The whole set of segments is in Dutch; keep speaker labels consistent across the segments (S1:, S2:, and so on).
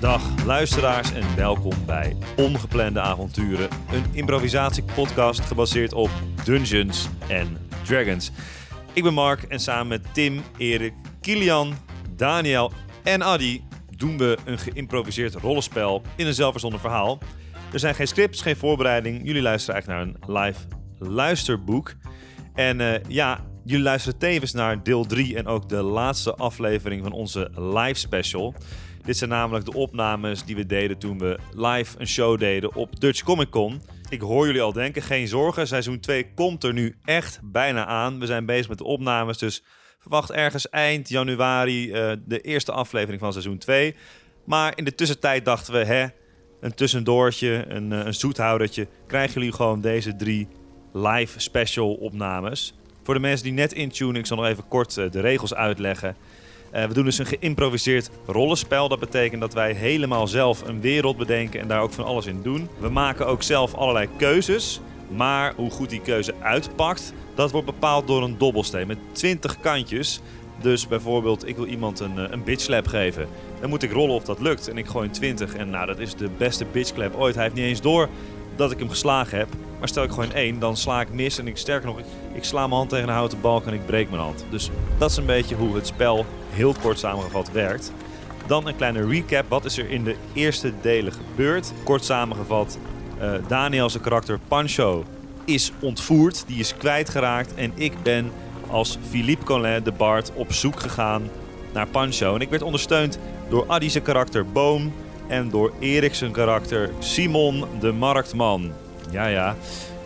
S1: Dag luisteraars en welkom bij Ongeplande Avonturen, een improvisatiepodcast gebaseerd op Dungeons en Dragons. Ik ben Mark en samen met Tim, Erik, Kilian, Daniel en Adi doen we een geïmproviseerd rollenspel in een zelfverzonnen verhaal. Er zijn geen scripts, geen voorbereiding. Jullie luisteren eigenlijk naar een live luisterboek. En eh, ja, jullie luisteren tevens naar deel 3 en ook de laatste aflevering van onze live special. Dit zijn namelijk de opnames die we deden toen we live een show deden op Dutch Comic Con. Ik hoor jullie al denken, geen zorgen, seizoen 2 komt er nu echt bijna aan. We zijn bezig met de opnames, dus verwacht ergens eind januari eh, de eerste aflevering van seizoen 2. Maar in de tussentijd dachten we, hè, een tussendoortje, een, eh, een zoethoudertje, krijgen jullie gewoon deze drie live special opnames. Voor de mensen die net intunen, ik zal nog even kort eh, de regels uitleggen. Eh, we doen dus een geïmproviseerd rollenspel. Dat betekent dat wij helemaal zelf een wereld bedenken en daar ook van alles in doen. We maken ook zelf allerlei keuzes. Maar hoe goed die keuze uitpakt, dat wordt bepaald door een dobbelsteen met 20 kantjes. Dus bijvoorbeeld, ik wil iemand een, eh, een bitchslap geven. Dan moet ik rollen of dat lukt. En ik gooi een 20 en nou, dat is de beste bitchslap ooit. Hij heeft niet eens door dat ik hem geslagen heb. Maar stel ik gewoon één, dan sla ik mis. En ik, sterker nog, ik, ik sla mijn hand tegen een houten balk en ik breek mijn hand. Dus dat is een beetje hoe het spel heel kort samengevat werkt. Dan een kleine recap. Wat is er in de eerste delen gebeurd? Kort samengevat, eh Daniel zijn karakter Pancho is ontvoerd. Die is kwijtgeraakt. En ik ben als Philippe Collin de Bard op zoek gegaan naar Pancho. En ik werd ondersteund door Adi zijn karakter Boom. En door Erik zijn karakter Simon de Marktman. Ja, ja.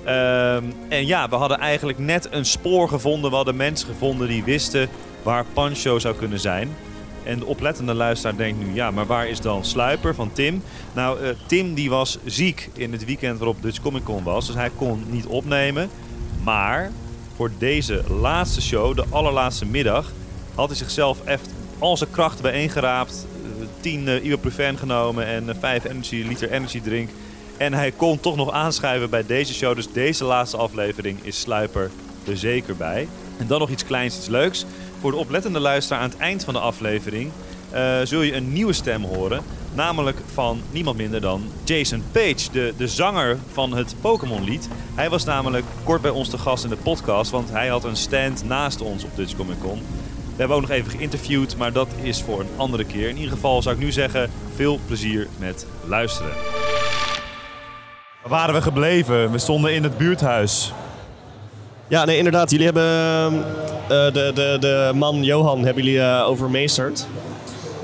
S1: Ehm, en ja, we hadden eigenlijk net een spoor gevonden. We hadden mensen gevonden die wisten waar Pancho zou kunnen zijn. En de oplettende luisteraar denkt nu, ja, maar waar is dan Sluiper van Tim? Nou, eh, Tim die was ziek in het weekend waarop Dutch Comic Con was. Dus hij kon niet opnemen. Maar voor deze laatste show, de allerlaatste middag, had hij zichzelf echt al zijn krachten bijeengeraapt. eh, 10 eh, ibuprofen genomen en eh, 5 energy, liter energy drink. En hij kon toch nog aanschuiven bij deze show. Dus deze laatste aflevering is Sluiper er zeker bij. En dan nog iets kleins, iets leuks. Voor de oplettende luisteraar aan het eind van de aflevering eh, zul je een nieuwe stem horen. Namelijk van niemand minder dan Jason Page, de, de zanger van het Pokémon-lied. Hij was namelijk kort bij ons te gast in de podcast, want hij had een stand naast ons op Dutch Comic Con. We hebben ook nog even geïnterviewd, maar dat is voor een andere keer. In ieder geval zou ik nu zeggen, veel plezier met luisteren.
S2: Waar waren we gebleven? We stonden in het buurthuis.
S3: Ja, nee, inderdaad. Jullie hebben eh, de, de, de man Johan hebben jullie eh, overmeesterd.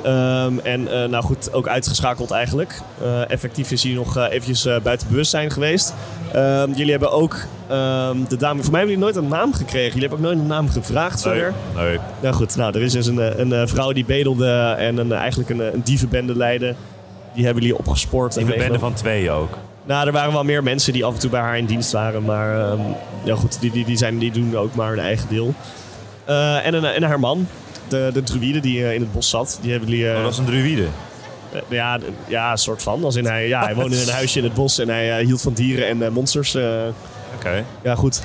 S3: Ehm, en eh, nou goed, ook uitgeschakeld eigenlijk. Eh, effectief is hij nog eh, eventjes eh, buiten bewustzijn geweest. Ehm, jullie hebben ook ehm, de dame... Voor mij hebben jullie nooit een naam gekregen. Jullie hebben ook nooit een naam gevraagd verder.
S2: nee.
S3: Nou goed, nou, er is dus een, eh, een eh, vrouw die bedelde en een, eh, eigenlijk een, eh, een dievenbende leidde. Die hebben jullie opgespoord. en
S2: Die bende
S3: meegenomen.
S2: van twee ook.
S3: Nou, er waren wel meer mensen die af en toe bij haar in dienst waren. Maar ehm, ja, goed, die, die, die, zijn, die doen ook maar hun eigen deel. Eh, en, een, en haar man, de, de druïde die eh, in het bos zat. Die hebben jullie... eh,
S2: Oh, Dat was een druïde.
S3: eh, ja, d- ja, een soort van. Als in hij, ja, hij woonde in een huisje in het bos en hij eh, hield van dieren en eh, monsters. eh,
S2: Oké.
S3: ja, goed.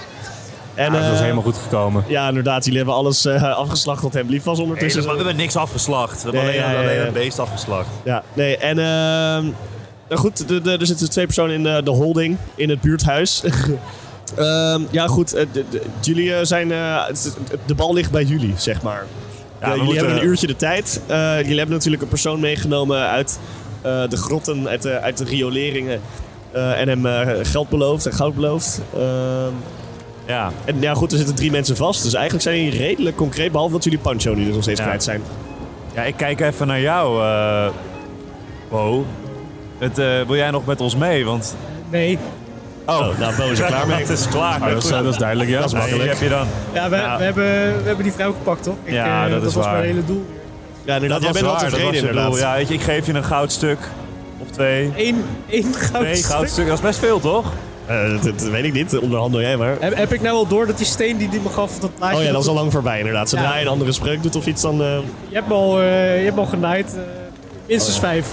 S3: En,
S2: dat was
S3: eh,
S2: helemaal goed gekomen.
S3: Ja, inderdaad. Jullie hebben alles eh, afgeslacht wat hem lief was ondertussen.
S2: we hebben niks afgeslacht. We hebben
S3: Nee,
S2: alleen,
S3: Dus- ja, ja,
S2: alleen
S3: ja.
S2: het beest afgeslacht.
S3: Ja, nee, en ehm, nou goed, de, de- er zitten twee personen in eh, de, de holding in het buurthuis. Ehm, ja, goed, eh, de- de- jullie eh, zijn, eh, het- het- de bal ligt bij jullie, zeg maar.
S2: we
S3: Ja, jullie
S2: moeten-
S3: hebben een uurtje de tijd. Eh, jullie hebben natuurlijk een persoon meegenomen uit eh, de grotten, uit de, uit de rioleringen. eh, en hem eh, geld beloofd en goud beloofd. Ehm,
S2: Ja.
S3: en ja, goed, er zitten drie mensen vast. Dus eigenlijk zijn jullie redelijk concreet, behalve dat jullie Pancho nu dus nog steeds
S2: Ja.
S3: kwijt zijn.
S2: ja, ik kijk even naar jou. eh wow. Het, eh, wil jij nog met ons mee? Want...
S4: Nee.
S2: Oh,
S3: nou, Bo is er klaar mee.
S2: Het is klaar.
S3: Oh, dat is- dat is duidelijk, ja.
S2: Dat is
S3: Nee,
S2: makkelijk. heb je dan.
S4: Ja, we,
S2: Nou.
S4: we, hebben, we hebben die vrouw gepakt, toch? Ik,
S2: Ja,
S4: eh,
S2: dat is
S4: was
S2: waar.
S4: mijn hele doel.
S3: Ja, inderdaad. jij
S2: was
S3: bent wel
S2: waar,
S3: tevreden,
S2: was het doel.
S3: inderdaad.
S2: Ja, weet je, ik geef je een goudstuk. Of twee.
S4: Eén, één goud
S2: Twee
S4: stuk.
S2: goudstukken. Dat is best veel, toch?
S3: Eh, dat, dat weet ik niet, onderhandel jij maar.
S4: Heb, heb ik nou al door dat die steen die die me gaf, dat laatje...
S3: Oh ja, dat is al lang voorbij inderdaad. Zodra
S4: Ja.
S3: je een andere spreuk doet of iets, dan... eh,
S4: Je hebt me al, eh, je hebt me al genaaid. eh, minstens
S2: Oh
S4: vijf.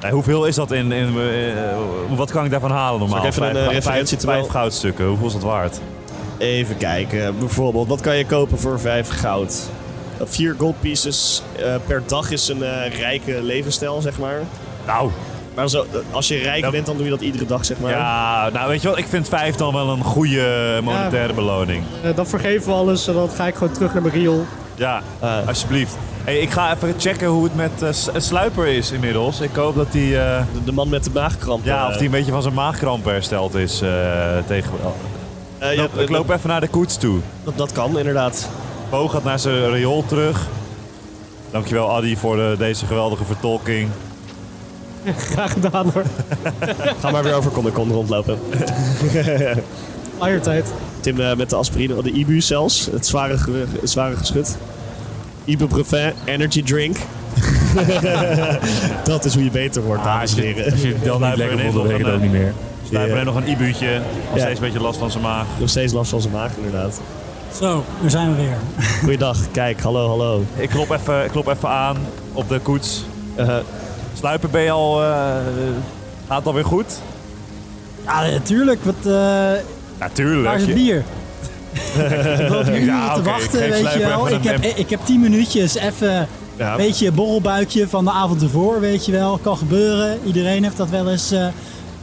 S2: Nee, hoeveel is dat in... in eh, eh, wat kan ik daarvan halen normaal?
S3: Zal ik even een, eh, referentie
S2: vijf, vijf
S3: terwijl-
S2: goudstukken. Hoeveel is dat waard?
S3: Even kijken. Bijvoorbeeld, wat kan je kopen voor vijf goud? Vier gold pieces eh, per dag is een eh, rijke levensstijl, zeg maar.
S2: Nou,
S3: Maar zo, eh, als je rijk
S2: Ja.
S3: bent, dan doe je dat iedere dag, zeg maar.
S2: ja, nou weet je wat, ik vind vijf dan wel een goede eh, monetaire beloning.
S4: Eh, dan vergeven we alles en dan ga ik gewoon terug naar mijn riool.
S2: Ja,
S3: Eh.
S2: alsjeblieft. Hey, ik ga even checken hoe het met eh, S- eh, Sluiper is inmiddels. Ik hoop dat hij eh,
S3: De, de man met de maagkramp.
S2: ja,
S3: eh,
S2: of die een beetje van zijn maagkrampen hersteld is. eh, tegen...
S3: eh, ja,
S2: Loop- ik loop even naar de koets toe.
S3: dat, dat kan, inderdaad.
S2: Bo gaat naar zijn riool terug. Dankjewel Adi voor eh, deze geweldige vertolking.
S4: Graag gedaan hoor.
S3: Ga maar weer over Comic Con rondlopen.
S4: Eiertijd.
S3: Tim eh, met de aspirine, oh, de Ibu zelfs. Het zware, ge- het zware geschut. Ibuprofen, energy drink. dat is hoe je beter wordt, dames en heren.
S5: Ah, Als je het dan niet lekker
S2: Blijkbaar
S5: voelt,
S2: heeft
S5: dan weet
S2: nog
S5: ik het ook
S2: een,
S5: niet meer.
S2: Sluiper heeft nog een ibuutje. Nog
S3: Ja.
S2: steeds een beetje last van zijn maag.
S3: Nog steeds last van zijn maag, inderdaad.
S6: Zo, daar zijn we weer.
S3: Goeiedag, kijk, hallo, hallo.
S2: Ik klop even, ik klop even aan op de koets.
S3: Eh,
S2: Sluiper, ben je al... eh, gaat het alweer goed?
S6: Ja, natuurlijk. Wat, eh
S2: Natuurlijk.
S6: waar is het bier? ik loop hier
S2: Ja,
S6: te
S2: oké, ik
S6: wachten,
S2: geef
S6: weet je
S2: Sluiper
S6: wel.
S2: even
S6: Ik
S2: een
S6: heb, ik heb tien minuutjes even,
S3: Ja.
S6: weet je, borrelbuikje van de avond ervoor, weet je wel. Kan gebeuren. Iedereen heeft dat wel eens eh,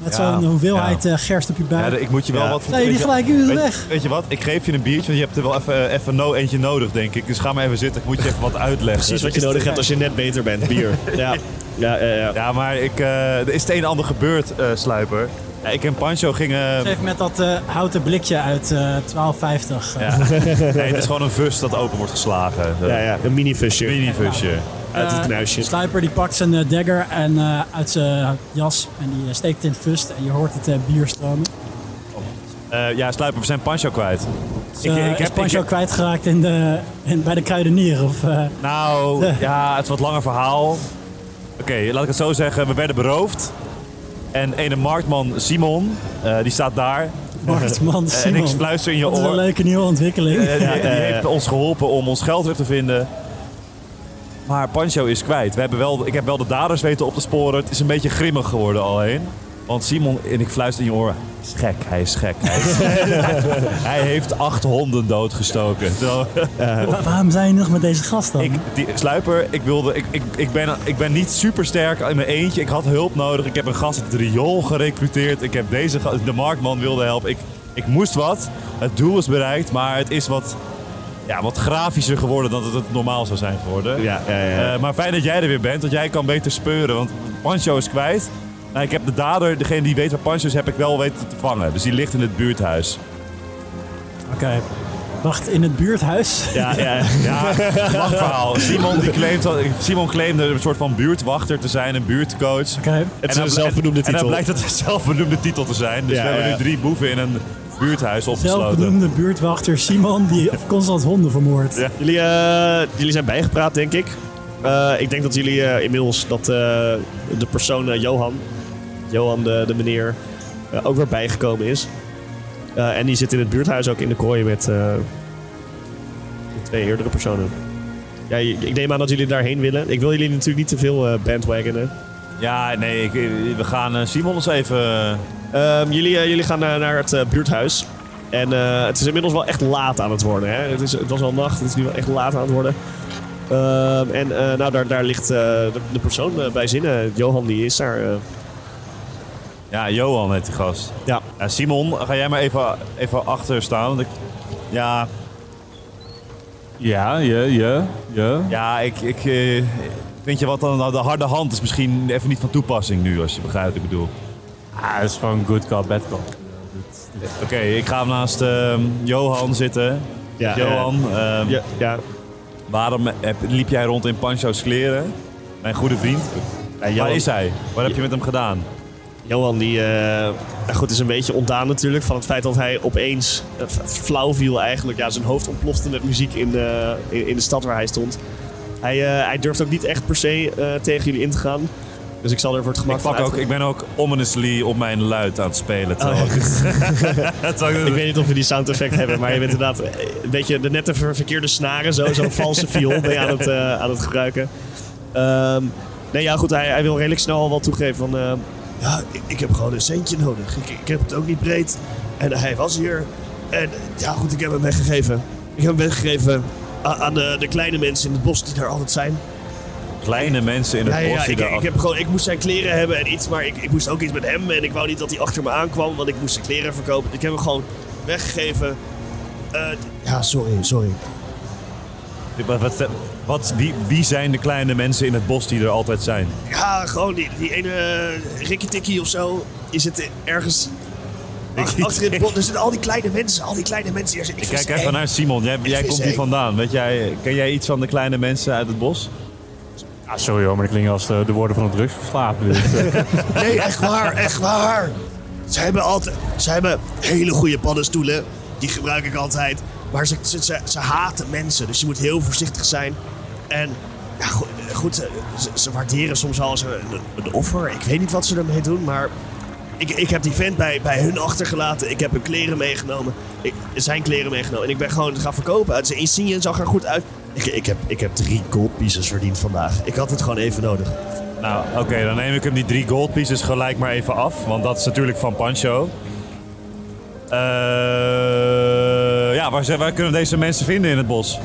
S6: met
S2: Ja,
S6: zo'n hoeveelheid eh, gerst op je
S2: Ja,
S6: buik.
S2: de- ik moet je wel
S3: Ja.
S2: wat...
S6: Nee, die
S2: weet je-
S6: gelijk, u is
S2: weet-
S6: weg.
S2: Weet je wat? Ik geef je een biertje, want je hebt er wel even, eh, even no eentje nodig, denk ik. Dus ga maar even zitten. Ik moet je even wat uitleggen.
S3: precies wat je nodig hebt als je net beter bent, bier. ja. Ja, ja, ja.
S2: Ja, maar ik, eh, er is het een en ander gebeurd, eh, Sluiper. Ja, ik en Pancho gingen...
S6: Even met dat eh, houten blikje uit eh 1250. eh.
S2: Ja. Nee, het is gewoon een vus dat open wordt geslagen. Zo.
S3: Ja, ja, een minifusje
S2: Minivusje.
S3: uit het
S6: Eh,
S3: knuisje.
S6: Sluiper die pakt zijn eh, dagger en, eh, uit zijn jas en die eh, steekt in het fust en je hoort het eh, bier stromen.
S2: Eh, ja, Sluiper, we zijn Pancho kwijt.
S6: ik, eh, is Pancho kwijtgeraakt in de, in, bij de kruidenier? Of, eh,
S2: Nou,
S6: Eh.
S2: ja, het is wat langer verhaal. Oké, laat ik het zo zeggen. We werden beroofd. En ene marktman, Simon, eh, die staat daar.
S6: Marktman
S2: Eh, En ik
S6: Simon.
S2: fluister in je
S6: dat is een
S2: oor.
S6: leuke nieuwe ontwikkeling.
S2: Eh, die, die
S3: ja, ja.
S2: heeft ons geholpen om ons geld terug te vinden. Maar Pancho is kwijt. We hebben wel, ik heb wel de daders weten op te sporen. Het is een beetje grimmig geworden alheen. Want Simon, en ik fluister in je oor, hij is gek, hij is gek. Hij, is hij heeft acht honden doodgestoken. Terwijl-
S6: Wa- waarom zijn je nog met deze gast dan?
S2: ik, die, sluiper, ik, wilde, ik, ik, ik, ben, ik ben niet supersterk in mijn eentje. Ik had hulp nodig. Ik heb een gast uit het riool gerecruiteerd. Ik heb deze gast- de marktman wilde helpen. Ik, ik moest wat. Het doel is bereikt, maar het is wat, ja, wat grafischer geworden dan dat het normaal zou zijn geworden.
S3: Ja, ja, ja.
S2: Eh, maar fijn dat jij er weer bent, want jij kan beter speuren. Want Pancho is kwijt. Nou, ik heb de dader, degene die weet waar Pancho is, heb ik wel weten te vangen. Dus die ligt in het buurthuis.
S6: Oké. Wacht, in het buurthuis?
S2: Ja, ja, ja. Wachtverhaal. Simon, die claimt, dat- Simon claimde een soort van buurtwachter te zijn, een buurtcoach.
S6: Oké.
S3: Het is
S2: dan
S3: een
S2: bl-
S3: zelfbenoemde
S2: En dan
S3: titel.
S2: blijkt dat het een zelfbenoemde titel te zijn. Dus
S3: Ja,
S2: we hebben
S3: ja.
S2: nu drie boeven in een buurthuis opgesloten.
S6: Zelfbenoemde buurtwachter Simon die constant honden vermoordt.
S2: Ja.
S3: Jullie, eh, jullie zijn bijgepraat, denk ik. Eh, ik denk dat jullie eh, inmiddels dat eh, de persoon eh, Johan, Johan de, de meneer, eh, ook weer bijgekomen is. Eh, en die zit in het buurthuis ook in de kooi met eh, de twee eerdere personen. Ja, je- ik neem aan dat jullie daarheen willen. Ik wil jullie natuurlijk niet te veel eh, bandwagonen.
S2: Ja, nee, ik, we gaan eh, Simon eens even...
S3: Ehm, jullie, eh, jullie gaan naar, naar het eh, buurthuis. En eh, het is inmiddels wel echt laat aan het worden. Hè? Het, is, het was al nacht, het is nu wel echt laat aan het worden. Ehm, en eh, nou, daar, daar ligt eh, de, de persoon eh, bij zinnen. Johan die is daar. eh.
S2: Ja, Johan heet die gast.
S3: ja.
S2: Ja, Simon, ga jij maar even, even achter staan. Want ik, ja,
S5: Ja, ja, ja, ja.
S2: ja, ik... ik eh, Vind je wat dan? nou, De harde hand is misschien even niet van toepassing nu, als je begrijpt wat ik bedoel.
S5: Ah, het is gewoon good cop, bad cop.
S2: Oké, ik ga naast ehm, Johan zitten.
S3: Ja,
S2: Johan, ehm,
S3: eh, ja, ja.
S2: waarom heb- liep jij rond in Pancho's kleren? Mijn goede vriend.
S3: Ja, Johan,
S2: Waar is hij? Wat heb je met hem gedaan?
S3: Johan die eh, nou goed, is een beetje ontdaan natuurlijk van het feit dat hij opeens eh, f- flauw viel eigenlijk. Ja, zijn hoofd ontplofte met muziek in de, in, in de stad waar hij stond. Hij, eh, hij durft ook niet echt per se eh, tegen jullie in te gaan. Dus ik zal er voor het gemak
S2: Ik,
S3: van
S2: pak ook,
S3: uitgaan.
S2: ik ben ook ominously op mijn luid aan het spelen. terwijl
S3: Oh,
S2: ik- terwijl ik-
S3: Ik weet niet of we die sound effect hebben, maar je bent inderdaad eh, een beetje de nette ver- verkeerde snaren, zo- zo'n valse viool ben je aan het, eh, aan het gebruiken. Ehm, nee, ja goed, hij, hij wil redelijk snel al wel toegeven van... eh, ja, ik, ik heb gewoon een centje nodig. Ik, ik heb het ook niet breed. En hij was hier. En ja goed, ik heb hem weggegeven. Ik heb hem weggegeven a- aan de, de kleine mensen in het bos die daar altijd zijn.
S2: Kleine mensen in het
S3: Ja, ja, ja,
S2: bos die
S3: ik,
S2: daar
S3: ik, heb gewoon, ik moest zijn kleren hebben en iets, maar ik, ik moest ook iets met hem. En ik wou niet dat hij achter me aankwam, want ik moest zijn kleren verkopen. Ik heb hem gewoon weggegeven. Eh, ja, sorry, sorry.
S2: Wat, wat, wat- wie, wie zijn de kleine mensen in het bos die er altijd zijn?
S3: Ja, gewoon die, die ene eh, Rikki Tikki of zo. Die zit ergens ach- achter in het bos. Er zitten al die kleine mensen, al die kleine mensen. die er zitten.
S2: Ik
S3: vind
S2: kijk
S3: ze
S2: even
S3: eng.
S2: naar Simon. Jij, jij
S3: vind
S2: komt
S3: ze
S2: hier
S3: eng.
S2: vandaan. Weet jij, ken jij iets van de kleine mensen uit het bos?
S5: Ah, sorry hoor, maar dat klinkt als de, de woorden van een drugsverslaafde. Dus, eh,
S3: Nee, echt waar, echt waar. Ze hebben altijd, ze hebben hele goede paddenstoelen. Die gebruik ik altijd. Maar ze, ze, ze, ze haten mensen, dus je moet heel voorzichtig zijn. En ja, go- eh, goed, eh, ze, ze waarderen soms wel eens een, een offer. Ik weet niet wat ze ermee doen, maar ik, ik heb die vent bij, bij hun achtergelaten. Ik heb hun kleren meegenomen. Ik, zijn kleren meegenomen. En ik ben gewoon gaan verkopen. Het zijn insignia zag er goed uit. Ik, ik, heb, ik heb drie gold pieces verdiend vandaag. Ik had het gewoon even nodig.
S2: Nou, oké, dan neem ik hem die drie gold pieces gelijk maar even af. Want dat is natuurlijk van Pancho. Eh, ja, waar, zijn- waar kunnen deze mensen vinden in het bos?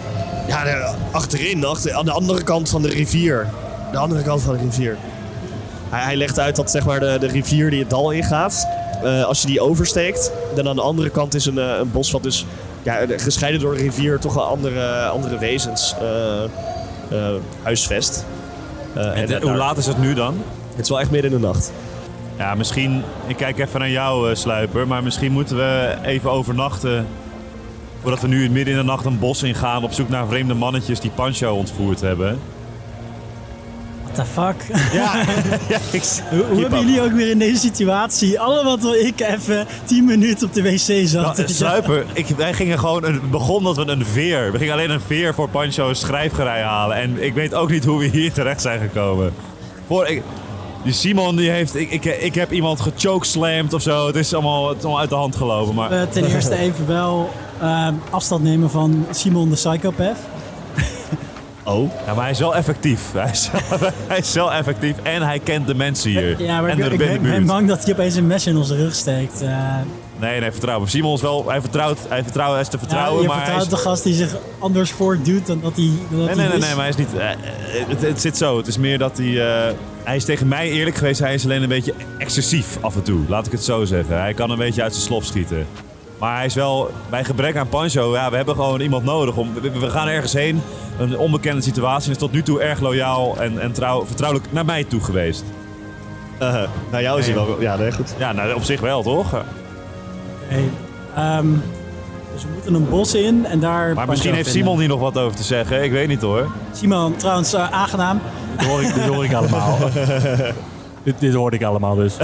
S3: Ja, de- achterin, achter, aan de andere kant van de rivier. De andere kant van de rivier. Hij, hij legt uit dat zeg maar, de, de rivier die het dal ingaat, eh, als je die oversteekt, dan aan de andere kant is een, eh, een bos wat dus ja, de- gescheiden door de rivier toch wel andere, andere wezens eh, eh, huisvest. Eh, en
S2: En de-
S3: daar-
S2: hoe laat is het nu dan?
S3: Het is wel echt midden in de nacht.
S2: Ja, misschien. Ik kijk even naar jou, eh, Sluiper. Maar misschien moeten we even overnachten. Voordat we nu midden in de nacht een bos ingaan. op zoek naar vreemde mannetjes die Pancho ontvoerd hebben.
S6: What the fuck?
S2: Ja, ik zie-
S6: Hoe, hoe hebben
S2: up.
S6: jullie ook weer in deze situatie? Allemaal terwijl ik even 10 minuten op de wc
S2: Nou,
S6: zat. Dus
S2: eh, Sluiper, ik, wij gingen gewoon. Een, het begon dat we een veer. We gingen alleen een veer voor Pancho's schrijfgerij halen. En ik weet ook niet hoe we hier terecht zijn gekomen. Voor, ik, die Simon die heeft. Ik, ik, ik heb iemand gechokeslamd of zo. Het is allemaal, het is allemaal uit de hand gelopen. Maar
S6: Eh, ten eerste even wel ehm, afstand nemen van Simon de Psychopath.
S3: Oh?
S2: Ja, maar hij is wel effectief. Hij is, hij is wel effectief en hij kent de mensen hier.
S6: Ja, maar
S2: en de,
S6: ik, ben- ik
S2: de
S6: ben, ik ben
S2: buurt.
S6: bang dat hij opeens een mes in onze rug steekt. Eh,
S2: Nee, nee, vertrouw me. Simon is wel... Hij, vertrouwt, hij, vertrouwt, hij is te vertrouwen,
S6: ja, je
S2: maar
S6: vertrouwt
S2: hij
S6: de
S2: is...
S6: gast die zich anders voordoet dan dat hij dan
S2: Nee,
S6: dat hij
S2: nee, nee,
S6: is.
S2: nee, maar hij is niet... eh, eh, het, het zit zo. Het is meer dat hij... eh, hij is tegen mij eerlijk geweest. Hij is alleen een beetje excessief af en toe. Laat ik het zo zeggen. Hij kan een beetje uit zijn slop schieten. Maar hij is wel... Bij gebrek aan Pancho, ja, we hebben gewoon iemand nodig. Om, we, we gaan ergens heen. Een onbekende situatie. En is tot nu toe erg loyaal en, en trouw, vertrouwelijk naar mij toe geweest.
S3: Eh, nou, jou is hij wel. Ja, nee, goed.
S2: Ja, nou, op zich wel, toch?
S6: Oké, ehm, dus we moeten een bos in en daar...
S2: Maar
S6: Pancho
S2: misschien heeft
S6: vinden.
S2: Simon hier nog wat over te zeggen. Ik weet niet hoor.
S6: Simon, trouwens, eh, aangenaam.
S5: dit, hoor ik, dit hoor ik allemaal. dit, dit hoorde ik allemaal dus.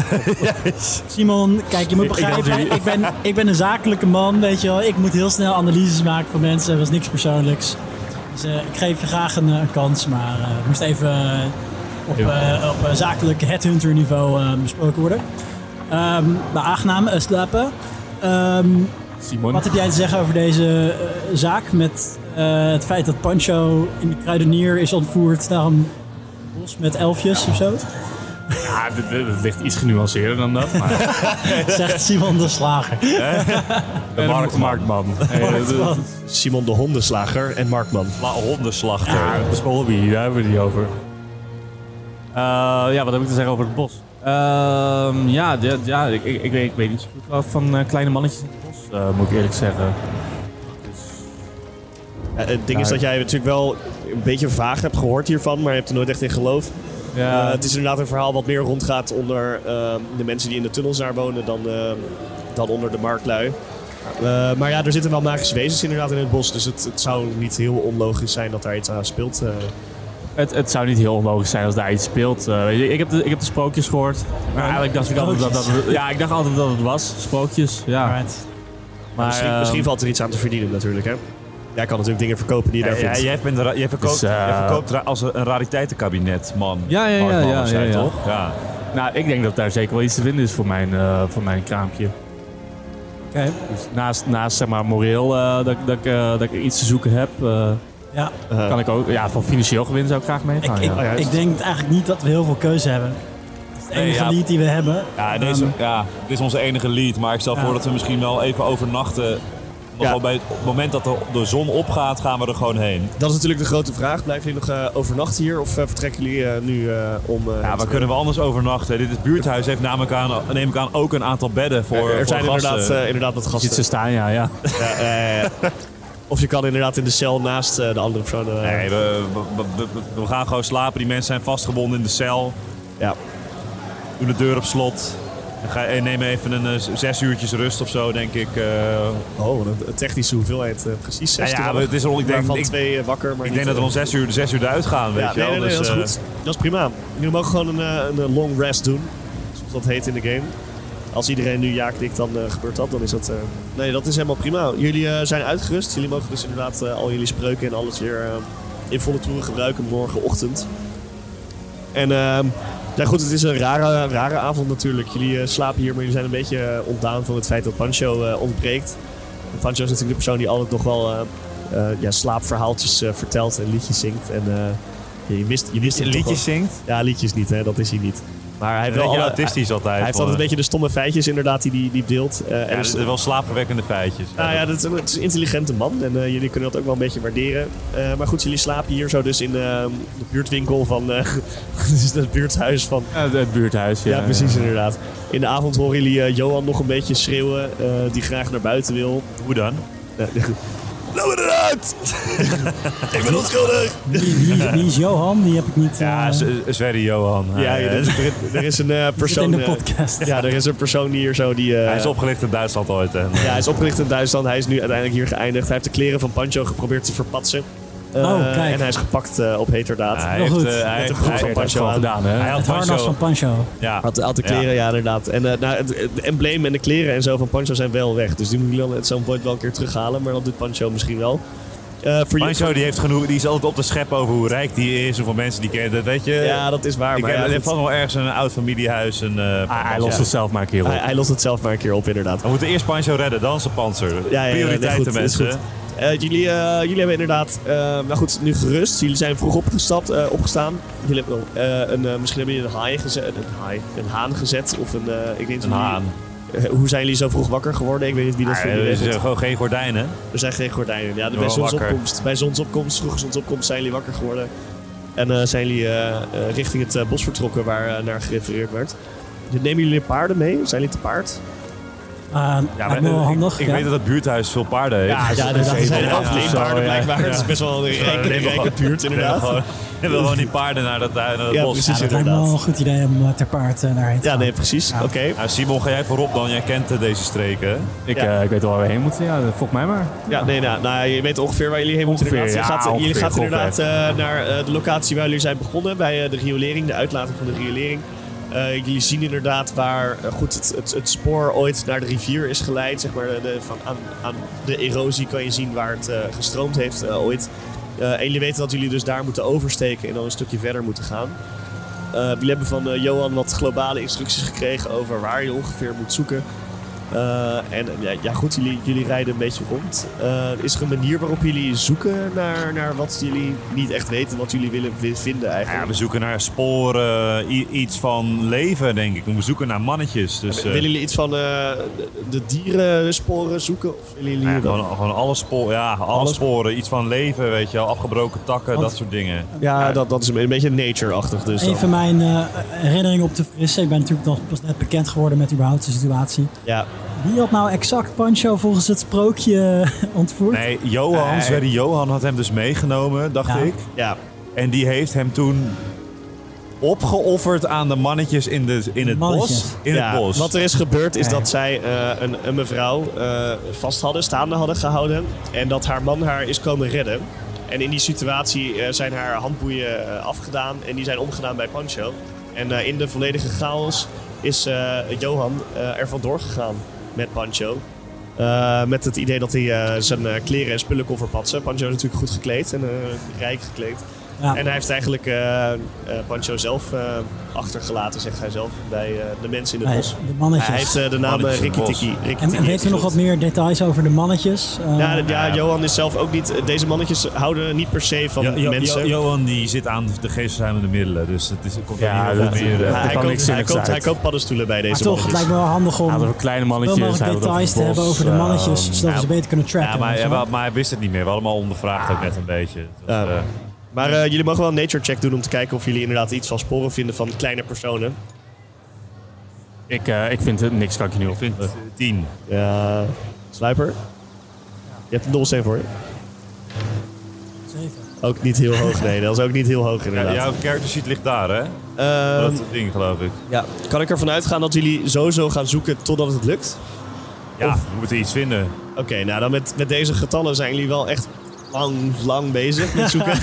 S6: Simon, kijk, je moet begrijpen, ik, ben, ik ben een zakelijke man, weet je wel. Ik moet heel snel analyses maken van mensen, dat is niks persoonlijks. Dus eh, ik geef je graag een, eh, een kans, maar eh, het moest even eh, op, eh, op eh, zakelijk headhunter niveau eh, besproken worden. Ehm maar aangenaam, eh, slapen. Ehm,
S5: Simon.
S6: wat heb jij te zeggen over deze eh, zaak met eh, het feit dat Pancho in de kruidenier is ontvoerd naar een bos met elfjes of zo?
S5: Ja, dit, dit- dit ligt iets genuanceerder dan dat. Maar,
S6: Zegt Simon de Slager.
S5: de marktman. Hey, dat- dat-
S3: Simon de hondenslager en Markman.
S2: La hondenslachter.
S5: Ja, dat is mijn hobby, daar hebben we die over. Eh, ja, wat heb ik te zeggen over het bos? Ehm, ja, dit- ja ik, ik, ik, weet, ik weet niet zo goed wel van eh, kleine mannetjes in het bos, eh, moet ik eerlijk zeggen.
S3: Ja, Eh, het ding
S2: Nou,
S3: is
S5: Ja.
S3: dat jij natuurlijk wel een beetje vaag hebt gehoord hiervan, maar je hebt er nooit echt in geloofd. Eh,
S5: Ja,
S3: het is inderdaad een verhaal wat meer rondgaat onder eh, de mensen die in de tunnels daar wonen dan, eh, dan onder de marktlui. Eh, maar ja, er zitten wel magische wezens inderdaad in het bos, dus het, het zou niet heel onlogisch zijn dat daar iets aan speelt. eh.
S5: het, het zou niet heel onlogisch zijn als daar iets speelt. Eh, weet je, ik, heb de, ik heb de sprookjes gehoord. Maar eigenlijk dacht ik altijd dat, dat het, ja, ik dacht altijd dat het was. Sprookjes, ja.
S6: Alright.
S5: Maar,
S3: misschien,
S5: ehm,
S3: misschien valt er iets aan te verdienen natuurlijk, hè? Jij kan natuurlijk dingen verkopen die je
S2: Ja,
S3: daar
S2: ja,
S3: vindt.
S2: jij, bent een ra- jij verkoopt,
S5: Dus, eh,
S2: jij verkoopt ra- als een een rariteitenkabinet, man.
S5: Ja, ja, ja,
S2: Mark Mannen
S5: ja,
S2: zei,
S5: ja, ja.
S2: toch? Ja.
S5: Nou, ik denk dat daar zeker wel iets te vinden is voor mijn, eh, voor mijn kraampje.
S6: Oké.
S5: Dus naast, naast zeg maar moreel eh, dat, ik- dat, ik, eh, dat ik iets te zoeken heb, eh,
S6: Ja,
S3: Eh,
S5: kan ik ook. Ja, van financieel gewin zou ik graag
S6: ik,
S5: meegaan.
S6: ik,
S5: Ah, ja.
S3: ja, juist.
S6: ik denk eigenlijk niet dat we heel veel keuze hebben. Het is de
S2: Nee,
S6: enige
S2: ja.
S6: lied die we hebben.
S2: Ja, deze,
S6: Ehm,
S2: ja, dit is onze enige lead. Maar ik stel
S6: Ja.
S2: voor dat we misschien wel even overnachten Gewoon bij het moment dat de, de zon opgaat, gaan we er gewoon heen.
S3: Dat is natuurlijk de grote vraag. Blijven jullie nog eh, overnachten hier of eh, vertrekken jullie eh, nu eh, om... eh,
S2: Ja,
S3: te-
S2: waar kunnen we anders overnachten? Dit is buurthuis heeft namelijk aan, neem ik aan ook een aantal bedden voor
S3: er
S2: voor
S3: zijn
S2: gasten.
S3: inderdaad, eh, inderdaad wat
S5: Ziet
S3: gasten.
S5: ze staan, ja, ja.
S3: Ja, ja, ja, ja. Of je kan inderdaad in de cel naast eh, de andere persoon. eh,
S2: Nee, we, we, we- we gaan gewoon slapen. Die mensen zijn vastgebonden in de cel.
S3: ja.
S2: Doe de deur op slot. En ga, en neem even een eh, zes uurtjes rust of zo, denk ik. eh.
S3: Oh, wat een technische hoeveelheid. eh, precies
S2: ja,
S3: 60.
S2: maar het is er al- ik denk-
S3: Waarvan
S2: ik-
S3: twee eh, wakker, maar
S2: ik denk dat we om zes uur, zes uur eruit gaan, weet
S3: Ja,
S2: je
S3: nee,
S2: wel.
S3: nee, nee,
S2: Dus,
S3: dat is
S2: eh,
S3: goed. Dat is prima. Jullie mogen gewoon een, eh, een, eh, long rest doen. Zoals dat heet in de game. Als iedereen nu ja knikt, dan eh, gebeurt dat. Dan is dat... eh, Nee, dat is helemaal prima. Jullie eh, zijn uitgerust. Jullie mogen dus inderdaad eh, al jullie spreuken en alles weer eh, in volle toeren gebruiken morgenochtend. En ehm ja, goed, het is een rare, rare avond natuurlijk. Jullie eh, slapen hier, maar jullie zijn een beetje eh, ontdaan van het feit dat Pancho eh, ontbreekt. En Pancho is natuurlijk de persoon die altijd nog wel eh, eh, ja, slaapverhaaltjes eh, vertelt en liedjes zingt. En eh, ja, je mist, je mist hem toch wel.
S2: liedjes zingt.
S3: Ja, liedjes niet, hè? dat is hij niet. Maar hij heeft
S2: Een
S3: wel
S2: beetje
S3: alle-
S2: autistisch altijd.
S3: hij heeft altijd een beetje de stomme feitjes inderdaad die die, die deelt. Eh, en
S2: eh, Ja,
S3: dus-
S2: dat is wel slaapverwekkende feitjes.
S3: nou ja, dat is, een- het is een intelligente man en eh, jullie kunnen dat ook wel een beetje waarderen. Eh, maar goed, jullie slapen hier zo dus in eh, de buurtwinkel van... eh dus het buurthuis van...
S5: Ja, Het buurthuis, ja.
S3: Ja, precies inderdaad. In de avond horen jullie eh, Johan nog een beetje schreeuwen eh, die graag naar buiten wil.
S2: Hoe dan?
S3: Nou, Laat me eruit! Ik ben onschuldig!
S6: Wie, wie- wie is Johan? Die heb ik niet
S2: Ja,
S6: eh,
S2: z- Sverre Johan.
S3: Ja,
S2: Hij,
S3: er,
S2: eh,
S3: er- er is een eh,
S6: Ah, zit
S3: persoon...
S6: in de
S3: eh,
S6: podcast.
S3: ja, er is een persoon die hier zo die... eh,
S2: hij is opgelicht in Duitsland ooit. En, eh,
S3: Ja, hij is opgericht in Duitsland. Hij is nu uiteindelijk hier geëindigd. Hij heeft de kleren van Pancho geprobeerd te verpatsen. Eh,
S6: Oh, kijk.
S3: En hij is gepakt eh, op heterdaad.
S2: hij
S6: Wel
S2: heeft,
S6: goed.
S2: eh, hij,
S3: Met een
S2: heeft-
S3: broek
S2: hij-
S3: van
S2: hij
S3: Pancho aan.
S5: gedaan, hè?
S2: had
S6: het harnas
S2: Pancho.
S6: van Pancho. Eh,
S2: Ja,
S3: Had, had de kleren, ja, inderdaad. En eh, nou, het, het embleem en de kleren en zo van Pancho zijn wel weg. Dus die moet ik dan het zo'n point wel een keer terughalen. Maar dat doet Pancho misschien wel. Eh, voor jullie-
S2: Pancho die heeft genoeg, die is altijd op de schep over hoe rijk die is, hoeveel mensen die kent. Dat weet je.
S3: Ja, dat is waar.
S2: ik
S3: maar ja,
S2: heb,
S3: goed.
S2: vast wel ergens een oud familiehuis. Een, eh,
S5: Ah, hij lost het zelf maar een keer op.
S3: hij, hij lost het zelf maar een keer op, inderdaad.
S2: we moeten eerst Pancho redden, dan zijn panzer.
S3: Ja, ja, ja, nee,
S2: Oh, Prioriteiten
S3: goed, is
S2: mensen.
S3: goed. Eh, jullie, eh, jullie hebben inderdaad, eh, nou goed, nu gerust. Jullie zijn vroeg opgestapt, eh, opgestaan. Jullie hebben, wel, eh, een, eh, misschien hebben jullie een haai gezet, een, haai, een haan gezet of een, eh, ik weet niet
S2: Een
S3: hoe jullie-
S2: haan.
S3: Eh, hoe zijn jullie zo vroeg wakker geworden? Ik weet niet wie dat
S2: Ah,
S3: voor
S2: er
S3: jullie
S2: is
S3: regelt.
S2: eh, gewoon geen gordijnen.
S3: Er zijn geen gordijnen. Ja, bij
S2: wel
S3: zonsopkomst, bij zonsopkomst, vroege zonsopkomst zijn jullie wakker geworden. En eh, zijn jullie eh, eh, richting het eh, bos vertrokken waar eh, naar gerefereerd werd. Nemen jullie paarden mee? Zijn jullie te paard?
S6: Ah, lijkt me
S2: maar,
S6: wel
S2: eh,
S6: handig.
S2: Ik, ik
S6: ja.
S2: weet dat het buurthuis veel paarden heeft. Dus
S3: Ja, ja,
S6: dat
S3: er
S6: is
S3: zijn
S6: wel-
S3: half
S2: ja.
S3: paarden
S2: Zo, ja.
S3: blijkbaar. Dat is best wel een
S2: Ja,
S3: rijke, rijke buurt inderdaad.
S2: Gewoon, we willen gewoon die paarden naar dat, naar dat
S3: Ja,
S2: bos.
S3: precies.
S6: Ja, dat lijkt me wel
S3: inderdaad.
S6: een goed idee om eh, ter paard eh, daarheen te
S3: Ja,
S6: gaan.
S3: nee, precies. Oké.
S2: Nou, Simon, ga jij voorop dan? Jij kent eh, deze streken. hè?
S5: Ik,
S3: Ja.
S5: eh, ik weet wel waar we heen moeten. Ja, volg mij maar.
S3: Ja, nee, nou, nou, je weet ongeveer waar jullie heen moeten.
S5: Ongeveer,
S3: inderdaad. je
S5: ja,
S3: gaat, jullie
S5: ongeveer,
S3: gaat inderdaad eh, naar eh, de locatie waar jullie zijn begonnen. Bij eh, de riolering, de uitlating van de riolering. Eh, jullie zien inderdaad waar eh, goed, het, het, het spoor ooit naar de rivier is geleid. Zeg maar, eh, de, van, aan, aan de erosie kan je zien waar het eh, gestroomd heeft eh, ooit. Eh, en jullie weten dat jullie dus daar moeten oversteken en dan een stukje verder moeten gaan. Eh, jullie hebben van eh, Johan wat globale instructies gekregen over waar je ongeveer moet zoeken. Eh, en eh, ja, ja, goed, jullie, jullie rijden een beetje rond. Eh, is er een manier waarop jullie zoeken naar, naar wat jullie niet echt weten, wat jullie willen wi- vinden
S2: Ja, dus,
S3: eigenlijk?
S2: we zoeken naar sporen, eh, i- iets van leven, denk ik. We zoeken naar mannetjes. Dus, eh,
S3: willen jullie iets van eh, de- de dierensporen zoeken? Of willen jullie
S2: nou ja,
S3: dat-
S2: gewoon, gewoon alle, sporen, ja, alle,
S3: Alle
S2: sporen, iets van leven, weet je wel. Afgebroken takken, dat soort dingen.
S3: ja, dat, dat is een beetje nature-achtig. Dus
S6: Even
S3: dan.
S6: mijn eh, herinnering op te frissen. Ik ben natuurlijk nog pas net bekend geworden met überhaupt de situatie.
S3: Ja,
S6: Wie had nou exact Pancho volgens het sprookje eh, ontvoerd?
S2: Nee, Johan,
S3: Nee.
S2: Sverre Johan had hem dus meegenomen, dacht
S6: Ja.
S2: ik.
S3: ja.
S2: En die heeft hem toen opgeofferd aan de mannetjes in, de, in het
S6: Mannetjes.
S2: bos. In
S3: Ja,
S2: het bos.
S3: Wat er is gebeurd is
S6: Nee.
S3: dat zij eh, een, een mevrouw eh, vast hadden, staande hadden gehouden. En dat haar man haar is komen redden. En in die situatie eh, zijn haar handboeien eh, afgedaan en die zijn omgedaan bij Pancho. En eh, in de volledige chaos is eh, Johan eh, er vandoor gegaan met Pancho. Eh, met het idee dat hij eh, zijn eh, kleren en spullen kon verpatsen. Pancho is natuurlijk goed gekleed en eh, rijk gekleed.
S6: Ja.
S3: En hij heeft eigenlijk eh, eh, Pancho zelf eh, achtergelaten, zegt hij zelf, bij eh, de mensen in het
S6: Nee,
S3: bos.
S6: de mannetjes.
S3: Hij heeft eh, de naam
S1: Mannetjes in het
S3: Rikki
S1: bos.
S3: Tikki. Rikki
S6: en,
S3: Tikki
S6: en weet u nog wat
S3: ingevuld.
S6: meer details over de mannetjes? Eh,
S3: Ja, d- Nou, ja,
S2: Ja.
S3: Johan is zelf ook niet. Deze mannetjes houden niet per se van
S2: Jo- Jo-
S3: mensen.
S2: Jo- Johan die zit aan de geestverruimende middelen, dus het is, het komt
S5: Ja,
S2: er niet heel
S5: dat-
S2: veel meer.
S5: dat-
S2: eh,
S3: Maar hij,
S5: kan
S3: koopt,
S5: niks
S3: hij,
S5: zinnigs
S3: koopt,
S5: uit.
S3: hij koopt paddenstoelen bij deze
S6: maar toch, het
S3: mannetjes.
S6: lijkt me wel handig om
S5: Hij had over kleine
S6: veel
S5: mannetjes.
S6: mogelijk
S5: hij had het over
S6: details te
S5: bos,
S6: hebben over de
S5: eh,
S6: mannetjes, zodat we
S2: ja.
S6: ze beter kunnen tracken.
S2: Ja, maar,
S6: weet je
S2: hij,
S6: wel.
S2: wa- maar hij wist het niet meer. We hadden hem al ondervraagd ook net een beetje. Het was,
S3: Ja.
S2: eh,
S3: Maar eh, jullie mogen wel een nature check doen om te kijken of jullie inderdaad iets van sporen vinden van kleine personen.
S5: Ik, eh, ik vind het niks, kan ik je nu
S2: ik
S5: op.
S2: vind eh, tien.
S3: Ja, Sluiper. Je hebt een dobbelsteen voor je.
S6: Zeven.
S3: Ook niet heel hoog, nee. Dat is ook niet heel hoog
S2: Ja,
S3: inderdaad.
S2: jouw character sheet ligt daar, hè?
S3: Ehm,
S2: dat ding, geloof ik.
S3: ja. Kan ik ervan uitgaan dat jullie sowieso gaan zoeken totdat het lukt?
S2: Ja, we moeten iets vinden.
S3: Oké, nou dan met, met deze getallen zijn jullie wel echt lang, lang bezig met zoeken.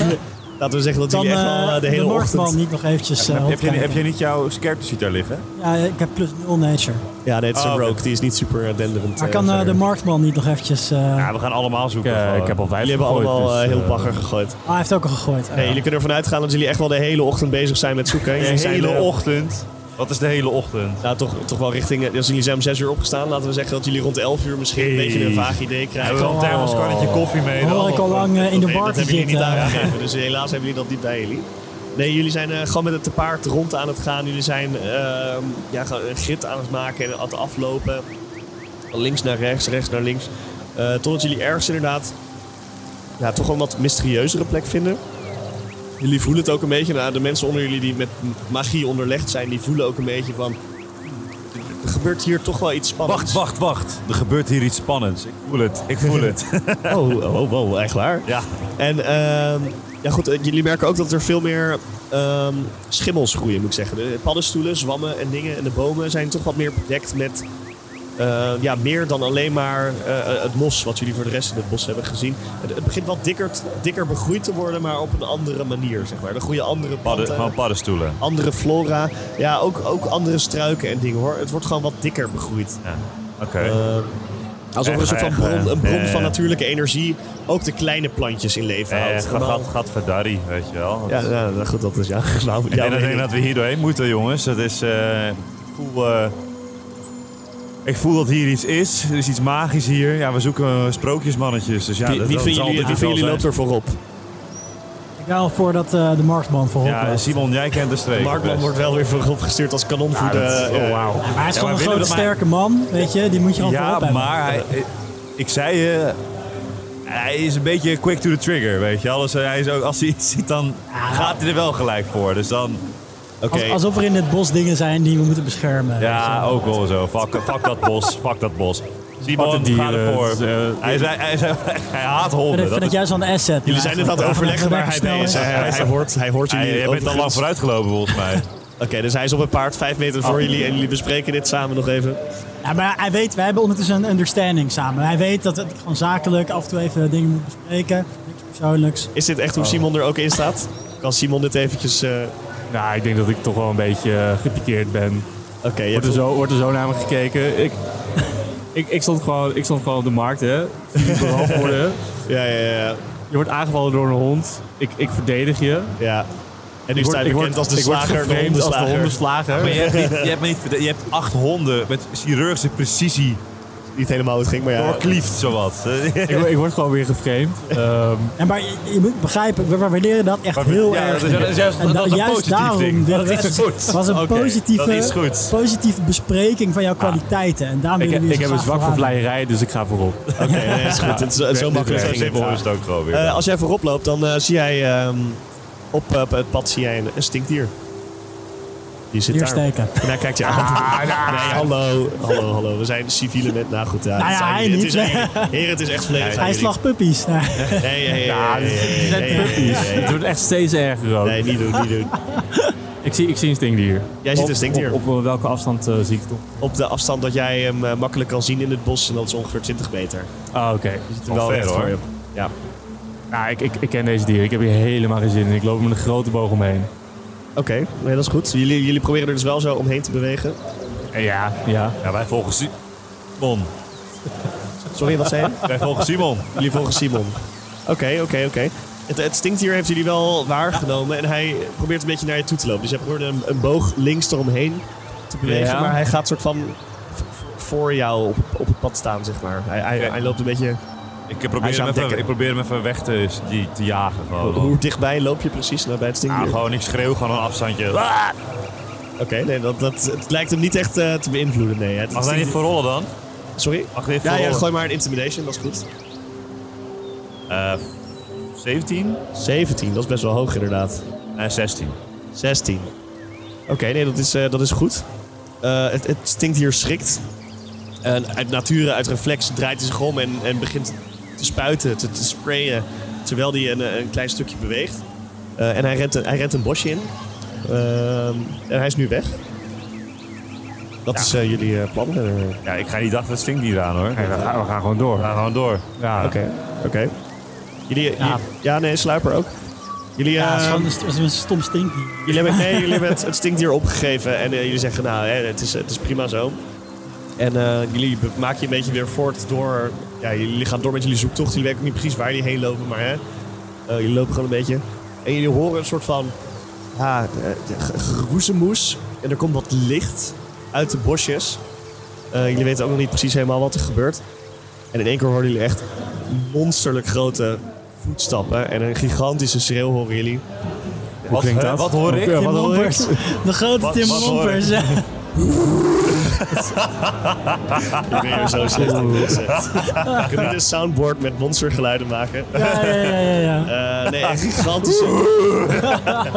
S3: Laten we zeggen dat
S6: Kan
S3: jullie echt wel
S6: eh,
S3: eh, de hele
S6: Northman
S3: ochtend...
S6: niet nog eventjes eh,
S2: heb, heb je,
S6: opkijken?
S2: heb je Nou, niet jouw character sheet daar liggen?
S6: Ja, ik heb plus 0 nature.
S3: Ja, nee, het is
S2: Oh,
S3: een
S2: oké.
S3: rogue. Die is niet super eh, denderend.
S6: Maar
S3: eh,
S6: kan eh,
S3: verder.
S6: de Marktman niet nog eventjes... eh,
S2: Ja, Nou, we gaan allemaal
S5: Ik,
S2: zoeken.
S5: eh,
S2: gewoon.
S5: ik heb al vijf
S3: Jullie hebben
S5: gegooid,
S3: allemaal
S5: dus,
S3: eh, heel
S5: eh,
S3: bagger gegooid.
S6: Ah, hij heeft ook al gegooid. Ah,
S3: Nee,
S6: ja.
S3: jullie kunnen ervan uitgaan dat jullie echt wel de hele ochtend bezig zijn met zoeken.
S2: De
S3: Jullie zijn
S2: hele
S3: er-
S2: ochtend. Wat is de hele ochtend?
S3: Nou, toch, toch wel richting... eh, Dus jullie zijn om zes uur opgestaan. Laten we zeggen dat jullie rond 11 uur misschien een
S2: Jeez.
S3: beetje een vaag idee
S2: We hebben
S3: krijgen. Oh.
S2: wel een thermoskannetje koffie mee.
S6: Hoor ik al lang eh, in de
S3: Nee,
S6: bar
S3: dat
S6: te
S3: hebben jullie niet
S6: zitten.
S3: aangegeven. Dus helaas hebben jullie dat niet bij jullie. Nee, jullie zijn eh, gewoon met het te paard rond aan het gaan. Jullie zijn ehm, ja, gewoon een grid aan het maken en aan het aflopen. Van links naar rechts, rechts naar links. Eh, totdat jullie ergens inderdaad ja, toch wel een wat mysterieuzere plek vinden. Jullie voelen het ook een beetje. Nou, de mensen onder jullie die met magie onderlegd zijn, die voelen ook een beetje van... Er gebeurt hier toch wel iets
S2: Wacht,
S3: spannends.
S2: wacht, wacht. Er gebeurt hier iets spannends. Ik voel het. Ik voel het.
S3: wacht. Oh, oh, wow, echt waar?
S2: ja.
S3: En ehm, ja goed, eh, jullie merken ook dat er veel meer ehm, schimmels groeien, moet ik zeggen. De paddenstoelen, zwammen en dingen en de bomen zijn toch wat meer bedekt met eh, ja, meer dan alleen maar eh, het mos wat jullie voor de rest in het bos hebben gezien. Het, het begint wat dikker, dikker begroeid te worden, maar op een andere manier, zeg maar. Er groeien andere
S2: Padden,
S3: planten
S2: gewoon paddenstoelen.
S3: andere flora. Ja, ook, ook andere struiken en dingen hoor. Het wordt gewoon wat dikker begroeid.
S2: Ja. Oké. Eh,
S3: Ehm, alsof er een
S2: Erg,
S3: soort van
S2: erg,
S3: bron,
S2: eh,
S3: een bron
S2: eh,
S3: van natuurlijke energie ook de kleine plantjes in leven
S2: Eh,
S3: houdt.
S2: gat-
S3: Normaal-
S2: gat- Gadverdari, weet je wel. Dat
S3: Ja,
S2: is-
S3: ja, nou goed, dat is ja. Nou,
S2: Ik
S3: ja,
S2: denk, dat-
S3: weet
S2: ik denk
S3: ik.
S2: dat we hier doorheen moeten, jongens. Dat is. eh, ik, voel, eh, ik voel dat hier iets is. Er is iets magisch hier. Ja, we zoeken eh, sprookjesmannetjes. Dus ja,
S3: Wie,
S2: dat,
S3: wie
S2: dat
S3: van
S2: zal
S3: jullie,
S2: dit
S3: wie van
S2: wel
S3: jullie
S2: zijn.
S3: loopt er voorop?
S6: Ik ga al voor dat eh, de Marktman voorop
S2: Ja,
S6: loopt.
S2: Simon, jij kent de streek. Dus.
S3: Markman
S2: best.
S3: wordt wel weer voorop gestuurd als
S5: ah,
S3: kanonvoerder.
S5: dat-
S3: eh,
S5: oh,
S6: Ja,
S5: wauw.
S6: maar hij is
S2: Ja,
S6: gewoon
S2: maar
S6: een
S2: willen
S6: grote
S2: we dat maar-
S6: sterke man, weet je. Die moet je al
S2: Ja,
S6: voorop hebben.
S2: maar hij, ik zei je. hij is een beetje quick to the trigger, weet je. Alles, hij is ook, als hij iets ziet, dan gaat hij er wel gelijk voor. Dus dan.
S3: Oké,
S6: Als- alsof er in dit bos dingen zijn die we moeten beschermen.
S2: Ja, ook wel zo. Fuck, fuck dat bos. Fuck dat bos. Simon,
S5: de
S2: ga
S5: dieren,
S2: ervoor.
S5: het is, eh,
S2: hij, is, hij, is- hij haat
S6: Ik
S2: honden.
S6: vind
S2: dat
S6: het
S2: is-
S6: juist wel een asset.
S3: jullie zijn het aan het overleggen waar hij mee is. Hij, hij, hoort, hij hoort jullie.
S2: Hij, jij bent al
S3: overigens.
S2: lang vooruitgelopen volgens mij.
S3: Oké, dus hij is op een paard, vijf meter voor jullie. En jullie bespreken dit samen nog even.
S6: Ja, maar hij weet, wij hebben ondertussen een understanding samen. Hij weet dat ik gewoon zakelijk af en toe even dingen moet bespreken. Niks persoonlijks.
S3: Is dit echt hoe Simon er ook in staat? Kan Simon dit eventjes... eh,
S5: Nou, ik denk dat ik toch wel een beetje eh, gepikeerd ben.
S3: Oké, je hebt-
S5: Wordt er, zo, wordt er zo naar me gekeken. Ik, ik, ik, stond, gewoon, ik stond gewoon op de markt, hè. Jullie beroofd worden.
S3: ja, ja, ja,
S5: Je wordt aangevallen door een hond. Ik, ik verdedig je.
S3: ja. En nu
S5: Ik
S3: sta je
S5: ik
S3: bekend als de
S5: ik word
S3: slager, de
S5: geframed als de
S3: hondenslager.
S5: hondenslager.
S2: je, hebt niet, je, hebt niet, verd- je hebt acht honden met chirurgische precisie
S3: Niet helemaal hoe het ging, maar ja.
S2: doorklieft, zowat.
S5: Ik, word- ik word gewoon weer geframed. Ehm,
S6: En maar je, je moet begrijpen, we we waarderen dat echt heel
S2: ja,
S6: erg.
S2: dat is- dat is juist-
S6: en
S2: dat is een
S6: juist
S2: positief
S6: daarom
S2: ding.
S6: de
S2: Dat is
S6: rest
S2: goed.
S6: was een
S2: Oké,
S6: positieve,
S2: dat is Ah. goed.
S6: positieve bespreking van jouw kwaliteiten. En daarom
S5: ik
S6: willen
S5: ik,
S6: we je zo
S5: heb een
S6: graag
S5: zwak voor
S6: aan.
S5: vleierij, dus ik ga voorop.
S3: Oké, nee, is goed. Het is- zo makkelijk
S2: Zo
S3: ging het.
S2: simpel
S3: Ja.
S2: is het ook gewoon weer.
S3: Eh, als jij voorop loopt, dan eh, zie jij ehm, op, eh, op het pad zie jij een, een stinkdier. Die zit
S6: Hier
S3: daar.
S6: steken.
S3: En daar kijkt je
S5: Ah,
S3: aan.
S5: nou,
S3: nee, hallo, hallo, hallo. We zijn civiele mensen. Nou goed, ja,
S6: Nou
S3: het
S6: ja,
S3: zijn
S6: hij
S3: jullie.
S6: niet.
S3: Het is, echt- heren, het is echt volledig. aan
S6: Hij
S3: jullie.
S6: slacht puppies. Ja.
S3: Nee, nee, nee,
S5: Ja,
S3: nee,
S5: dit
S3: nee,
S5: dit zijn
S3: nee, nee,
S5: puppies.
S3: nee, nee,
S5: Het wordt echt steeds erger ook.
S3: Nee, niet doen, niet doen.
S5: Ik, zie, ik zie een stinkdier.
S3: Jij ziet
S5: Op-
S3: een stinkdier.
S5: Op, op welke afstand eh, zie ik het op?
S3: Op de afstand dat jij hem eh, makkelijk kan zien in het bos, en dat is ongeveer 20 meter.
S5: Ah, oké.
S2: Wel ver,
S3: recht
S2: hoor.
S3: voor je. Ja.
S5: Nou, ik, ik, ik ken deze dieren. Ik heb hier helemaal geen zin in. Ik loop met een grote boog omheen.
S3: Oké, nee, dat is goed. Jullie, jullie proberen er dus wel zo omheen te bewegen.
S5: Eh, Ja, ja.
S2: Ja, wij volgen Si- Simon.
S3: Sorry, wat zei je?
S2: Wij volgen Simon.
S3: Jullie volgen Simon. Oké, oké, oké. Het, het stinkdier heeft jullie wel waargenomen en hij probeert een beetje naar je toe te lopen. Dus je probeert een, een boog links eromheen te bewegen,
S5: Ja.
S3: maar hij gaat soort van v- v- voor jou op, op het pad staan, zeg maar. Hij, hij,
S2: Oké.
S3: hij loopt een beetje...
S2: Ik eh,
S3: Hij
S2: probeer,
S3: is
S2: hem
S3: aan het
S2: even,
S3: dekken.
S2: ik probeer hem even weg te, die, te jagen. Gewoon.
S3: Hoe dichtbij loop je precies naar bij het
S2: Oh. Ah,
S3: stinkdier?
S2: gewoon, ik schreeuw gewoon een afstandje. Ah,
S3: Oké, nee, dat, dat, het lijkt hem niet echt eh, te beïnvloeden, nee. Het- het
S2: Mag hij niet
S3: stinkdier-
S2: voor rollen dan?
S3: Sorry?
S2: Mag hij niet voor
S3: Ja, ja,
S2: rollen?
S3: gooi maar een intimidation, dat is goed.
S2: Eh, 17
S3: 17, dat is best wel hoog inderdaad.
S2: en 16.
S3: 16. Oké, nee, dat is, eh, dat is goed. Eh, het, het stinkt hier schrikt. En uit nature, uit reflex, draait hij zich om en, en begint te spuiten, te, te sprayen. Terwijl hij een, eh, een klein stukje beweegt. Eh, en hij rent, een- hij rent een bosje in. Ehm, en hij is nu weg. Dat is eh, jullie eh, plan. Eh, Oké,
S2: Ja, ik ga niet achter het stinkdier aan hoor.
S5: Nee, we, gaan, we gaan gewoon
S2: We
S5: door.
S2: gaan gewoon door. Ja.
S3: oké. Jullie, jullie- ja.
S5: Ja.
S3: nee, sluiper ook. Jullie,
S6: Ja,
S3: eh,
S6: het is gewoon een, een stom stinkdier.
S3: Jullie hebben, nee, jullie hebben het, het stinkdier opgegeven en eh, jullie zeggen, nou, hè, het, is, het is prima zo. En eh, jullie be- maken je een beetje weer voort door... Ja, jullie gaan door met jullie zoektocht. Jullie weten ook niet precies waar jullie heen lopen, maar hè, eh, jullie lopen gewoon een beetje. En jullie horen een soort van ah, eh, ge- geroezemoes. En er komt wat licht uit de bosjes. Eh, jullie weten ook nog niet precies helemaal wat er gebeurt. En in één keer horen jullie echt monsterlijk grote voetstappen. En een gigantische schreeuw horen jullie.
S2: Wat,
S5: klinkt
S2: hè,
S5: dat?
S2: Wat hoor ik?
S5: Ja,
S2: Tim
S5: wat hoor
S2: Lompers?
S6: De grote
S2: Wat-
S6: Tim
S2: wat hoor
S6: Lompers. ja.
S3: Ik ben hier zo slecht in concept. We kunnen een soundboard met monstergeluiden maken.
S6: Ja, ja, ja, ja, ja.
S3: Eh, nee, een gigantische,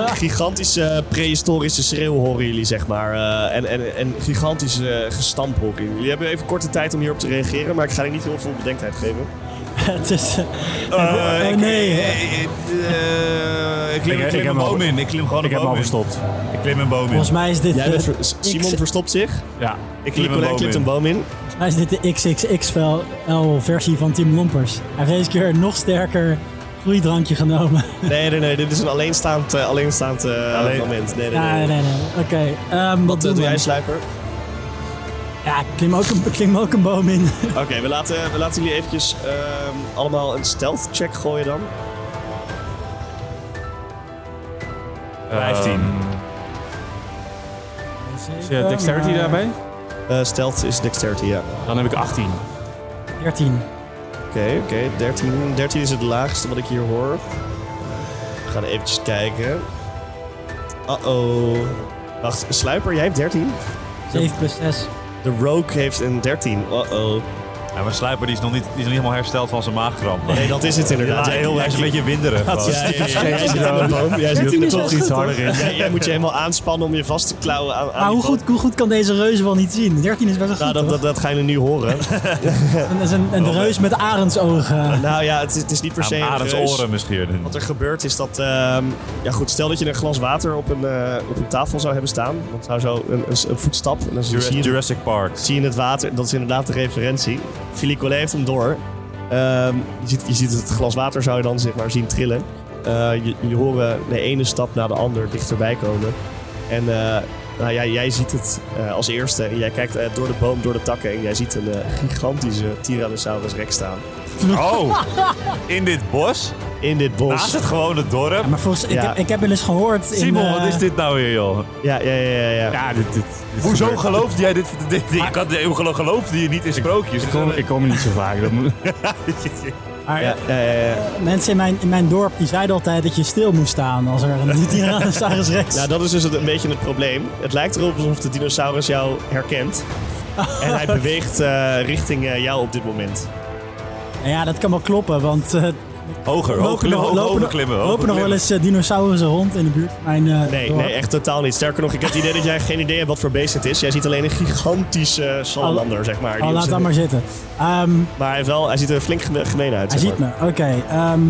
S3: een gigantische prehistorische schreeuw horen jullie, zeg maar. Eh, en, en, en gigantische eh, gestamp horen jullie. Jullie hebben even korte tijd om hierop te reageren, maar ik ga er niet heel veel bedenktijd geven.
S6: Het is... eh,
S2: Eh,
S6: oh
S2: ik-
S6: nee.
S2: eh, eh, Ik klim-
S5: Ik-
S2: ik
S5: ik
S2: klim
S5: heb
S2: een
S5: hem al-
S2: boom in. Ik klim gewoon
S5: Ik
S2: een
S5: heb hem al
S2: boom in.
S5: verstopt.
S2: Ik klim een boom in.
S6: Volgens mij is dit,
S3: Jij
S6: eh,
S3: bent ver-
S6: X-
S3: Simon verstopt zich.
S5: Ja.
S2: Ik klim een
S3: Nicolai
S2: boom
S3: klimt
S2: in.
S3: een boom in.
S6: volgens mij is dit de XXXL-versie van Tim Lompers. Hij heeft deze keer een nog sterker groeidrankje genomen.
S3: Nee, nee, nee. Dit is een alleenstaand, eh, alleenstaand eh,
S2: Alleen-
S3: moment. Nee, nee,
S6: Ja,
S3: nee.
S6: Ah, nee, nee. Oké. ehm,
S3: Wat eh, doe
S6: doen we?
S3: jij, Sluiper?
S6: Ja, ik klim ook een, ik klim ook een boom in.
S3: Oké, we, laten, we laten jullie eventjes ehm, allemaal een stealth check gooien dan.
S2: 15.
S5: Ehm, Is je dexterity daarbij?
S3: Eh stealth is dexterity, ja.
S5: Dan heb ik 18.
S6: 13.
S3: Oké, oké. 13, 13 is het laagste wat ik hier hoor. We gaan eventjes kijken. Uh-oh. Wacht, Sluiper, jij hebt 13?
S6: 7 plus 6.
S3: De Rogue heeft een 13. Uh-oh.
S2: Ja, maar Sluiper die is, nog niet, die is nog niet helemaal hersteld van zijn maagkramp.
S3: Nee, dat is het
S2: Ja,
S3: inderdaad.
S2: hij
S3: Jij-
S2: heel- hij
S3: jij-
S2: is een beetje winderig. gewoon.
S3: Ja, ja, ja, jij zit in de boom. Jij zit in de boom.
S2: iets harder in.
S3: Jij, jij moet je helemaal aanspannen om je vast te klauwen aan, aan
S6: Maar
S3: die
S6: Ah, hoe
S3: boom.
S6: goed, hoe goed kan deze reuze wel niet zien? 13 is best wel goed,
S3: Nou, dat, dat, dat gaan jullie nu horen.
S6: hoor. Dat is een, een reus met arendsogen.
S3: nou ja, het is, het is niet per se
S2: Aan
S3: een
S2: Arends
S3: reus.
S2: oren misschien.
S3: Wat er gebeurt is dat, ehm, ja goed, stel dat je een glas water op een, eh, op een tafel zou hebben staan. Dan zou zo een, een, een voetstap en dan zie
S2: Jurassic,
S3: je,
S2: Jurassic Park.
S3: zie je het water. Dat is inderdaad de referentie. Philippe Collet heeft hem door. Ehm, je, ziet, je ziet het glas water zou je dan zeg maar zien trillen. Eh, je, jullie horen de ene stap na de ander dichterbij komen. En eh, nou ja, jij ziet het eh, als eerste. En jij kijkt eh, door de boom, door de takken en jij ziet een eh, gigantische Tyrannosaurus Rex staan.
S2: Oh, in dit bos?
S3: In dit
S2: Naast
S3: bos.
S2: het gewone dorp?
S6: Maar volgens ik,
S3: Ja.
S6: heb, ik heb wel eens gehoord.
S2: Simon,
S6: in, eh,
S2: wat is dit nou weer, joh?
S3: Ja, ja, ja, ja. ja.
S5: Ja, dit... dit, dit
S2: Hoezo
S5: gebeurt.
S2: gelooft jij dit? dit, dit ik had, hoe gelo- geloofde je niet in sprookjes?
S5: Ik kom, ik kom er niet zo vaak. Dat moet,
S6: maar,
S3: Ja, ja, ja, ja.
S6: eh, Mensen in mijn, in mijn dorp die zeiden altijd dat je stil moest staan als er een Tyrannosaurus Rex.
S3: Nou, dat is dus het- een beetje het probleem. Het lijkt erop alsof de dinosaurus jou herkent. En hij beweegt eh, richting eh, jou op dit moment.
S6: Nou ja, dat kan wel kloppen, want eh,
S2: Hoger, hoger
S6: lopen,
S2: klimmen,
S6: nog-
S2: hoger,
S6: lopen,
S2: hoger
S6: nog-
S2: klimmen. hoger
S6: lopen nog wel
S2: klimmen.
S6: eens eh, dinosaurussen rond in de buurt. van Mijn, eh,
S3: Nee,
S6: dorp.
S3: nee, echt totaal niet. Sterker nog, ik heb het idee dat jij geen idee hebt wat voor beest het is. Jij ziet alleen een gigantische eh, salamander, zeg maar. die
S6: Oh,
S3: op
S6: laat
S3: zijn-
S6: dat maar zitten. Ehm,
S3: Maar hij, wel, hij ziet er flink geme- gemeen uit.
S6: hij
S3: zeg
S6: ziet
S3: maar.
S6: me, oké. ehm,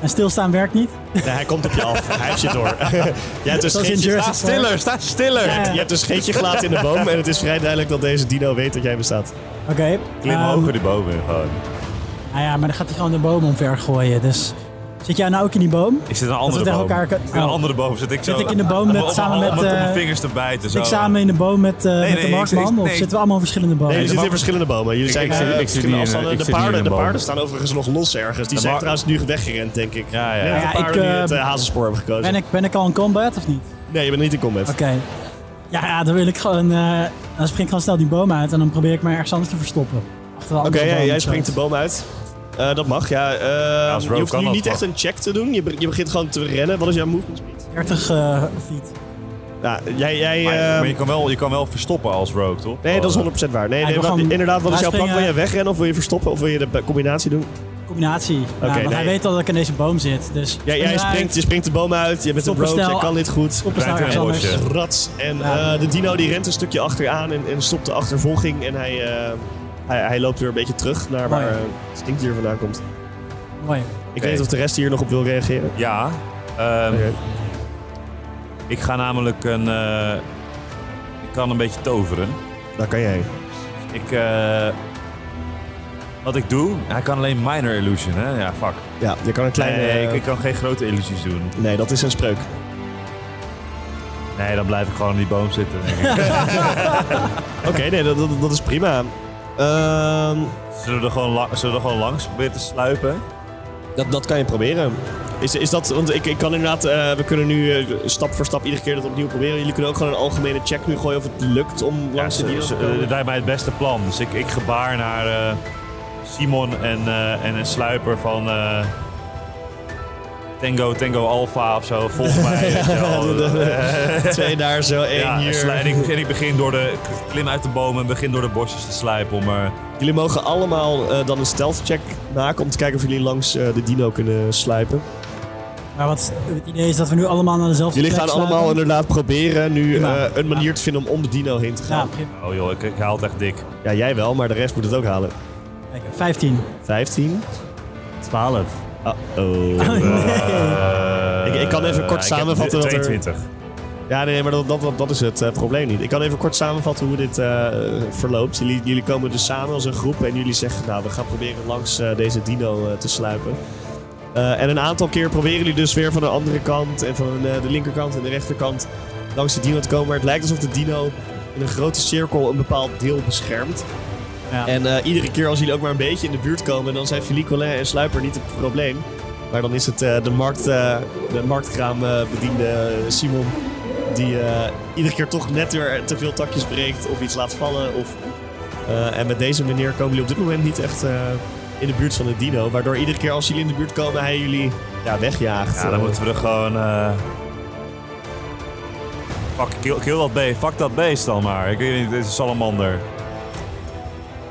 S6: en stilstaan werkt niet.
S3: Nee, hij komt op je af. Hij heeft je door. jij hebt een
S6: Dat is in
S3: scheetje,
S6: Jersey.
S2: Sta stiller, sta stiller.
S6: Ja,
S3: je hebt een scheetje gelaten in de boom. En het is vrij duidelijk dat deze dino weet dat jij bestaat.
S6: Oké.
S2: Klim
S6: ehm,
S2: hoger die bomen in, gewoon.
S6: Nou ja, maar dan gaat hij gewoon de boom omver gooien. Dus Zit jij nou ook in die boom?
S2: Ik zit in een andere
S6: we tegen
S2: boom.
S6: elkaar kan-
S2: Ik zit in een
S6: Oh.
S2: andere boom. Zit ik, zo,
S6: Zit ik in de boom met-
S2: om- om-
S6: samen
S2: om-
S6: met,
S2: Om, om mijn
S6: eh,
S2: vingers te bijten.
S6: Zit ik
S2: zo.
S6: samen in de boom met, eh,
S2: nee,
S6: met de
S2: ik-
S6: marktman?
S2: ik- nee,
S6: of
S2: ik-
S6: zitten we allemaal in verschillende bomen?
S3: Nee, jullie
S2: de
S3: zitten in
S2: mag-
S3: verschillende bomen. Jullie zijn
S2: ik- ik-
S3: eh,
S2: ik zit
S3: verschillende
S5: niet in-
S3: afstanden.
S5: ik
S3: De
S5: zit niet in
S3: paarden,
S5: een
S3: de
S5: boom.
S3: paarden staan overigens nog los ergens. Die zijn
S2: maar-
S3: trouwens nu weggerend, denk ik.
S2: Ja, ja.
S3: Net
S2: Ja,
S3: de
S6: ik,
S3: paarden die
S6: eh,
S3: het eh, hazenspoor hebben gekozen.
S6: Ben ik, ben ik al in combat of niet?
S3: Nee, je bent niet in combat.
S6: Oké. Ja, ja, dan wil ik gewoon. eh, dan spring ik gewoon snel die boom uit en dan probeer ik me ergens anders te verstoppen. Achter een
S3: Oké,
S6: andere
S3: ja,
S6: boom
S3: jij
S6: of zo.
S3: springt de boom uit. Eh, dat mag, ja. Eh,
S2: als
S3: je
S2: Rogue
S3: hoeft
S2: kan
S3: nu
S2: dat
S3: niet
S2: wel.
S3: echt een check te doen. Je, be- je begint gewoon te rennen. Wat is jouw movement speed?
S6: 30 eh, feet.
S3: Ja, jij... jij
S2: Maar,
S3: eh,
S6: ehm,
S2: maar je, kan wel, je kan wel verstoppen als rogue, toch?
S3: nee, dat
S2: Oh,
S3: is 100% waar. Nee,
S6: Ja,
S3: nee,
S6: ik wil
S3: wacht,
S6: gewoon eh,
S3: inderdaad, wat is jouw plan? Wil
S6: uitspringen.
S3: je wegrennen of wil je verstoppen? Of wil je de b- combinatie doen?
S6: Combinatie. Ja, want
S3: nee.
S6: Hij weet al dat ik in deze boom zit. Dus
S3: Ja, jij springt, je springt de boom uit. Je bent een
S6: Stoppen
S3: rogue, je
S6: snel.
S3: kan dit goed.
S6: op een
S2: Klein
S6: ergens anders.
S2: tuinbosje.
S3: Rats. En
S6: Ja.
S3: eh, de dino die rent een stukje achteraan en, en stopt de achtervolging. En hij, eh, hij, hij loopt weer een beetje terug naar waar
S6: Mooi.
S3: eh, het stinkdier vandaan komt. Ik
S6: Mooi.
S3: weet niet of de rest hier nog op wil reageren.
S2: Ja. Ehm,
S3: Oké.
S2: Ik ga namelijk een... eh, ik kan een beetje toveren.
S3: Daar kan jij.
S2: Ik... eh, wat ik doe... Hij kan alleen minor illusion, hè? Ja, fuck.
S3: Ja, je kan een kleine...
S2: nee, ik, ik kan geen grote illusies doen.
S3: nee, dat is een spreuk.
S2: Nee, dan blijf ik gewoon in die boom zitten. denk ik.
S3: Oké, nee, dat, dat, dat is prima. Ehm,
S2: zullen, we er gewoon la- zullen we er gewoon langs proberen te sluipen?
S3: dat, dat kan je proberen. Is, is dat, want ik, ik kan inderdaad, eh, we kunnen nu eh, stap voor stap iedere keer dat opnieuw proberen. Jullie kunnen ook gewoon een algemene check nu gooien of het lukt om
S2: Ja,
S3: langs de
S2: ze-
S3: dino te
S2: ze-
S3: komen.
S2: eh, lijkt mij het beste plan. Dus ik, ik gebaar naar eh, Simon en, eh, en een sluiper van eh, Tango, Tango Alpha of zo. Volg mij. weet je wel.
S3: de- de- Twee daar zo, één
S2: ja, en
S3: hier.
S2: slu- en ik, en ik begin door de. ik Klim uit de bomen en begin door de bosjes te sluipen om eh, er.
S3: Jullie mogen allemaal eh, dan een stealth check maken om te kijken of jullie langs eh, de dino kunnen slijpen.
S6: Maar wat het idee is dat we nu allemaal naar dezelfde
S3: Jullie
S6: plek
S3: gaan
S6: sluipen.
S3: allemaal inderdaad proberen nu
S6: Prima.
S3: eh, een manier te vinden om om de dino heen te
S6: Ja,
S3: gaan.
S6: prima.
S2: Oh joh, ik, ik haal het echt dik.
S3: Ja, jij wel, maar de rest moet het ook halen.
S6: Kijk, 15.
S3: 15.
S5: 12.
S3: Ah, oh.
S6: Oh, nee.
S3: Ik- ik kan even
S2: Eh,
S3: kort
S2: ik
S3: samenvatten
S2: heb
S3: wat er-
S2: 22.
S3: Ja, nee, maar dat, dat, dat, dat is het eh, probleem niet. Ik kan even kort samenvatten hoe dit eh, verloopt. Jullie, jullie komen dus samen als een groep en jullie zeggen... nou, we gaan proberen langs eh, deze dino eh, te sluipen. Eh, en een aantal keer proberen jullie dus weer van de andere kant... en van eh, de linkerkant en de rechterkant langs de dino te komen. Maar het lijkt alsof de dino in een grote cirkel een bepaald deel beschermt.
S6: Ja.
S3: En eh, iedere keer als jullie ook maar een beetje in de buurt komen... dan zijn Philippe Collin en Sluiper niet het probleem. Maar dan is het eh, de, markt, eh, de marktkraambediende eh, Simon... die eh, iedere keer toch net weer te veel takjes breekt of iets laat vallen. Of, eh, en met deze manier komen jullie op dit moment niet echt eh, in de buurt van de dino. Waardoor iedere keer als jullie in de buurt komen, hij jullie ja, wegjaagt.
S2: Ja, dan
S3: Eh,
S2: moeten we er gewoon. eh Fuck, kill, kill dat beest. Fuck dat beest dan maar. Ik weet niet, dit is een salamander.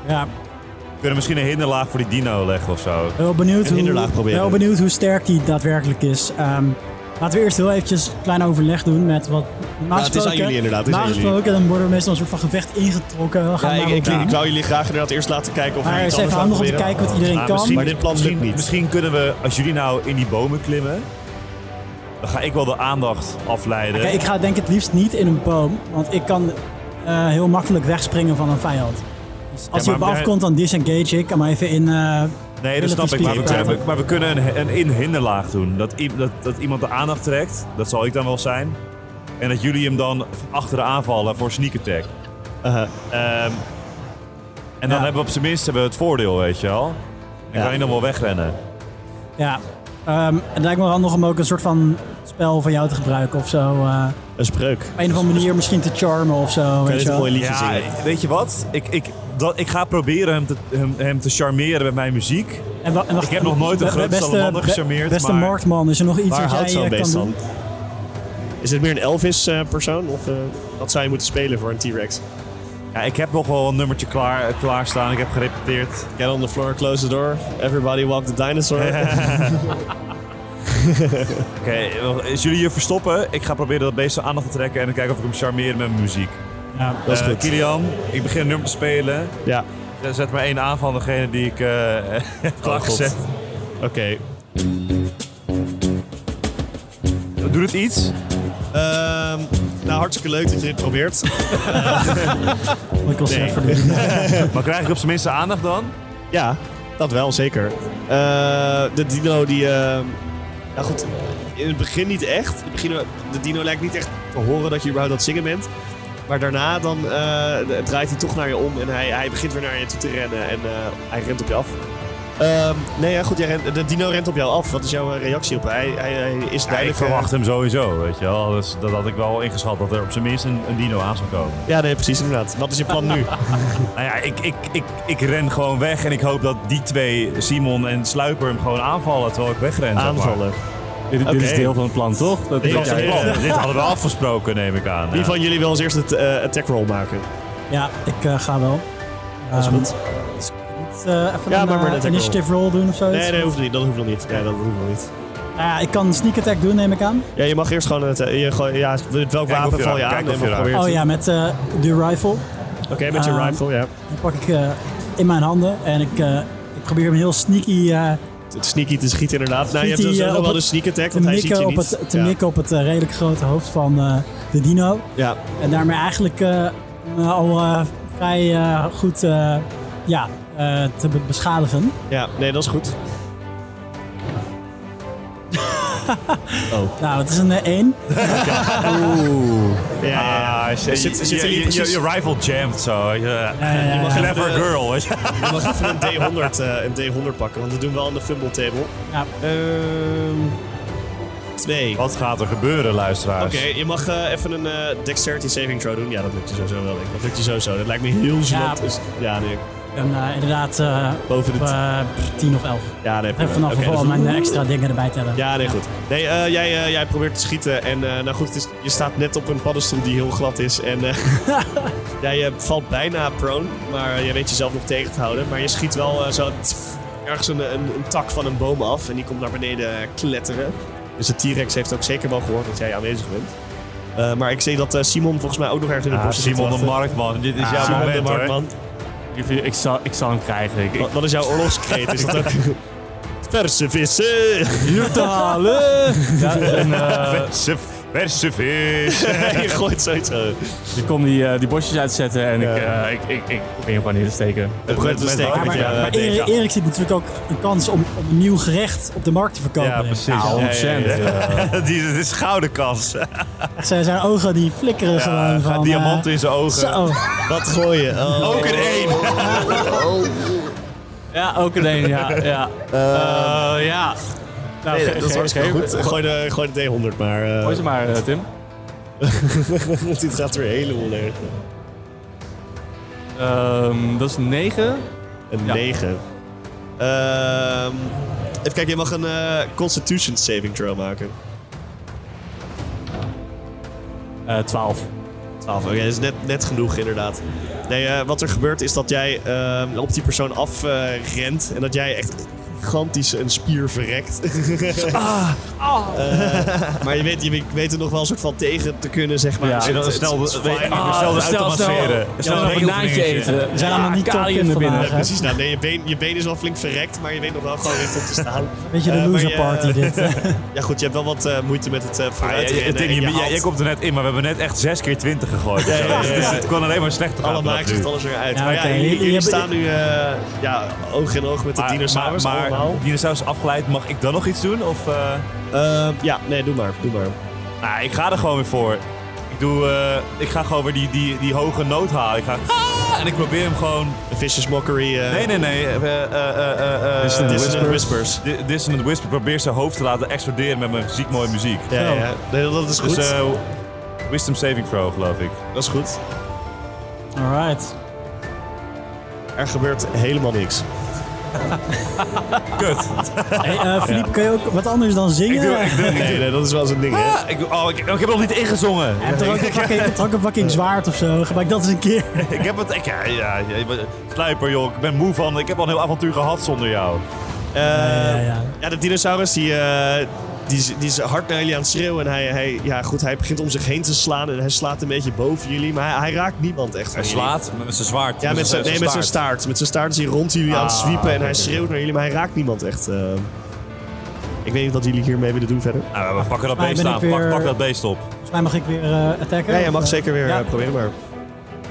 S6: Ja,
S2: We kunnen misschien een hinderlaag voor die dino leggen of zo.
S6: Ik ben wel benieuwd,
S3: Een
S6: hoe,
S3: hinderlaag proberen.
S6: wel benieuwd hoe sterk die daadwerkelijk is. Ehm, laten we eerst heel eventjes een klein overleg doen met wat... normaal
S3: het is aan
S6: gesproken-
S3: jullie inderdaad, het is
S6: normaal
S3: aan jullie.
S6: gesproken dan worden we meestal een soort van gevecht ingetrokken. We gaan
S3: ja, ik,
S6: naar
S3: ik,
S6: elkaar.
S3: ik wou jullie graag inderdaad eerst laten kijken of
S6: maar
S3: jullie
S6: het
S3: iets
S6: is even
S3: anders gaan
S6: handig om
S3: proberen.
S6: te kijken wat iedereen
S2: Ah,
S6: kan.
S3: Maar dit plan
S2: misschien,
S3: lukt niet.
S2: Misschien kunnen we, als jullie nou in die bomen klimmen, dan ga ik wel de aandacht afleiden.
S6: Kijk, ik ga denk ik het liefst niet in een boom, want ik kan eh, heel makkelijk wegspringen van een vijand. Dus als
S2: maar
S6: hij op me
S2: jij-
S6: afkomt, dan disengage ik. Kan maar even in... eh,
S2: nee, dat snap ik. Maar we
S6: relatief
S2: kunnen,
S6: speed
S2: we- maar we kunnen een, een inhinderlaag doen. Dat, i- dat, dat iemand de aandacht trekt, dat zal ik dan wel zijn. En dat jullie hem dan achteren aanvallen voor sneak attack.
S3: Aha.
S2: Ehm, en dan
S6: Ja.
S2: hebben we op zijn minst hebben we het voordeel, weet je wel. Dan
S3: Ja.
S2: kan je dan wel wegrennen.
S6: ja. Ehm, het lijkt me wel handig om ook een soort van spel van jou te gebruiken of zo. eh,
S3: Een spreuk.
S6: op een of andere manier misschien te charmen of zo.
S3: Kan
S6: Weet
S3: je
S6: je
S3: dit een
S6: wel.
S3: mooi liedje
S2: ja,
S3: zingen?
S2: weet je wat? Ik, ik, dat, ik ga proberen hem te, hem, hem te charmeren met mijn muziek.
S6: En wa- en wacht,
S2: Ik heb nog nooit een
S6: be-
S2: grote
S6: beste-
S2: salamander
S6: be-
S2: gecharmeerd,
S6: Beste
S2: maar-
S6: marktman, is er nog iets
S3: Waar houdt
S6: wat jij
S3: zo'n
S6: eh, kan
S3: beest
S6: doen?
S3: dan? Is het meer een Elvis-persoon? of eh, wat zou je moeten spelen voor een T-Rex?
S2: Ja, ik heb nog wel een nummertje klaar, klaarstaan. Ik heb gerepeteerd.
S3: Get on the floor, close the door. Everybody walk the dinosaur.
S2: Oké, als jullie hier verstoppen, ik ga proberen dat beest zijn aandacht te trekken en dan kijken of ik hem charmeer met mijn muziek.
S6: Ja.
S3: Dat is
S2: Eh,
S3: goed.
S2: Kilian, ik begin een nummer te spelen.
S3: Ja,
S2: Zet maar één aan van degene die ik eh, heb klaargezet.
S3: oké.
S2: Doet het iets?
S3: Ehm, nou, hartstikke leuk dat je dit probeert.
S6: Ik was
S3: Nee.
S6: even doen.
S2: Maar krijg ik op zijn minst aandacht dan?
S3: ja, dat wel, zeker. Eh, de dino die, eh, Nou goed, in het begin niet echt. In het begin, de dino lijkt niet echt te horen dat je überhaupt aan het zingen bent. Maar daarna dan eh, draait hij toch naar je om en hij, hij begint weer naar je toe te rennen en eh, hij rent op je af. Ehm, nee, ja, goed, jij rent- de dino rent op jou af. Wat is jouw eh, reactie op? Hij, hij, hij is
S2: Ja, ik
S3: duidelijk... eh,
S2: verwacht hem sowieso, weet je wel. Dus dat had ik wel ingeschat, dat er op zijn minst een, een dino aan zou komen.
S3: eh, ja, nee, precies inderdaad. Wat is je plan nu?
S2: Nou ja, ik, ik, ik, ik ren gewoon weg en ik hoop dat die twee, Simon en Sluiper, hem gewoon aanvallen terwijl ik wegren. zeg maar.
S3: Aanvallen.
S5: Dit, dit
S3: Oké.
S5: is deel van het plan, toch? Dat
S2: Dit
S5: dat
S2: was het
S5: jij-
S2: plan. Dit hadden we afgesproken, neem ik aan.
S3: Wie
S2: Ja.
S3: van jullie wil als eerst het eh, attack roll maken?
S6: Ja, ik eh, ga wel.
S3: Dat is
S6: Ehm,
S3: goed.
S6: Moet, eh, even
S3: Ja, maar
S6: een
S3: maar
S6: eh,
S3: net ook
S6: initiative roll doen of zo.
S3: Nee, dat hoeft niet. Dat hoeft nog niet. Nee, dat hoeft nog niet.
S6: Nou ja, ik kan sneak attack doen, neem ik aan.
S3: Ja, je mag eerst gewoon het... eh, je, gooi- ja, met welk
S2: Kijk of
S3: wapen
S2: je
S3: val je
S2: raakt.
S3: aan?
S2: Kijk of je
S3: en wat
S2: raakt.
S3: probeer je
S6: Oh
S3: te-
S6: ja, met eh, de rifle.
S3: Oké, met je
S6: Ehm,
S3: rifle, ja.
S6: Die pak ik eh, in mijn handen en ik, eh, ik probeer hem heel sneaky eh,
S3: Het sneaky te schieten inderdaad. Nou, je hebt
S6: Schiet
S3: dus
S6: hij,
S3: ook
S6: eh,
S3: nog wel
S6: op
S3: de
S6: het-
S3: sneak attack,
S6: te,
S3: want hij ziet je
S6: mikken op
S3: niet.
S6: het, te
S3: ja.
S6: mikken op het eh, redelijk grote hoofd van eh, de dino.
S3: ja.
S6: En daarmee eigenlijk eh, eh, al eh, vrij eh, goed eh, ja, eh, te be- beschadigen.
S3: ja, nee, dat is goed.
S6: Nou, het is een 1.
S3: Ja, ja, ja.
S2: Ah, shit.
S3: Zit-
S2: Je-
S3: zit er niet
S2: je- je-
S3: precies-
S2: Je je rifle jammed zo. weet je.
S6: ja, ja.
S2: Clever
S3: Eh,
S2: girl, weet je.
S3: Je mag even een D100, eh, een D100 pakken, want dat doen we al in de fumble table.
S6: Ja.
S3: Ehm, twee. Oké,
S2: Wat gaat er gebeuren, luisteraars?
S3: je mag eh, even een eh, dexterity saving throw doen. Ja, dat lukt je sowieso wel. denk ik. Dat lukt je sowieso. Dat lijkt me heel
S6: Ja.
S3: gênant. Dus, ja, nee.
S6: En eh, inderdaad eh,
S3: Boven de
S6: op
S3: t-
S6: eh, 10 of 11.
S3: Ja, nee.
S6: En
S3: prima.
S6: vanaf
S3: Oké, dat
S6: vooral
S3: is-
S6: mijn eh, extra dingen erbij tellen.
S3: Ja, nee, goed. Nee, eh, jij, eh, jij probeert te schieten en eh, nou goed, het is, je staat net op een paddenstoel die heel glad is. En eh, jij eh, valt bijna prone, maar je weet jezelf nog tegen te houden. Maar je schiet wel eh, zo tf, ergens een, een, een tak van een boom af en die komt naar beneden kletteren. Dus de T-Rex heeft ook zeker wel gehoord dat jij aanwezig bent. Eh, maar ik zie dat eh, Simon volgens mij ook nog ergens in de
S2: Ah,
S3: bos zit te
S2: Simon de
S3: wachten.
S2: Marktman, dit is jouw
S3: Simon de
S2: moment hoor.
S3: Marktman.
S5: Ik, ik, zal, ik zal hem krijgen. Ik, ik,
S3: Wat, wat is jouw oorlogskreet? Is dat ook... Verse vissen!
S5: ja, en, eh,
S2: Verse- Verse vis.
S3: je gooit zoiets zo.
S5: ik kom die, eh, die bosjes uitzetten en ik, eh, ik, ik, ik probeer hem gewoon neer te steken.
S3: Het begint te
S2: Met-
S3: steken. met
S2: met-
S6: Maar,
S3: je, eh,
S6: maar
S3: deken.
S6: Erik, Erik ziet natuurlijk ook een kans om, om een nieuw gerecht op de markt te verkopen.
S2: Ja, precies.
S5: Nou, 100%.
S2: Ja, ja,
S5: eh.
S2: ja. Die, dit is gouden kans.
S6: Zijn, zijn ogen die flikkeren
S2: Ja,
S6: gewoon van...
S2: gaat
S6: eh,
S2: diamant in zijn ogen.
S6: Zo.
S3: Wat gooien? Oh.
S2: Ook een één.
S5: Ja, ook een één, ja. ja. Eh, ja. Nou, ge-
S3: dat is
S5: ge-
S3: hartstikke
S5: ge-
S3: goed. Gooi de, gooi de D100 maar. eh.
S5: Gooi ze maar, eh, Tim.
S3: Dit gaat weer helemaal leeg.
S5: Ehm, dat is 9.
S3: Een
S5: Ja.
S3: 9. Ehm, even kijken, je mag een eh, Constitution saving throw maken.
S5: eh 12.
S6: Ah,
S3: 12, oké, dat is net, net genoeg inderdaad. Nee, eh, wat er gebeurt is dat jij ehm, op die persoon afrent rent en dat jij echt gigantisch een spier verrekt. Ah. Eh, maar je weet, je weet er nog wel een soort van tegen te kunnen, zeg maar.
S5: Ja.
S3: Dus
S2: En dan
S3: het-
S2: snel
S3: het
S2: de,
S3: is
S2: snel
S3: fine.
S2: de, Ah, snel de automatiseren. Snel
S5: een
S2: een
S5: banaantje
S2: regelvingertje.
S5: eten.
S6: We zijn allemaal niet top
S5: kalium
S6: in
S5: naar binnen.
S6: vandaag,
S3: Ja,
S6: hè?
S3: precies. Nou, nee, je, been, je been is wel flink verrekt, maar je weet nog wel gewoon rechtop te staan.
S6: Beetje de
S3: Eh, maar
S6: loser
S3: je-
S6: party dit.
S3: Ja, goed, je hebt wel wat eh, moeite met het eh
S2: Ah,
S3: vooruit.
S2: ja, ja,
S3: rennen
S2: Tim,
S3: en
S2: je-
S3: je
S2: ja,
S3: haalt
S2: jij komt er net in, maar we hebben net echt 6 keer 20 gegooid. of zo.
S3: ja, ja,
S2: Dus het kon alleen maar slechter gaan.
S3: alle
S2: vanaf nu.
S3: maakjes, alles eruit.
S6: Ja,
S3: maar ja,
S6: oké,
S3: jullie,
S6: jullie
S3: jullie
S6: hebben-
S3: staan nu eh, ja, oog in oog met de
S2: Maar-
S3: dinosaurus
S2: maar, maar,
S3: allemaal.
S2: dinosaurus is afgeleid, mag ik dan nog iets doen? Of, eh?
S3: Eh, ja, nee, doe maar. Doe maar.
S2: Nou, ik ga er gewoon weer voor. Ik, doe, eh, ik ga gewoon weer die, die, die hoge noot halen. Ik ga, Ah! en ik probeer hem gewoon...
S3: Een vicious mockery. eh
S2: Nee, nee, nee. eh, eh, eh, eh, eh,
S3: Distant
S2: eh,
S3: Whispers.
S2: Di- Dissonant Whisper probeer zijn hoofd te laten exploderen met mijn ziek mooie muziek.
S3: Ja, ja, ja. Nee, dat is goed.
S2: Dus eh, Wisdom Saving Throw, geloof ik.
S3: dat is goed.
S6: Alright.
S3: Er gebeurt helemaal niks.
S2: Kut.
S6: Hey, eh, Philippe, kun je ook wat anders dan zingen?
S2: Ik doe, ik doe,
S3: Nee, nee, dat is wel zo'n ding, hè?
S2: Ah, ik, doe- oh, ik, ik heb nog niet ingezongen.
S6: Hij heeft toch ook een fucking, hij heeft toch ook een fucking zwaard of zo. Gebruik dat eens een keer.
S2: Ik heb het. Ik, ja, ja, ja, maar- Slijper, joh. Ik ben moe van. Ik heb al een heel avontuur gehad zonder jou.
S3: Eh,
S6: ja, ja.
S3: Ja, de dinosaurus die, eh, die, is- die is hard naar jullie aan het schreeuwen. En hij, hij, ja, goed, hij begint om zich heen te slaan. En hij slaat een beetje boven jullie. Maar hij, hij raakt niemand echt. aan jullie.
S2: met zijn zwaard.
S3: Ja, met zijn, nee, met zijn staart. Ah, Met zijn staart is hij rond jullie aan het zwiepen. En hij schreeuwt naar jullie. Maar hij raakt niemand echt. eh. Ik weet niet wat jullie hiermee willen doen verder.
S2: Nou, we pakken dat
S6: Volgens
S2: beest
S6: mij
S2: aan.
S6: ben ik
S2: Pak,
S6: weer- eh,
S2: pak dat beest op.
S6: Volgens mij mag ik weer eh, attacken.
S3: Ja, jij mag
S6: Of, eh,
S3: zeker weer
S6: ja.
S3: eh, proberen. Maar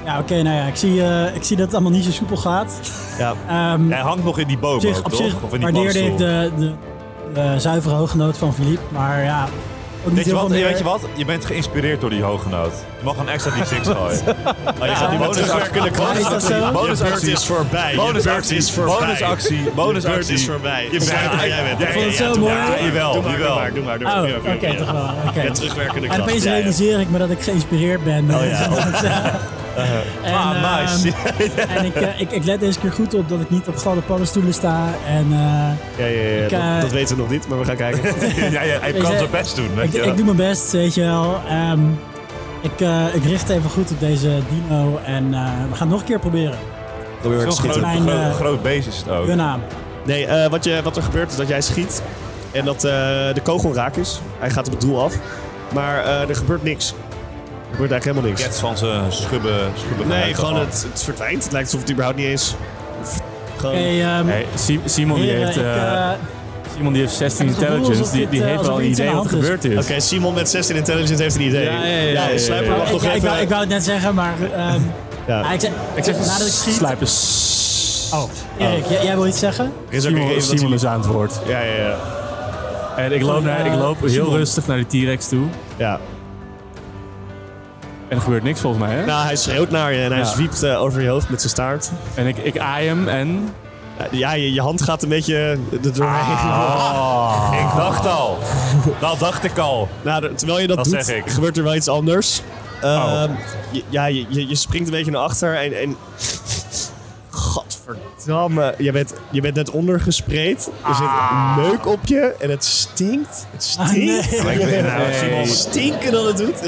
S6: Ja, oké. nou ja, ik zie, eh, ik zie dat het allemaal niet zo soepel gaat.
S3: ja,
S6: Ehm,
S2: Hij hangt nog in die boom,
S6: op zich,
S2: ook,
S6: op
S2: toch?
S6: zich
S2: of in die
S6: waardeerde ik
S2: paddenstoel.
S6: de, de, eh zuivere hooggenoot van Philippe. Maar ja, ook niet
S2: Weet je,
S6: heel
S2: wat, Eh,
S6: veel meer.
S2: weet je wat? Je bent geïnspireerd door die hooggenoot. Je mag een extra die 6 gooien. Oh, je gaat nu
S3: met terugwerkende kracht.
S6: Is dat zo?
S3: beurt
S2: Bonusactie.
S3: is voorbij. Je beurt
S2: Bonusactie.
S3: is voorbij.
S2: Bonusactie.
S3: Je beurt
S2: Bonusactie.
S3: is voorbij. Je
S2: bent-
S3: jij bent.
S2: Ik
S6: vond het zo mooi.
S2: Ja, jawel,
S3: Doe maar,
S2: jawel.
S3: doe maar, doe maar. doe maar,
S6: Oh,
S3: doe
S6: oké,
S3: maar, doe
S6: toch
S3: maar.
S6: wel. oké.
S3: Ja, terugwerkende
S6: Maar
S3: kracht.
S6: opeens
S3: Ja, ja.
S6: realiseer ik me dat ik geïnspireerd ben. Oh
S3: ja.
S2: Ah, nice.
S6: ehm, en ik, eh, ik, ik let deze keer goed op dat ik niet op gladde paddenstoelen sta. En eh,
S3: Ja, ja, ja,
S6: Ik, eh,
S3: dat, dat weten we nog niet, maar we gaan kijken.
S2: Ja, ja, hij kan
S6: je,
S2: zijn best doen. Weet
S6: ik,
S2: je. wel.
S6: ik doe mijn best, weet je wel. Ehm, ik, eh, ik richt even goed op deze dino en eh, we gaan het nog een keer proberen.
S3: Probeer
S2: Zo'n groot,
S6: Mijn,
S2: groot,
S6: eh,
S2: groot beest is het ook.
S6: Hun naam.
S3: Nee, eh, wat, je, wat er gebeurt is dat jij schiet en dat eh, de kogel raak is. Hij gaat op het doel af, maar eh, er gebeurt niks. Er gebeurt eigenlijk helemaal niks.
S2: Gets van zijn schubbe, schubbe
S3: Nee,
S2: geluid
S3: gewoon
S2: ervan.
S3: het, het verdwijnt. Het lijkt alsof het überhaupt niet eens... Gewoon...
S6: Oké, ehm,
S5: Hey, Si- Simon, die
S6: heren,
S5: heeft,
S6: ik, eh,
S5: eh, Simon die heeft 16
S6: het gevoel
S5: intelligence,
S6: alsof
S5: die,
S6: dit,
S5: die
S6: eh,
S5: heeft wel
S6: alsof
S5: een
S6: iets
S5: idee
S6: aan de
S5: wat er
S6: hand is.
S5: gebeerd is.
S3: Oké, Simon met 16 intelligence heeft een idee.
S5: Ja, ja, ja, ja, ja,
S3: Slijper
S5: ja, ja.
S3: mag
S6: ik,
S3: nog
S6: ik,
S3: even...
S6: wou, ik wou het net zeggen, maar ehm,
S3: Ja.
S6: ah, ik, zeg,
S5: Ik zeg
S6: nadat ik schiet...
S5: slijpen.
S6: Oh, Erik, jij, jij wil iets zeggen?
S3: Er is ook nog
S5: Simon,
S3: even dat
S5: Simon is aan het woord.
S3: hij- Ja, ja, ja.
S5: En ik loop, naar, ik loop heel
S6: Simon.
S5: rustig naar die T-Rex toe.
S3: ja.
S5: En er gebeurt niks volgens mij, hè?
S3: Nou, hij schreeuwt naar je en hij
S5: Ja.
S3: zwiept eh, over je hoofd met zijn staart.
S5: En ik, ik aai hem en...
S3: Ja, Ja, je, je hand gaat een beetje eh, er doorheen.
S5: Ah.
S2: Ik dacht al. Dat dacht ik al.
S3: Nou, er- terwijl je dat,
S2: Dat
S3: doet,
S2: zeg ik.
S3: gebeurt er wel iets anders.
S5: Oh.
S3: Ehm, je- ja, je, je, je springt een beetje naar achter en... en... Gadverdamme. Je bent, je bent net ondergespreid.
S5: Ah.
S3: Er zit leuk op je en het stinkt. Het stinkt.
S6: nee.
S2: Maar ik weet- nou,
S3: Het
S2: Simon,
S3: Stinken dat het doet.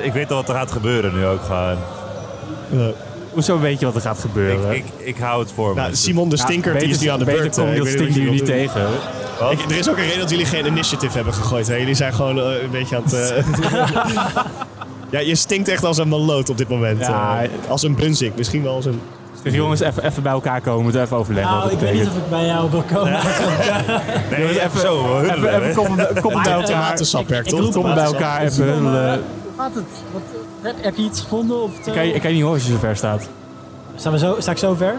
S2: Ik weet al wat er gaat gebeuren nu ook gewoon.
S5: Hoezo weet je wat er gaat gebeuren?
S2: Ik, ik, ik hou het voor
S3: Nou,
S2: me.
S3: Simon de
S5: Ja,
S3: Stinker die
S5: beter-
S3: is nu aan de
S5: beter
S3: beurt.
S5: kom
S3: eh.
S5: je
S3: Ik
S5: dat
S3: weet niet
S5: stinker
S3: wat
S5: nu
S3: je wil
S5: niet tegen.
S3: doen. Ik- er is ook een reden dat jullie geen initiative hebben gegooid. Hè? Jullie zijn gewoon eh, een beetje aan het... eh, ja, je stinkt echt als een maloot op dit moment.
S5: Ja.
S3: eh. als een bunzik. Misschien wel als een...
S5: Dus jongens, even, even bij elkaar komen. We moeten even overleggen
S6: Nou,
S5: wat
S6: ik
S5: het
S6: weet niet
S5: betekent.
S6: of ik bij jou wil komen.
S2: Nee, even zo. hoor.
S5: Even, even komen, komen bij
S3: eh,
S5: elkaar.
S3: Tomatensap werkt,
S6: ik
S3: toch?
S6: roep-
S5: Komen bij elkaar even
S6: Maar,
S5: huddelen.
S6: hoe gaat het? Wat, eh, heb, heb je iets gevonden? Of
S5: Kan je,
S6: ik,
S5: kan je niet horen als je zo ver staat.
S6: we zo, sta ik zo ver?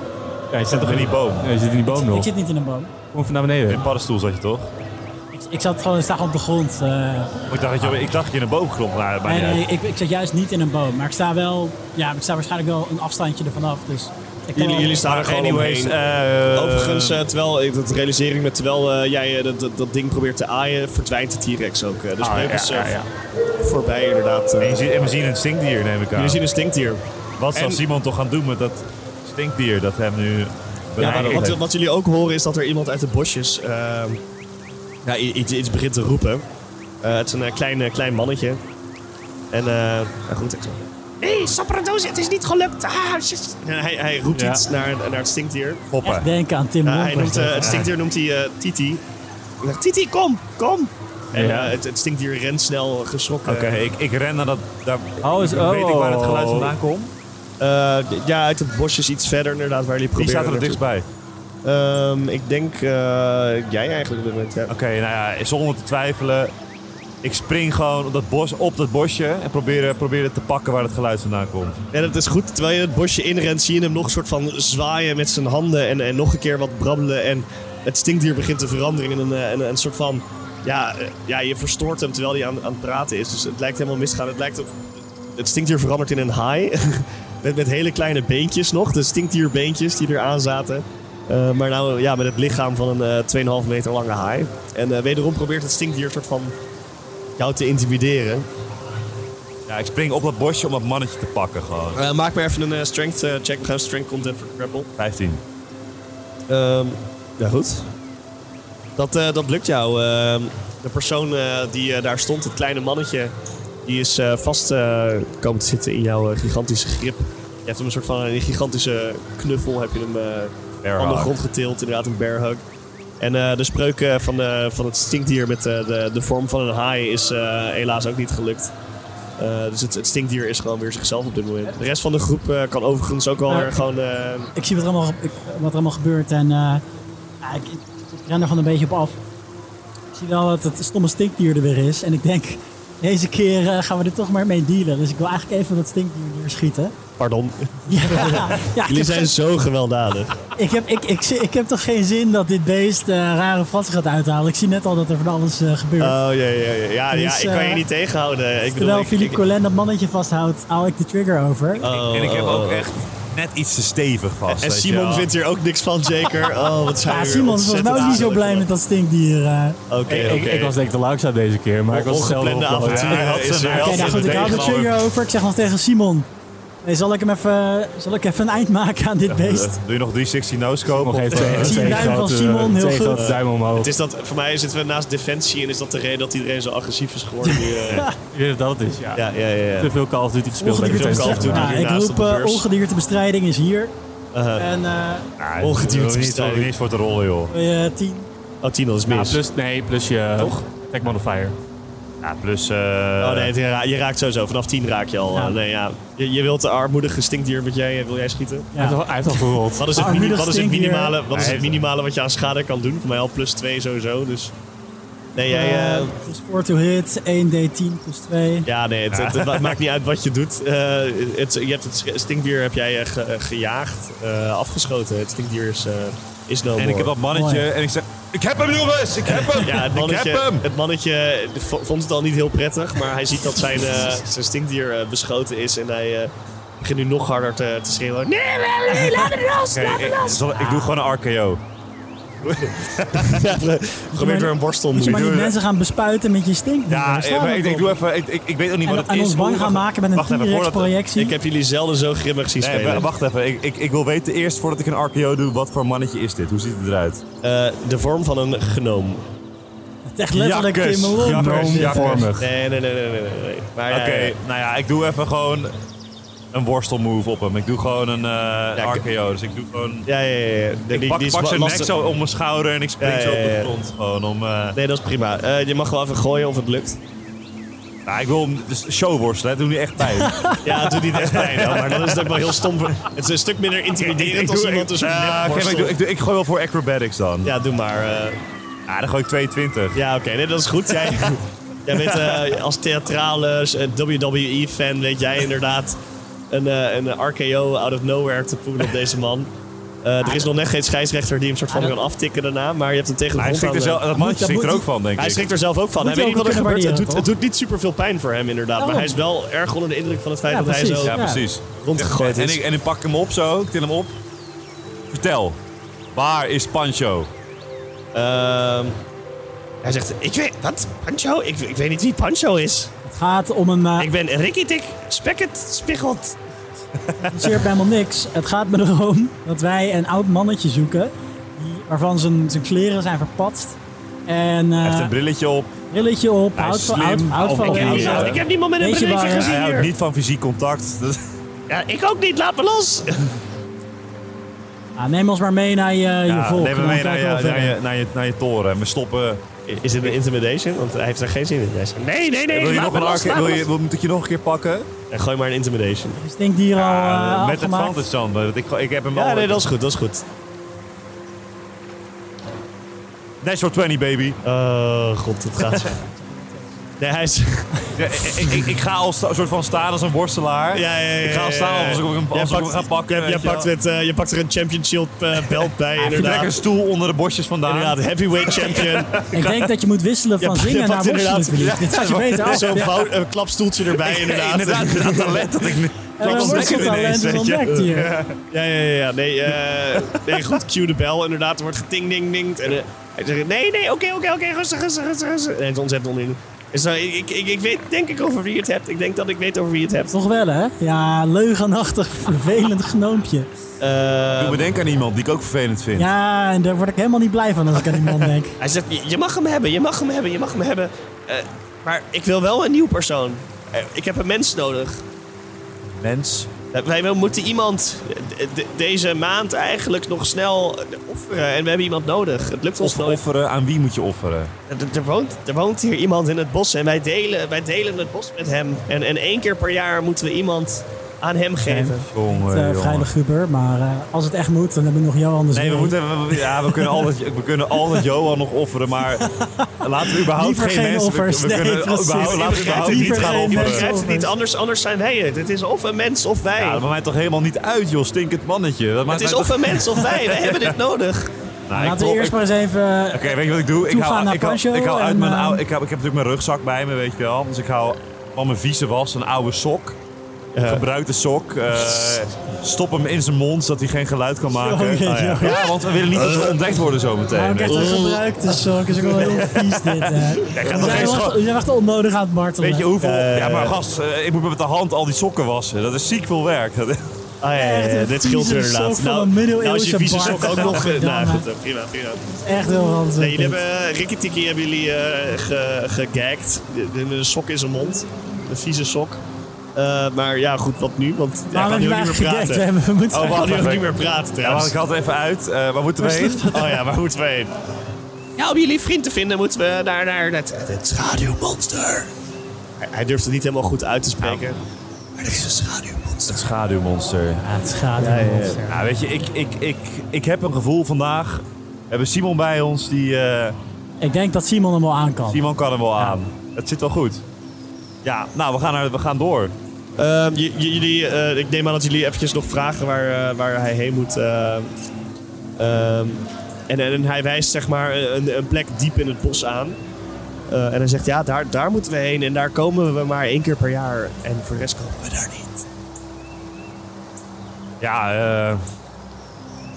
S5: Ja, je zit toch
S2: in die boom.
S5: Nee, je zit in die boom
S6: Ik
S5: nog.
S6: zit niet in een boom.
S5: Kom van naar beneden.
S2: In paddenstoel zat je toch?
S6: Ik, ik zat gewoon ik sta gewoon op de grond. eh.
S2: Ik dacht, dat je, ik dacht dat je in een boom klom. Nou, maar
S6: nee,
S2: niet uit.
S6: nee, ik, ik zat juist niet in een boom. Maar ik sta wel, ja, ik sta waarschijnlijk wel een afstandje ervan af. Dus ik kan
S3: Jullie,
S6: wel-
S3: jullie staan er gewoon
S2: Anyways,
S3: omheen.
S2: eh,
S3: Overigens, eh, terwijl ik dat realiseer ik me, terwijl eh, jij eh, dat, dat, dat ding probeert te aaien, verdwijnt de T-Rex ook. eh. dus
S2: Ah,
S3: Beuk
S2: ja,
S3: is eh,
S2: ja, ja.
S3: voorbij inderdaad. eh.
S2: En, je ziet, en we zien een stinkdier, neem ik aan.
S3: Jullie zien een stinkdier.
S2: Wat zal
S3: en-
S2: Simon toch gaan doen met dat stinkdier dat hem nu benaderd
S3: Eh, wat,
S2: heeft?
S3: wat jullie ook horen is dat er iemand uit de bosjes ehm, ja, i- iets, iets begint te roepen. Eh, het is een eh, klein, eh, klein mannetje. En eh, nou goed, ik zo. Nee, Sapperdoos, het is niet gelukt. Ah, shit. En hij, hij roept
S5: Ja.
S3: iets naar, naar het stinkdier.
S2: Poppen.
S6: echt denken aan Tim
S3: Ja,
S6: Wolf.
S3: hij noemt, eh, het stinkdier noemt hij eh, Titi. Hij zegt, Titi, kom, kom. En
S5: Ja.
S3: eh, het, het stinkdier rent snel, geschrokken.
S2: Oké, ik, ik ren naar dat... Daar,
S5: Oh, is-
S2: Weet ik waar het geluid
S5: oh.
S2: vandaan komt?
S3: Eh, d- ja, uit het bosjes iets verder inderdaad, waar jullie
S2: Die
S3: proberen
S2: staat er het
S3: naartoe.
S2: dichtstbij.
S3: Ehm, ik denk eh, jij eigenlijk op dit moment, ja.
S2: Oké, nou ja, zonder te twijfelen. Ik spring gewoon op dat, bos, op dat bosje en probeer, probeer het te pakken waar het geluid vandaan komt.
S3: Ja, dat is goed. Terwijl je het bosje inrent, zie je hem nog een soort van zwaaien met zijn handen en, en nog een keer wat brabbelen. En het stinkdier begint te veranderen in een, eh, een, een soort van... Ja, eh, ja, je verstoort hem terwijl hij aan, aan het praten is. Dus het lijkt helemaal misgaan. Het, lijkt op, het stinkdier verandert in een haai. met, met hele kleine beentjes nog. De stinkdierbeentjes die er aan zaten. Eh, maar nou, ja, met het lichaam van een eh 2,5 meter lange haai. En eh, wederom probeert het stinkdier een soort van jou te intimideren.
S2: Ja, ik spring op dat bosje om dat mannetje te pakken gewoon.
S3: Eh, maak maar even een eh, strength eh, check. We gaan strength content voor grapple.
S2: 15.
S3: Ehm, ja, goed. Dat, eh, dat lukt jou. Ehm, de persoon eh, die eh, daar stond, het kleine mannetje, die is eh, vast eh, komen te zitten in jouw eh, gigantische grip. Je hebt hem een soort van een gigantische knuffel, heb je hem eh,
S2: Bear
S3: van de
S2: hug.
S3: grond getild, inderdaad een bear hug. En eh, de spreuk eh, van, de, van het stinkdier met eh, de, de vorm van een haai is eh, helaas ook niet gelukt. Eh, dus het, het stinkdier is gewoon weer zichzelf op dit moment. De rest van de groep eh, kan overigens ook wel
S6: Maar-
S3: weer gewoon... eh,
S6: Ik zie wat er allemaal, ik- wat er allemaal gebeurt en eh, ja, ik, ik, ik ren er gewoon een beetje op af. Ik zie wel dat het stomme stinkdier er weer is. En ik denk, deze keer eh, gaan we er toch maar mee dealen. Dus ik wil eigenlijk even dat stinkdier neerschieten.
S3: Pardon.
S6: Ja, ja, ik,
S3: Jullie
S6: heb
S3: zijn
S6: geen-
S3: zo gewelddadig.
S6: ik, heb, ik, ik, zie- ik heb toch geen zin dat dit beest eh, rare fratsen gaat uithalen. Ik zie net al dat er van alles eh, gebeurt.
S3: Oh ja, ja, ja. Ja, ja,
S6: Dus,
S3: ik kan
S6: eh,
S3: je niet tegenhouden. Ik bedoel,
S6: Terwijl
S3: ik-
S6: Philippe
S3: ik-
S6: Colin dat mannetje vasthoudt, haal ik de trigger over.
S3: Oh,
S1: en ik heb
S3: oh,
S1: ook
S3: oh.
S1: echt...
S2: Net iets te stevig vast.
S3: En
S2: weet je
S3: Simon
S2: wel.
S3: vindt hier ook niks van, zeker. Oh, wat zijn
S6: Ja,
S3: we hier
S6: Simon is volgens mij ook niet zo
S3: ontzettend
S6: blij met dat stinkdier. eh.
S3: Oké, oké.
S5: Ik, ik was denk ik de langzaam deze keer, maar ik was hetzelfde
S3: Ongeplande
S5: op-
S3: avonturen.
S5: Ja,
S3: Ja, is er
S6: Oké,
S3: wel
S6: nou
S3: zin
S6: goed, ik
S3: in.
S6: haal de
S2: geloof ik.
S6: trigger over. Ik zeg nog tegen Simon. Nee, zal ik hem even, zal ik even een eind maken aan dit beest?
S2: Eh, Doe je nog 360 no-scope?
S5: Nog
S2: of,
S5: even
S2: eh,
S5: twee-
S6: Ik zie een
S5: twee
S6: duim van
S5: grote-
S6: Simon, heel
S5: twee
S6: goed.
S5: grote duim omhoog.
S3: Het is dat, voor mij zitten we naast defensie en is dat de reden dat iedereen zo agressief is geworden. Die, eh,
S5: Ik weet dat het is, ja.
S3: ja, ja, ja.
S5: Te
S3: ja.
S5: veel Call of Duty gespeeld. bij
S6: Ongedierte
S3: Ongedierte
S5: Defensie.
S3: Call of Duty.
S6: bestrijding.
S3: Ja.
S6: Nou, ik
S3: Naast op
S6: roep
S3: de
S6: eh
S3: beurs. Uh-huh.
S6: ongediertebestrijding is hier. En eh
S2: Ah,
S3: Ongedierte
S2: hoef je niet-
S3: bestrijding.
S2: hoef je niet voor te rollen, joh.
S6: eh, tien.
S3: Oh, Tino is
S5: Ja,
S3: mis.
S5: plus, nee, plus je... Toch? Tech modifier.
S2: Ja, plus... eh,
S3: Oh nee, het ra- je raakt sowieso. Vanaf 10 raak je al.
S6: Ja.
S3: eh, Nee, ja. je, je wilt de armoedige stinkdier wat jij eh, wil jij schieten.
S5: Hij heeft
S6: Ja.
S5: al- Oh, Hij heeft al gerold.
S3: Wat is het,
S6: Armoedig
S3: mini- wat is het,
S6: stinkdier.
S3: minimale, wat is
S2: Hij
S3: het
S2: heeft-
S3: minimale wat je aan schade kan doen? Voor mij al plus 2 sowieso. Dus. Nee, jij. eh,
S6: Eh, Plus 4 to hit, 1d10 plus 2.
S3: ja, nee, het, het- het maakt niet uit wat je doet. Eh, het, je hebt het sch- stinkdier heb jij eh, ge- eh, gejaagd, eh, afgeschoten. Het stinkdier is, eh is no
S2: En ik
S3: more.
S2: heb dat mannetje
S6: Mooi.
S2: en ik zeg... Ik heb hem, jongens! Ik heb hem!
S3: Ja, het mannetje,
S2: Ik heb hem!
S3: het mannetje v- vond het al niet heel prettig, maar hij ziet dat zijn, eh, zijn stinkdier eh, beschoten is en hij eh, begint nu nog harder te, te schreeuwen. Nee!
S2: Oké, ik, zal- ik doe gewoon een RKO.
S3: Probeer door een borstel om
S6: Moet je Dus maar
S3: te
S2: doen.
S6: niet mensen gaan bespuiten met je stinkdier.
S2: Ja,
S6: Daar
S2: eh,
S6: slaan
S2: maar
S6: we
S2: ik, ik
S6: op.
S2: doe even... Ik, ik, ik weet nog niet wat
S6: En,
S2: het
S6: en
S2: is.
S6: ons bang
S2: Oeh,
S6: gaan
S2: wacht-
S6: maken met een
S2: wacht even,
S6: T-Rex
S2: voordat-
S6: projectie.
S3: Ik heb jullie zelden zo grimmig zien
S2: Nee,
S3: spelen.
S2: wa- wacht even. Ik, ik, ik wil weten eerst, voordat ik een RKO doe, wat voor mannetje is dit? Hoe ziet het eruit?
S3: Eh, de vorm van een gnoom.
S6: Het is echt letterlijk
S2: Jakkes,
S6: in mijn lol.
S2: jakkes,
S6: Noem-
S2: jakkes.
S5: Vormig.
S3: Nee, nee, nee, nee, nee. nee, nee. Maar ja,
S2: Oké, nou ja, ik doe even gewoon een worstelmove op hem. Ik doe gewoon een eh,
S3: Ja, ik-
S2: RKO. Dus ik doe gewoon...
S3: Ja, ja, ja. ja. Die- die-
S2: Ik pak,
S3: die is
S2: pak zijn
S3: lastig-
S2: nek zo om mijn schouder en ik spring
S3: Ja,
S2: zo op
S3: ja,
S2: de
S3: ja.
S2: grond. Gewoon om... eh,
S3: Nee, dat is prima. Eh, je mag wel even gooien of het lukt.
S2: nou, ik wil hem dus showworstelen. Het doet nu echt pijn.
S3: Ja, het doet niet echt pijn, hoor, maar dan is het ook wel heel stom. voor- Het is een stuk minder intimiderend als iemand dus een soort
S2: Ja, oké, maar
S3: nepborstel-
S2: ik, doe, ik, doe, ik gooi wel voor acrobatics dan. Ja,
S3: Ja, doe maar. eh.
S2: dan gooi ik 22.
S3: Ja, oké, nee, dat is goed. Jij, jij weet eh, als theatrale eh, WWE-fan, weet jij inderdaad een, eh, een RKO out of nowhere te poelen op deze man. Eh, er is nog net geen scheidsrechter die hem soort van kan aftikken daarna, maar je hebt hem tegen de
S2: Hij
S3: grond
S2: schrikt er
S3: aan de-
S2: zelf, dat mannetje
S6: dat
S2: schrikt er
S6: moet-
S2: ook van, denk
S3: Hij
S2: ik.
S3: schrikt er zelf ook van. Hij
S6: Moet je
S3: weet niet
S6: ook
S3: wat er
S6: kunnen
S3: gebeurt. Het doet,
S6: waarderen,
S3: het doet niet superveel pijn voor hem inderdaad, maar
S6: Daarom.
S3: hij is wel erg onder de indruk van het feit
S6: Ja,
S3: dat hij zo
S6: precies.
S2: Ja,
S6: Ja.
S2: precies.
S3: rondgegooid
S2: En
S3: is.
S2: ik, en ik pak hem op zo, ik til hem op. Vertel, waar is Pancho?
S3: Ehm, hij zegt, ik weet, wat? Pancho? Ik, ik weet niet wie Pancho is.
S6: Het gaat om een... eh,
S3: Ik ben Rikkitik, Spekket, Spiegelt.
S6: interesseert me helemaal niks. Het gaat me erom dat wij een oud mannetje zoeken. Die, waarvan zijn, zijn kleren zijn verpatst. En
S2: Hij heeft
S6: eh
S2: een brilletje op.
S6: brilletje op,
S2: Hij
S6: oud
S2: is
S6: van oud,
S2: slim,
S6: oud van
S2: of-
S6: leer.
S2: Ja.
S3: Ik heb die man met een
S6: Weet je
S3: brilletje
S6: waar-
S3: gezien
S2: Hij houdt
S3: hier.
S2: niet van fysiek contact. Dat-
S3: Ja, ik ook niet, laat me los!
S6: Ah, neem ons maar mee naar je, je
S2: Ja,
S6: volk.
S2: neem me
S6: Dan
S2: mee naar
S6: kijken we
S2: je,
S6: wel
S2: naar,
S6: verder.
S2: je, naar, je, naar je toren. We stoppen.
S3: Is het een intimidation? Want hij heeft er geen zin in. Hij zegt, nee, nee, nee,
S2: Wil je
S3: laat
S2: nog
S3: me
S2: een
S3: los,
S2: arc-
S3: laat
S2: wil
S3: me
S2: je,
S3: los.
S2: wil, moet ik je nog een keer pakken?
S3: Ja, gooi maar een intimidation.
S6: Stinkt hier al
S2: Ja, met
S6: eh,
S2: het
S6: afgemaakt.
S2: advantage dan. want Ik, ik heb hem
S3: Ja,
S2: al...
S3: nee, dat is goed, dat is goed.
S2: Natural 20, baby.
S3: Oh, god, het gaat... Nee, hij is...
S2: Ja, ik, ik, ik ga al sta- soort van staan als een worstelaar.
S3: Ja, ja, ja,
S2: Ik ga al
S3: ja,
S2: staan
S3: ja, ja.
S2: als ik hem,
S3: Jij
S2: als ik hem
S3: pakt-
S2: ga pakken.
S3: Je
S2: weet je
S3: pakt,
S2: wel.
S3: het, eh, je pakt er een Champion Shield eh, belt bij,
S2: Ik trek een
S3: inderdaad.
S2: stoel onder de bosjes vandaan.
S3: Inderdaad, heavyweight champion.
S6: Ik denk dat je moet wisselen van
S3: Ja, je
S6: zingen
S3: pakt
S6: naar worstelen.
S3: inderdaad-
S6: Philippe.
S3: Ja,
S6: Dit gaat je beter af.
S3: Zo'n
S6: Ja.
S3: vouw- een klapstoeltje erbij,
S2: Ja,
S3: inderdaad.
S2: inderdaad, dat talent dat ik nu...
S6: En
S2: dat
S6: dan
S2: was
S6: wordt
S2: lekker
S6: het
S2: ineens,
S6: talent
S2: weet je.
S6: ontdekt hier.
S3: Ja, ja, ja. ja. Nee, eh, nee goed. Cue de bel inderdaad. Er wordt geting ding ding En, eh, hij zegt, nee, nee, oké, oké, oké. Rustig, rustig, rustig, rustig. Nee, het is ontzettend onin. Dus, nou, ik, ik, ik weet denk ik over wie je het hebt. Ik denk dat ik weet over wie je het hebt.
S6: Toch wel, hè? Ja, leugenachtig, vervelend gnoompje.
S2: Ik
S3: Eh,
S2: bedenk aan iemand die ik ook vervelend vind.
S6: Ja, en daar word ik helemaal niet blij van als ik aan die man denk.
S3: hij zegt, je, je mag hem hebben, je mag hem hebben, je mag hem hebben. Eh, maar ik wil wel een nieuw persoon. Eh, ik heb een mens nodig.
S2: Mens.
S3: Eh, Wij moeten iemand eh, de- deze maand eigenlijk nog snel eh, offeren. En we hebben iemand nodig. Het lukt ons
S2: Of
S3: nooit.
S2: offeren, aan wie moet je offeren?
S3: Er- Er woont, er woont hier iemand in het bos en wij delen, wij delen het bos met hem. En, en één keer per jaar moeten we iemand aan hem geven.
S2: Jongen,
S6: eh, vrij luguber, maar eh, als het echt moet, dan heb ik nog Johan dus
S2: Nee, we,
S6: mee.
S2: moeten, we- ja, we, kunnen altijd, we kunnen altijd Johan nog offeren, maar laten we überhaupt
S6: Liever
S2: geen
S6: geen
S2: mensen... we-
S6: offers,
S2: We,
S6: nee,
S2: kunnen
S6: precies.
S2: überhaupt, laten we überhaupt niet
S6: Liever
S2: gaan
S6: geen
S3: Je
S2: offeren.
S6: mensen.
S3: begrijpt het niet, anders, anders zijn wij het. Het is of een mens of wij.
S2: Ja, dat maakt mij toch helemaal niet uit, joh, stinkend mannetje. Dat maakt
S3: het is
S2: mij
S3: of een mens of wij. Wij hebben dit nodig.
S2: toch- Nou, ik
S6: Laten we
S2: probeer-
S6: eerst maar eens even... eh,
S2: Oké, weet je wat ik doe? Ik
S6: Toegaan
S2: hou,
S6: naar
S2: ik hou,
S6: Pancho
S2: ik hou uit
S6: en,
S2: mijn
S6: eh,
S2: oude, ik, heb, ik heb natuurlijk mijn rugzak bij me, weet je wel. Dus ik hou van mijn vieze was, een oude sok. Een gebruikte sok. eh, stop hem in zijn mond, zodat hij geen geluid kan maken. Nou
S6: Jongen,
S2: ja. Eh.
S6: jongen.
S2: Ja, want we willen niet dat we ontdekt worden zometeen.
S6: Nou, ik
S2: weet
S6: heb
S2: je.
S6: het gebruikt, dus zo is ook wel heel vies dit. eh. hè.
S2: gaat
S6: We
S2: nog
S6: zijn
S2: eens
S6: echt-
S2: gewoon-
S6: we zijn echt onnodig aan het martelen.
S2: Weet je hoeveel?
S3: Eh.
S2: ja, maar gast, eh, ik moet met de hand al die sokken wassen. Dat is ziek veel werk. Dat- Nou,
S3: Ah, ja, ja, ja,
S6: Echt een
S3: dit scheelt
S6: vieze sok
S3: inderdaad.
S6: van een middeleeuwse
S3: als je vieze
S6: baard.
S3: sok ook nog... eh, nou
S6: Ja.
S3: goed, eh, prima, prima.
S6: Echt heel handig.
S3: Nee, jullie hebben, Ricky Tiki hebben jullie eh, ge, gegagd. De- de- Een sok in zijn mond. Een vieze sok. Eh, maar ja, goed, wat nu? Want hij
S6: Waarom
S3: gaat nu ook
S6: hebben
S3: niet
S6: we
S3: meer
S6: eigenlijk gedekt? We
S3: praten.
S6: hebben- we moeten
S2: Oh,
S3: Hij
S2: wacht
S3: gaat nu ook
S2: even.
S3: niet meer praten
S2: Ja, want
S3: trouwens.
S2: ik had even uit. eh, waar moeten we
S6: Waar
S2: heen?
S6: stond
S3: Oh ja, waar moeten we heen? Ja, om Nou, jullie vriend te vinden moeten we daar naar het, het schaduwmonster. Nou. Hij, hij durft het niet helemaal goed uit te spreken. Maar dit is een schaduwmonster.
S2: Het schaduwmonster.
S6: Ja, het schaadt
S2: Ja, weet je, ik, ik, ik, ik heb een gevoel vandaag. We hebben Simon bij ons, die eh,
S6: Ik denk dat Simon hem wel aan kan.
S2: Simon kan hem wel aan. Het zit wel goed. Ja, nou, we gaan, naar, we gaan door.
S3: Ehm, j- j- jullie, eh, ik neem aan dat jullie eventjes nog vragen waar, eh, waar hij heen moet. eh, ehm, en, en, en hij wijst zeg maar een, een plek diep in het bos aan. Eh, en hij zegt, ja, daar, daar moeten we heen. En daar komen we maar één keer per jaar. En voor de rest komen we daar niet.
S2: Ja, eh,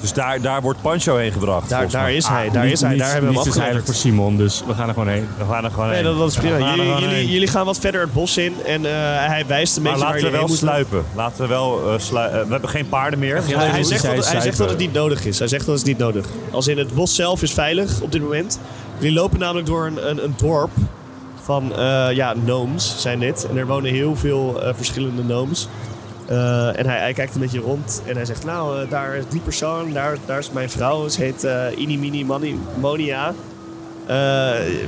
S2: dus daar, daar wordt Pancho heen
S3: Daar,
S2: gebracht. volgens
S3: daar
S2: mij.
S3: is hij, daar is hij, daar hebben we
S5: niets
S3: hem
S5: is heilig
S3: afgeleverd.
S5: voor Simon, dus we gaan er gewoon heen.
S2: We gaan er gewoon
S3: Nee,
S2: heen.
S3: dat, dat is prima.
S2: We gaan er
S3: Jullie,
S2: gewoon
S3: jullie,
S2: heen.
S3: jullie gaan wat verder het bos in. En eh, hij wijst een
S2: maar
S3: beetje waar
S2: laten we
S3: jullie
S2: wel
S3: heen moeten.
S2: sluipen. Laten we wel eh, slui- eh, we hebben geen paarden meer.
S5: Ja,
S3: Hij, hij
S5: Hoe
S3: zegt
S5: zij
S3: dat, hij zegt
S5: zuipen.
S3: dat het niet nodig is. Hij zegt dat het niet nodig. Als in het bos zelf is veilig op dit moment. Jullie lopen namelijk door een, een, een dorp van eh ja, gnomes zijn dit. En er wonen heel veel eh, verschillende gnomes. Eh, en hij, hij kijkt een beetje rond en hij zegt, nou, eh, daar is die persoon, daar, daar is mijn vrouw. Ze heet eh Inimini Mani- Monia. Eh,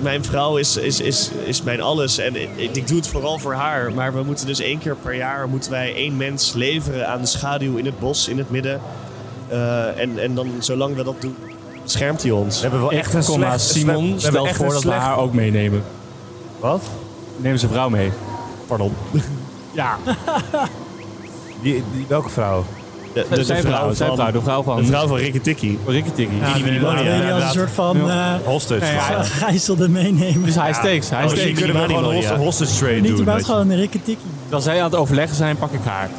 S3: mijn vrouw is, is, is, is mijn alles en ik, ik doe het vooral voor haar. Maar we moeten dus één keer per jaar moeten wij één mens leveren aan de schaduw in het bos in het midden. Eh, en, en dan zolang we dat doen, schermt hij ons.
S2: We hebben wel echt een
S5: Komma,
S2: slecht... we
S5: Simon
S2: hebben
S5: stelt
S2: echt
S5: voor
S2: een
S5: dat we
S2: slecht-
S5: haar ook meenemen.
S2: Wat?
S5: Neem zijn vrouw mee.
S3: Pardon.
S5: Ja,
S2: Die, die, welke vrouw?
S3: De, de, de
S5: zijn
S3: vrouw,
S5: vrouw, zijn vrouw,
S3: van,
S5: de vrouw van
S3: de vrouw van Rikketikkie.
S5: Rikketikkie.
S6: Dan wil je als een
S2: inderdaad.
S6: soort van eh
S2: Hostage.
S6: ja, gijzelde meenemen.
S5: Dus hij steekt, hij
S3: Oh,
S2: Misschien
S3: die
S5: steekt.
S2: kunnen we
S3: Mani
S2: gewoon
S3: Mani,
S2: een hostage,
S3: ja.
S2: hostage trade
S6: Niet, die
S2: doen.
S6: buiten
S2: weet je.
S6: gewoon een rikketikkie.
S5: Als zij aan het overleggen zijn, pak ik haar.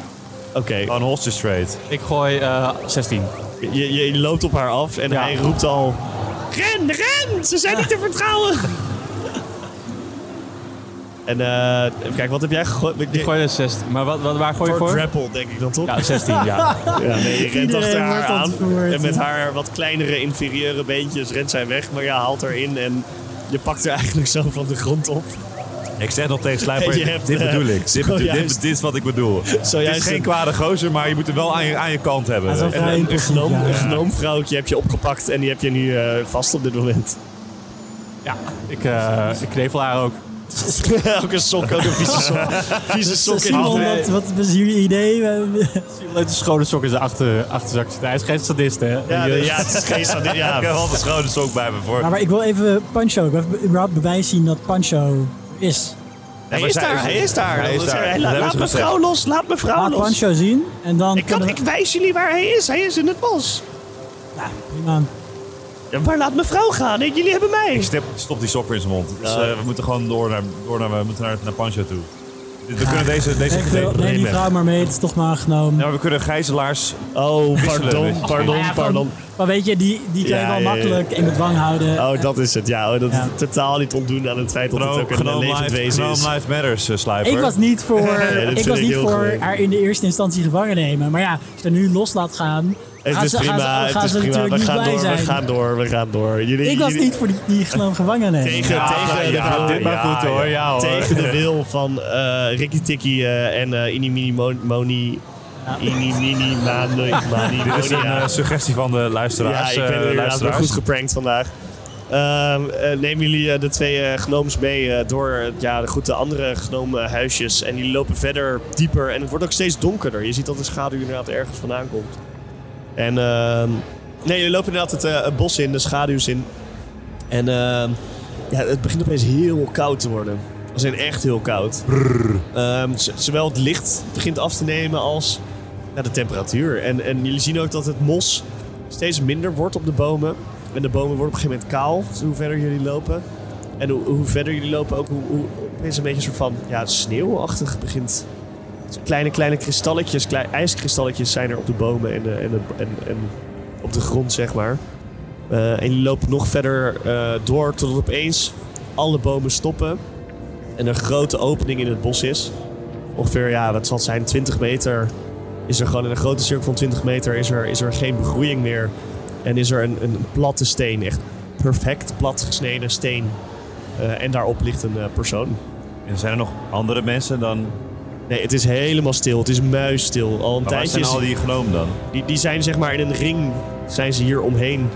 S3: Oké,
S2: Gewoon een hostage trade.
S5: Ik gooi eh, 16.
S3: je, je loopt op haar af en
S5: Ja.
S3: hij roept al... Ren, ren! Ze zijn niet te vertrouwen! en eh even kijken, wat heb jij gegooid?
S5: Ik gooi er 16. Maar wat, wat, waar gooi je
S3: voor,
S5: voor?
S3: grapple, denk ik dan toch?
S5: Ja, 16, ja.
S3: Ja, nee, je rent
S6: Iedereen
S3: achter haar
S6: wordt
S3: aan.
S6: ontvoerd,
S3: En met
S6: ja.
S3: haar wat kleinere, inferieure beentjes rent zij weg. Maar ja, haalt haar in en je pakt haar eigenlijk zo van de grond op.
S2: Ik zeg nog tegen
S3: En je
S2: Slijper,
S3: hebt,
S2: dit
S3: eh,
S2: bedoel ik. Dit, bedoel, dit,
S3: zojuist-
S2: dit is wat ik bedoel. Het is
S3: Zojuist
S2: geen
S3: een,
S2: kwade gozer, maar je moet hem wel aan je, aan je kant hebben.
S6: Hij is wel
S2: En-
S6: vrij
S3: een, een,
S6: impulsief,
S3: gnoom,
S6: ja.
S3: een gnoomvrouwtje heb je opgepakt en die heb je nu eh, vast op dit moment.
S5: ja. Ik, eh, ik knevel haar ook.
S3: ook een sok, ook een vieze sok. Vieze sok in
S6: Simon, wat, wat is jullie idee? We-
S5: Leuk de schone sok in zijn achter, achterzak zitten. Hij is geen sadist, hè?
S3: Ja,
S5: Die,
S3: de-
S5: eh,
S3: ja, het is geen sadist.
S2: Ik heb
S3: Ja,
S2: altijd een schone sok bij me voor.
S6: Maar, maar ik wil even Pancho, ik wil even überhaupt bewijs zien dat Pancho is.
S3: Oh, hij is daar, hij is daar.
S2: Hij is
S3: Dat-
S2: daar.
S3: hij-
S2: Dat
S3: Laat
S2: hebben
S3: laat
S2: ze
S3: mijn
S2: gezegd.
S3: vrouw los, laat mijn vrouw
S6: Laat
S3: los.
S6: Pancho zien en dan
S3: Ik, kan,
S6: kunnen
S3: ik
S6: we-
S3: wijs jullie waar hij is. Hij is in het bos.
S6: Ja, prima.
S3: Ja, maar laat mijn vrouw gaan. Nee, jullie hebben mij.
S2: Ik stip- stop die sok weer in zijn mond. Dus, eh, we moeten gewoon door naar, door naar, we moeten naar, naar Pancho toe. We kunnen deze, deze
S6: Ik wil-
S2: nee,
S6: Neem die vrouw maar mee, het is toch maar aangenomen.
S2: Ja, maar we kunnen gijzelaars...
S3: Oh,
S2: Wisselen,
S3: pardon,
S6: Ja,
S3: pardon,
S6: van-
S3: pardon.
S6: Maar weet je, die, die kan je
S3: Ja,
S6: wel
S3: ja, ja.
S6: makkelijk in bedwang houden.
S3: Oh, dat is het. Ja, oh, dat is
S6: Ja.
S3: totaal niet ontdoen aan het feit dat
S2: Gnome
S3: het ook een
S2: Gnome
S3: levend
S2: life,
S3: wezen is.
S2: Gnome life matters, eh, Slijper.
S6: Ik was niet voor,
S3: dat
S6: ik
S3: vind
S6: was
S3: ik
S6: niet
S3: heel
S6: voor
S3: gemeen.
S6: haar in de eerste instantie gevangen nemen. Maar ja, als je haar nu los laat gaan,
S3: Het
S6: gaan
S3: is
S6: ze, gaan ze,
S3: prima,
S6: gaan
S3: het is
S6: ze
S3: prima.
S6: natuurlijk
S3: We
S6: niet
S3: gaan
S6: blij
S3: door, we
S6: zijn.
S3: gaan door, we gaan door. Jullie,
S6: ik was
S3: jullie-
S6: niet voor die, die gewoon gevangen nemen.
S3: tegen, tegen,
S2: ja,
S3: de,
S2: dit maar goed, hoor.
S5: Ja, hoor.
S3: tegen de wil van eh Ricky Tikkie eh, en eh Inimini Mon- Moni... Inimini Mani Mani
S2: Dit is een
S3: Monia.
S2: eh, suggestie van de
S3: Oh, Ja,
S2: luisteraars.
S3: ik ben
S2: eh,
S3: inderdaad weer
S2: luisteraars.
S3: goed geprankt vandaag. Ehm, eh, nemen jullie eh, de twee eh, gnomes mee eh, door eh, ja, de- goed, de andere gnomenhuisjes. En jullie lopen verder dieper. En het wordt ook steeds donkerder. Je ziet dat de schaduw inderdaad ergens vandaan komt. En ehm, nee, jullie lopen inderdaad het, eh, het bos in, de schaduws in. En ehm, ja, het begint opeens heel koud te worden. Als in echt heel koud. Ehm, z- zowel het licht begint af te nemen als ja, de temperatuur. En, en jullie zien ook dat het mos steeds minder wordt op de bomen. En de bomen worden op een gegeven moment kaal, dus hoe verder jullie lopen. En hoe, hoe verder jullie lopen ook, hoe, hoe opeens een beetje een soort van ja, sneeuwachtig begint. Dus Kleine, kleine kristalletjes, klei- ijskristalletjes zijn er op de bomen en, eh, en, de- en, en op de grond, zeg maar. Eh, en jullie lopen nog verder eh, door totdat opeens alle bomen stoppen. En een grote opening in het bos is. Ongeveer, ja, wat zal het zijn, 20 meter. Is er gewoon in een grote cirkel van 20 meter is er, is er geen begroeiing meer. En is er een, een platte steen, echt perfect plat gesneden steen. Eh, en daarop ligt een eh, persoon.
S2: En zijn er nog andere mensen dan...
S3: Nee, het is helemaal stil. Het is muisstil. Al een
S2: Maar waar
S3: tijdje.
S2: zijn
S3: is-
S2: al die genomen dan?
S3: die, die zijn zeg maar in een ring. Zijn ze hier omheen.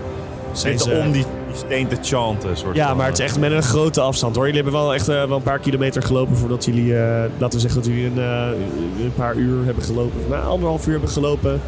S3: Zijn
S2: Zitten eh, om die, die steen te chanten. Soort
S3: Ja,
S2: van. eh.
S3: maar het is echt met een grote afstand hoor. Jullie hebben wel echt eh, wel een paar kilometer gelopen voordat jullie, eh, laten we zeggen dat jullie een, eh, een paar uur hebben gelopen. Nou, anderhalf uur hebben gelopen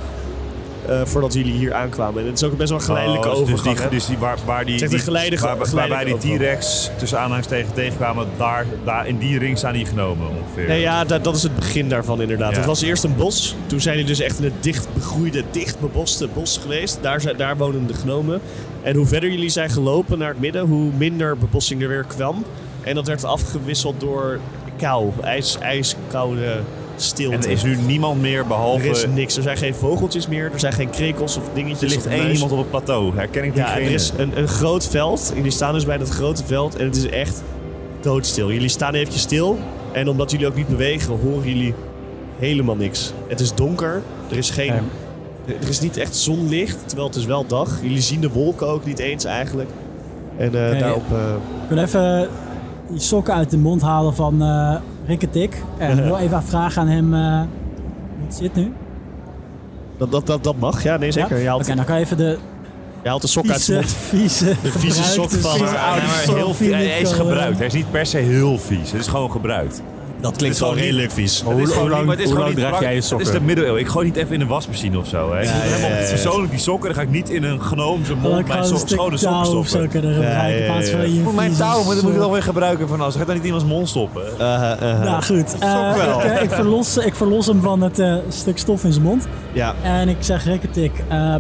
S3: eh, voordat jullie hier aankwamen. En het is ook best wel een geleidelijke
S2: Oh, dus
S3: overgang.
S2: Die,
S3: hè?
S2: dus die, waar, waar die,
S3: Het is echt een
S2: die-
S3: geleidige-
S2: waar, waar- waarbij
S3: geleidelijke
S2: die T-Rex tussen aanhangstegen tegenkwamen, daar, daar, in die ring staan die genomen ongeveer.
S3: Nee, ja, dat, dat is het begin daarvan inderdaad.
S2: Ja.
S3: Het was eerst een bos. Toen zijn die dus echt in het dicht begroeide, dicht beboste bos geweest. Daar, zijn- daar wonen de gnomen. En hoe verder jullie zijn gelopen naar het midden, hoe minder bebossing er weer kwam. En dat werd afgewisseld door kou, ijs, ijskoude stilte.
S2: En er is nu niemand meer
S3: Er
S2: behalve...
S3: is niks. Er zijn geen vogeltjes meer. Er zijn geen krekels of dingetjes.
S2: er ligt
S3: of
S2: één
S3: muizen.
S2: iemand op het plateau. Herken ik
S3: Ja, en
S2: diegene?
S3: er is een, een groot veld. Jullie staan dus bij dat grote veld en het is echt doodstil. Jullie staan eventjes stil en omdat jullie ook niet bewegen, horen jullie helemaal niks. Het is donker, er is geen... Er is niet echt zonlicht, terwijl het is wel dag. Jullie zien de wolken ook niet eens eigenlijk. En eh,
S6: Nee.
S3: daarop... eh,
S6: Ik wil even die sokken uit de mond halen van eh Rikketik. En ik wil even vragen aan hem eh, hoe het zit nu.
S3: dat, dat, dat, dat mag, ja, nee zeker. Je,
S6: Ja? Oké,
S3: haalt,
S6: dan kan je even de
S3: je haalt de sok uit zijn
S6: vieze,
S3: mond.
S5: eh,
S6: vieze,
S3: De vieze sok
S6: gebruikte,
S3: van-
S6: vieze
S3: Ja,
S6: oude
S2: Ja, maar
S6: sok
S2: eh, heel,
S6: vind
S2: hij
S6: ik
S2: is
S6: wel, eh,
S2: gebruikt. Hij is niet per se heel vies. Het is gewoon gebruikt.
S3: Dat klinkt
S2: wel
S3: wel redelijk vies.
S2: Het is
S5: hoe
S2: gewoon
S5: lang-
S2: niet- maar het is gewoon
S5: hoe lang
S2: niet
S5: draag
S2: prak-
S5: jij je
S2: Het is
S5: sokken?
S2: de middeleeuwen. Ik gooi niet even in een wasmachine of zo. Hè. ik doe
S3: ja,
S2: helemaal
S3: ja, ja.
S2: persoonlijk die sokken. Dan ga ik niet in een genoomse
S6: dan kan
S2: mond
S6: ik
S2: mijn
S6: gewoon
S2: so
S6: een stuk
S2: schone
S6: touw
S2: sokken
S6: of zo
S2: stoppen.
S6: kunnen gebruiken
S3: ja,
S6: in plaats van
S3: ja.
S6: je
S2: Moet mijn
S6: vieze
S2: touw, maar dan
S6: sok.
S2: moet ik dan weer gebruiken van als. Ga ik dan niet in iemands mond stoppen?
S3: Eh, eh, eh.
S6: Nou goed, Eh,
S3: wel.
S6: ik, eh, ik, verlos, ik verlos hem van het eh, stuk stof in zijn mond.
S3: Ja.
S6: En ik zeg Rikketik, eh,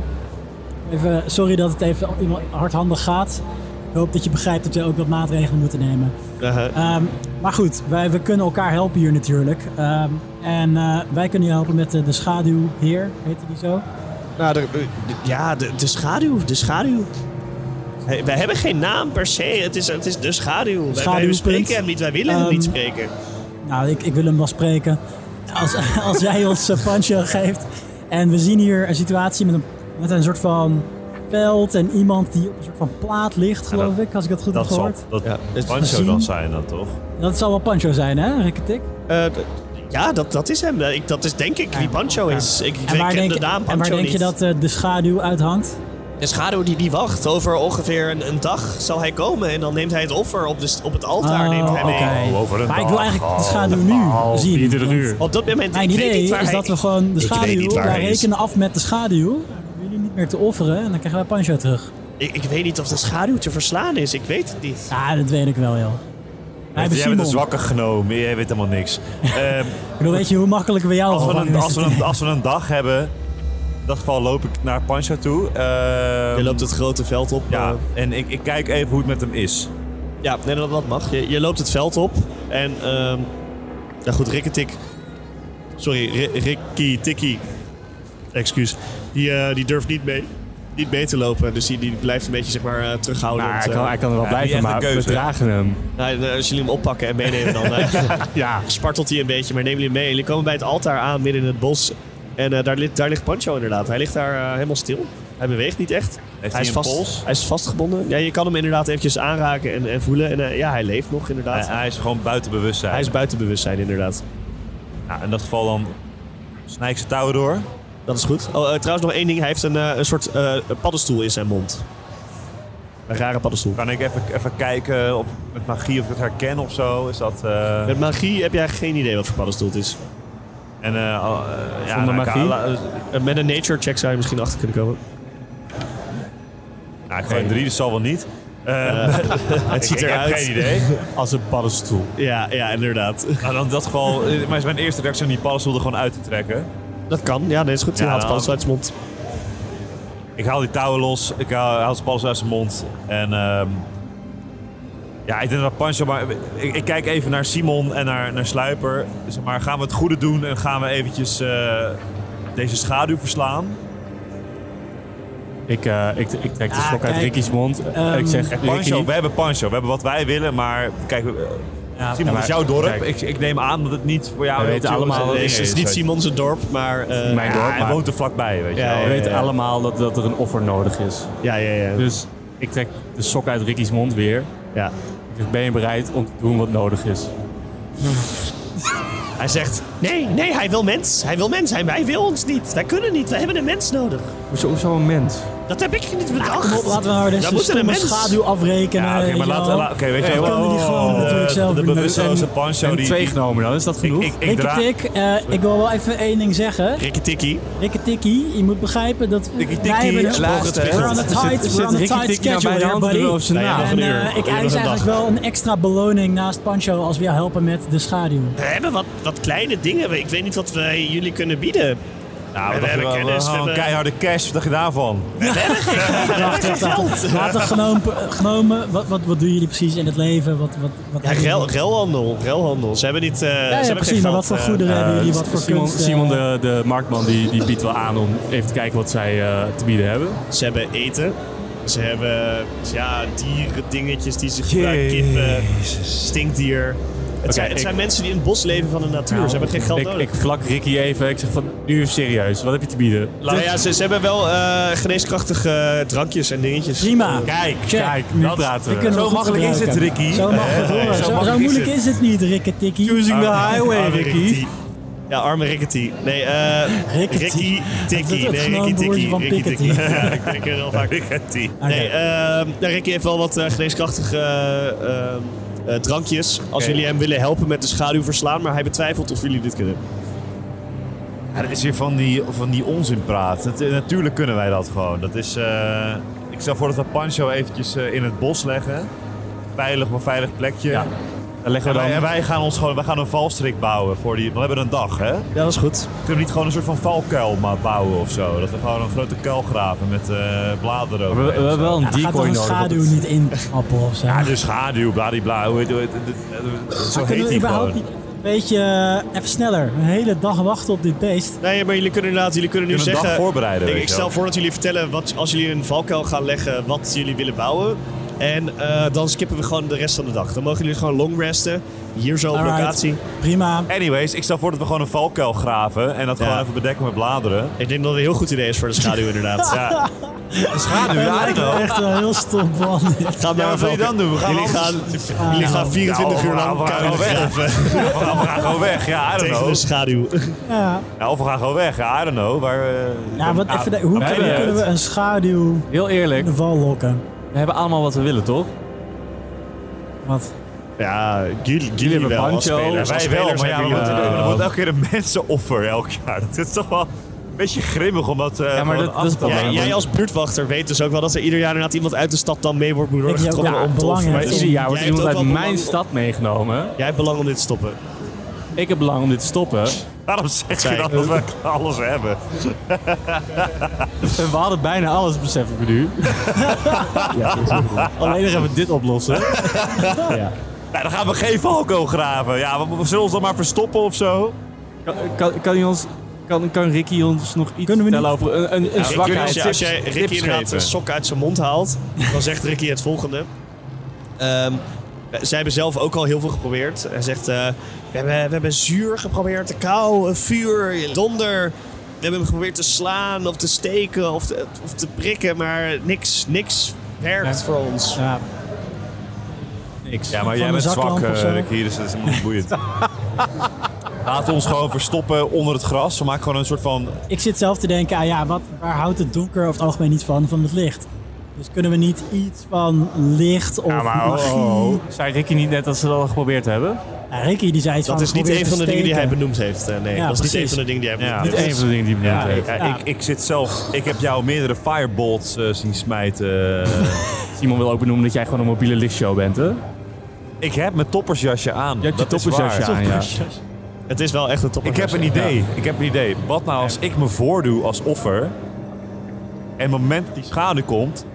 S6: even, sorry dat het even iemand hardhandig gaat. Ik hoop dat je begrijpt dat we ook wat maatregelen moeten nemen.
S3: eh, eh.
S6: Ehm, maar goed, wij we kunnen elkaar helpen hier natuurlijk. Ehm, en eh, wij kunnen je helpen met de, de schaduwheer, heette die zo?
S3: Nou, de, de- ja, de, de schaduw, de schaduw. Hey, wij hebben geen naam per se, het is, het is de schaduw. Wij- Wij,
S6: Schaduwpunt.
S3: spreken hem niet, wij willen hem
S6: Ehm,
S3: niet spreken.
S6: Nou, ik, ik wil hem wel spreken. Als, als jij ons eh, Pancho geeft. En we zien hier een situatie met een, met een soort van veld en iemand die op een soort van plaat ligt, geloof
S2: dat-
S6: ik, als ik dat goed
S2: Dat
S6: heb
S2: zal
S6: gehoord.
S2: dat
S3: Ja.
S2: Pancho dan zijn dat toch?
S6: Dat zal wel Pancho zijn, hè, Rikketik?
S3: Eh, d- ja, dat, dat is hem. Ik, dat is denk ik wie Pancho is. Ik, ik ken de naam
S6: en waar
S3: Pancho
S6: denk
S3: niet.
S6: je dat eh, de schaduw uithangt?
S3: De schaduw die, die wacht, over ongeveer een, een dag zal hij komen. En dan neemt hij het offer op, de, st- op het altaar.
S6: Oh,
S3: neemt hij mee.
S6: oké.
S2: Oh, over een
S6: maar ik wil
S2: dag.
S6: eigenlijk de
S2: Oh,
S6: schaduw nu
S5: Al
S6: zien.
S5: 24
S6: want
S5: uur.
S3: Op dat moment,
S6: Mijn
S3: ik weet
S6: idee
S3: niet waar
S6: is
S3: hij
S6: dat we gewoon de
S3: Ik weet
S6: schaduw,
S3: niet waar
S6: wij
S3: hij is.
S6: rekenen af met de schaduw. We Jullie niet meer te offeren en dan krijgen wij Pancho terug.
S3: Ik, ik weet niet of de schaduw te verslaan is, ik weet het niet.
S6: Ja, Ah, dat weet ik wel, joh. Wij hebben
S2: Jij bent een
S6: Simon.
S2: zwakke genoom. Jij weet helemaal niks. Ehm,
S6: Ik bedoel, weet je hoe makkelijk we jou
S2: Als we,
S6: vangen?
S2: een, als, we een, als we een dag hebben, in dat geval loop ik naar Pancho toe. Ehm,
S3: Je loopt het grote veld op.
S2: Ja,
S3: eh,
S2: en ik, ik kijk even hoe het met hem is.
S3: Ja, nee, dat, dat mag. Je, je loopt het veld op en... ehm ja goed, Rikketik... Sorry, Ri- Rikki Tikki. Excuus. Die, eh, die durft niet mee, niet mee te lopen. Dus die, die blijft een beetje zeg maar, eh, terughoudend.
S5: Nou, hij,
S3: eh.
S5: kan, hij kan er wel
S2: Ja, die
S5: blijven,
S2: echte
S5: maar we
S2: keuze.
S5: dragen hem.
S3: Nou, eh, als jullie hem oppakken en meenemen dan... eh,
S5: Ja.
S3: spartelt hij een beetje, maar neem jullie mee. Jullie komen bij het altaar aan, midden in het bos. En eh, daar, ligt, daar ligt Pancho inderdaad. Hij ligt daar eh, helemaal stil. Hij beweegt niet echt.
S2: hij
S3: is
S2: een
S3: vast,
S2: pols?
S3: Hij is vastgebonden. Ja, je kan hem inderdaad eventjes aanraken en, en voelen. En eh, ja, hij leeft nog
S2: Hij,
S3: inderdaad.
S2: hij is gewoon buiten bewustzijn.
S3: Hij is buiten bewustzijn, inderdaad.
S2: Nou, in dat geval dan snij ik zijn touwen door.
S3: Dat is goed. Oh, eh, trouwens nog één ding. Hij heeft een, eh, een soort eh, paddenstoel in zijn mond. Een rare paddenstoel.
S2: Kan ik even, even kijken of, met magie of ik het herken of zo? Is dat... eh,
S3: Met magie heb jij geen idee wat voor paddenstoel het is.
S2: en, eh, al- eh, ja,
S5: Zonder
S2: nou, ik-
S5: magie?
S2: la-
S3: Eh, Met een nature check zou je misschien achter kunnen komen.
S2: nou, ik gooi een drie, dus zal wel niet. Ah,
S3: het ziet eruit.
S2: geen idee.
S5: Als een paddenstoel.
S3: Ja, ja, inderdaad.
S2: Nou, dan in dat geval... eh, Maar is mijn eerste reactie om die paddenstoel er gewoon uit te trekken.
S3: Dat kan, ja, nee, is goed. Je
S2: Ja, nou,
S3: haalt
S2: dan-
S3: paddenstoel uit zijn mond.
S2: Ik haal die touwen los, ik haal, haal de spals uit zijn mond. En ehm, ja, ik denk dat Pancho, maar ik, ik kijk even naar Simon en naar, naar Sluiper. Zeg maar, gaan we het goede doen en gaan we eventjes eh, deze schaduw verslaan?
S5: Ik, eh, ik, ik trek de
S6: Ah,
S5: stok uit
S6: kijk.
S5: Ricky's mond.
S6: Ehm,
S5: ik zeg,
S2: Kijk, Pancho,
S5: Ricky,
S2: we hebben Pancho, we hebben wat wij willen, maar kijk, eh, Simon,
S5: maar-
S2: het is jouw dorp.
S5: kijk.
S2: Ik, ik neem aan dat het niet voor jou
S5: We
S2: heel
S5: weten
S2: chill
S5: allemaal-
S2: en
S5: Nee,
S3: Het
S2: dingen
S3: is, niet
S2: weet je.
S3: Simon zijn dorp, maar... eh,
S5: mijn dorp,
S2: Ja, hij
S5: maar
S2: woont er vlakbij, weet je
S3: Ja,
S2: wel.
S5: we
S3: ja,
S5: weten
S3: ja.
S5: allemaal dat, dat er een offer nodig is.
S3: Ja, ja, ja.
S5: Dus ik trek de sok uit Ricky's mond weer.
S3: ja.
S5: Ik zeg, ben je bereid om te doen wat nodig is?
S3: Hij zegt, nee, nee, hij wil mens. Hij wil mens. Hij, hij wil ons niet. Wij kunnen niet. Wij hebben een mens nodig.
S5: Hoezo, hoezo een mens?
S3: Dat heb ik niet
S6: Ja, Ah, kom
S3: bedacht.
S6: op, laten we nou deze
S3: Daar moet er een
S6: stomme
S3: mens.
S6: schaduw afrekenen.
S2: Ja, oké,
S6: weet
S2: maar
S6: je
S2: laten
S6: wel.
S2: la- oké, weet je
S6: we
S2: wel.
S6: kunnen die gewoon
S2: eh,
S6: natuurlijk zelf
S2: de
S6: doen.
S2: bewusteloze
S6: En-
S2: Pancho,
S5: En
S2: die...
S5: twee
S2: die-
S5: genomen dan, is dat
S2: Ik,
S5: genoeg?
S2: ik, ik, draai-
S6: Rikketik, eh, ik wil wel even één ding zeggen.
S3: Rikketikkie.
S6: Rikketikkie, je moet begrijpen dat
S2: Rikketikkie,
S6: wij hebben...
S2: laatste, hè?
S6: We're on a tight, we're on a tight schedule here, buddy.
S5: zijn
S3: Ja, naam?
S6: nou En
S3: Nog een
S6: eh,
S3: uur. Eerder
S6: ik eis
S3: een
S6: eigenlijk
S3: dag.
S6: wel een extra beloning naast Pancho als we jou helpen met de schaduw.
S3: We hebben wat, wat kleine dingen. Ik weet niet wat wij jullie kunnen bieden.
S2: Nou, we,
S3: We
S2: hebben
S3: hebben kennis, we
S5: eh,
S2: gewoon
S3: hebben-
S2: keiharde cash. Wat dacht je daarvan?
S6: Laten genomen, genomen wat, wat, wat doen jullie precies in het leven? Wat, wat, wat
S3: Ja,
S6: hebben jullie?
S3: rel, relhandel. Relhandel. Ze hebben niet... eh, ze
S6: Ja, ja,
S3: hebben
S6: precies,
S3: geen
S6: maar
S3: geld,
S6: wat voor
S3: eh,
S6: goederen hebben jullie? Wat voor
S5: Simon,
S6: kunst? eh,
S5: Simon de, de marktman, die, die biedt wel aan om even te kijken wat zij eh, te bieden hebben.
S3: Ze hebben eten. Ze hebben ja, dierendingetjes die ze gebruiken. Kippen, stinkdier. Het, zijn, het
S5: ik-
S3: zijn mensen die in het bos leven van de natuur.
S6: Nou,
S3: ze hebben geen geld
S5: Ik,
S3: nodig.
S5: ik vlak Ricky even, ik zeg van, nu even serieus, wat heb je te bieden?
S3: Nou ja, ze, ze hebben wel eh, geneeskrachtige drankjes en dingetjes.
S6: Prima.
S2: Kijk,
S6: Check.
S5: Kijk, nu
S6: Dat-
S5: praten
S6: dit
S5: we.
S6: kunnen
S2: Zo
S6: we goed
S2: makkelijk is het,
S6: gebruiken.
S2: Ricky.
S6: Zo, mag het
S2: Eh,
S6: hoor.
S2: zo
S6: zo,
S2: makkelijk
S6: zo
S2: is
S6: moeilijk
S2: het.
S6: is het niet, Rikketikkie.
S5: Using
S2: Arme- arme Rikkie.
S3: Ja, arme Rickety. Nee, eh
S6: Rickety.
S3: Ricky
S6: Dat is
S3: Tikkie.
S6: het
S3: Nee,
S6: gewoon
S3: Ricky
S6: broertje
S3: Tikkie.
S6: van
S3: Ricky
S6: Piketty.
S3: Tikkie. Ja, ik denk er heel vaak.
S2: Rickety.
S6: Oké.
S3: Nee, ehm nou, Ricky heeft wel wat eh, geneeskrachtige eh, ehm, eh, drankjes. Als
S2: Oké.
S3: jullie hem willen helpen met de schaduw verslaan, maar hij betwijfelt of jullie dit kunnen.
S2: Ja, dat is weer van die, van die onzin praat. Dat- eh, natuurlijk kunnen wij dat gewoon. Dat is, eh, ik stel voor dat we Pancho eventjes eh, in het bos leggen. Veilig, maar veilig plekje.
S5: Ja, dan leggen
S2: En,
S5: we
S2: wij, en
S5: dan...
S2: wij gaan ons gewoon wij gaan een valstrik bouwen. Voor die, we hebben een dag, hè?
S3: Ja, dat is goed.
S2: Kunnen we niet gewoon een soort van valkuil maar bouwen of zo? Dat we gewoon een grote kuil graven met eh, bladeren
S5: We, we
S2: overheen of
S5: hebben
S2: zo.
S5: wel een
S6: Ja, dan gaat toch
S5: decoy
S6: een
S5: nodig. op
S6: schaduw
S5: het-
S6: niet in appel of zo.
S2: Ja, de schaduw, bladibla. Hoe heet, hoe heet- eh, eh, zo
S6: Ah, Kunnen
S2: heet
S6: we
S2: die
S6: überhaupt
S2: gewoon.
S6: niet een beetje eh, even sneller? Een hele dag wachten op dit beest.
S3: Nee, maar jullie kunnen inderdaad jullie kunnen nu
S2: Kunnen een dag
S3: zeggen...
S2: voorbereiden, weet
S3: Ik, ik
S2: je
S3: stel
S2: wel.
S3: voor dat jullie vertellen, wat, als jullie een valkuil gaan leggen, wat jullie willen bouwen. En eh, dan skippen we gewoon de rest van de dag. Dan mogen jullie gewoon long resten. Hier zo op
S6: Alright.
S3: locatie.
S6: Prima.
S2: Anyways, ik stel voor dat we gewoon een valkuil graven en dat
S3: Ja.
S2: gewoon even bedekken met bladeren.
S3: Ik denk dat het een heel goed idee is voor de schaduw inderdaad.
S2: Ja. Een schaduw, ja, ik
S6: Lijkt me
S2: wel.
S6: Echt wel heel stom man.
S3: Ga maar
S2: Ja, wat wil je
S3: valkuil.
S2: dan doen? We gaan
S3: Jullie
S2: anders-
S3: gaan, jullie
S2: Oh,
S3: gaan 24 uur lang
S2: we gaan
S3: kuilen
S2: gewoon weg.
S3: graven
S2: we gaan gewoon weg, ja, I don't
S3: tegen de
S2: know.
S3: schaduw.
S6: Ja,
S2: Ja, of we gaan gewoon weg, ja, I don't know. Maar, eh,
S6: ja wat
S5: Nou,
S6: even, de- hoe
S5: maakt
S6: kunnen,
S5: niet
S6: kunnen we
S5: uit.
S6: een schaduw
S5: Heel eerlijk,
S6: in de val lokken?
S5: we hebben allemaal wat we willen, toch?
S6: Wat?
S3: Ja, jullie, jullie
S5: hebben
S3: wel als
S5: Pancho.
S2: ja,
S3: spelers.
S2: wij
S3: Als
S2: wel,
S3: spelers
S2: maar ja, we
S3: hebben jullie
S2: moeten,
S3: dat.
S2: er wordt elke keer een mensenoffer elk jaar. Dat is toch wel een beetje grimmig om dat eh,
S5: maar
S2: gewoon
S5: dat- dat is
S2: af te
S3: Ja,
S5: het probleem.
S2: Ja,
S3: jij als buurtwachter weet dus ook wel dat er ieder jaar inderdaad iemand uit de stad dan mee wordt
S6: Ik heb ook
S3: doorgetrokken
S6: wel
S3: om te
S6: belang
S3: offeren.
S6: in.
S5: Maar
S3: Dus
S5: ieder
S6: Jij
S5: jaar
S3: jij
S5: wordt
S3: hebt
S5: iemand
S3: ook
S5: uit
S3: wel
S5: mijn
S3: belang-
S5: stad meegenomen.
S3: Jij hebt belang om dit te stoppen.
S5: Ik heb belang om dit te stoppen.
S2: Waarom zeg je
S3: Zij-
S2: dan dat we alles hebben?
S5: En we hadden bijna alles, besef ik me nu. Alleen nog even dit oplossen.
S2: Nou, dan gaan we geen valko graven. Ja, we, we zullen ons dan maar verstoppen of zo.
S5: Kan, kan, kan, hij ons, kan, kan Ricky ons nog iets
S6: Kunnen we niet-
S5: vertellen over een, een, een
S3: Ik
S5: zwakheid?
S3: wil- als,
S5: Tips-
S3: jij
S5: tips
S3: Ricky inderdaad
S5: geven.
S3: een sok uit zijn mond haalt, dan zegt Ricky het volgende. Ehm, zij hebben zelf ook al heel veel geprobeerd. Hij zegt, eh, we, hebben, we hebben zuur geprobeerd, de kou, eh, vuur, donder. We hebben hem geprobeerd te slaan of te steken of te, of te prikken, maar niks, niks werkt
S6: Ja.
S3: voor ons.
S6: Ja,
S5: Niks.
S2: Ja, maar
S6: Van
S2: jij
S6: een
S2: bent zwak,
S6: zaklamp of zo.
S2: eh Ricky, dus dat is helemaal niet boeiend. Laten we ons gewoon verstoppen onder het gras. We maken gewoon een soort van...
S6: ik zit zelf te denken, ah ja, wat, waar houdt het donker over het algemeen niet van, van het licht? Dus kunnen we niet iets van licht of
S5: Ja, maar
S6: magie...
S5: oh, oh. zei Ricky niet net dat ze dat al geprobeerd hebben?
S6: Ja, Ricky die zei iets
S3: Dat
S6: van,
S3: is niet
S6: probeer
S3: een
S6: te
S3: van de dingen die hij
S6: steken.
S3: benoemd heeft. eh, nee,
S6: Ja,
S3: dat is niet een
S6: precies.
S3: van de dingen die hij
S2: Ja.
S3: benoemd
S5: Niet
S3: heeft.
S5: één van de dingen die we
S2: Ja,
S5: benoemd
S2: ik,
S5: heeft.
S6: Ja.
S2: ik, ik zit zelf... Ik heb jou meerdere firebolts eh, zien smijten.
S5: Simon wil ook benoemen dat jij gewoon een mobiele lichtshow bent, hè?
S2: ik heb mijn toppersjasje aan.
S5: Je hebt je
S2: dat is
S5: toppersjasje
S2: waar.
S5: aan, ja.
S3: Het is wel echt een topper.
S2: Ik heb een idee. Ik heb een idee. Wat nou als ik me voordoe als offer... en op het moment dat die schade komt...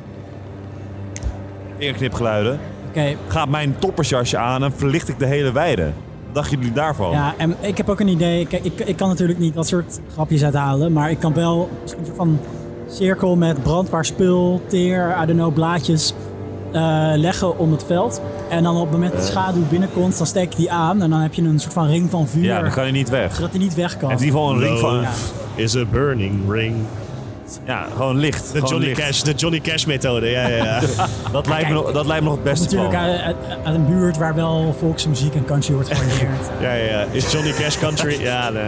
S2: weer knipgeluiden...
S6: Oké,
S2: gaat mijn toppersjasje aan en verlicht ik de hele weide. Wat dachten jullie daarvan?
S6: ja, en ik heb ook een idee. Kijk, ik, ik kan natuurlijk niet dat soort grapjes uithalen, maar ik kan wel misschien een soort van cirkel met brandbaar spul, teer, I don't know, blaadjes eh, leggen om het veld. En dan op het moment dat de
S2: Eh.
S6: schaduw binnenkomt, dan steek je die aan en dan heb je een soort van ring van vuur,
S2: Ja, dan kan hij niet weg.
S6: zodat hij niet weg kan.
S2: Hij heeft in ieder geval een ring van...
S6: Ja.
S3: Is a burning ring.
S2: Ja, gewoon licht.
S3: De
S2: gewoon
S3: Johnny,
S2: licht.
S3: Cash, de Johnny Cash methode, ja, ja, ja.
S2: Dat, lijkt me, nog- dat lijkt me nog het beste
S6: Natuurlijk
S2: plan.
S6: uit, uit- uit een buurt waar wel volksmuziek en country wordt gewaardeerd.
S3: ja, ja, ja. Is Johnny Cash country? Ja, nee.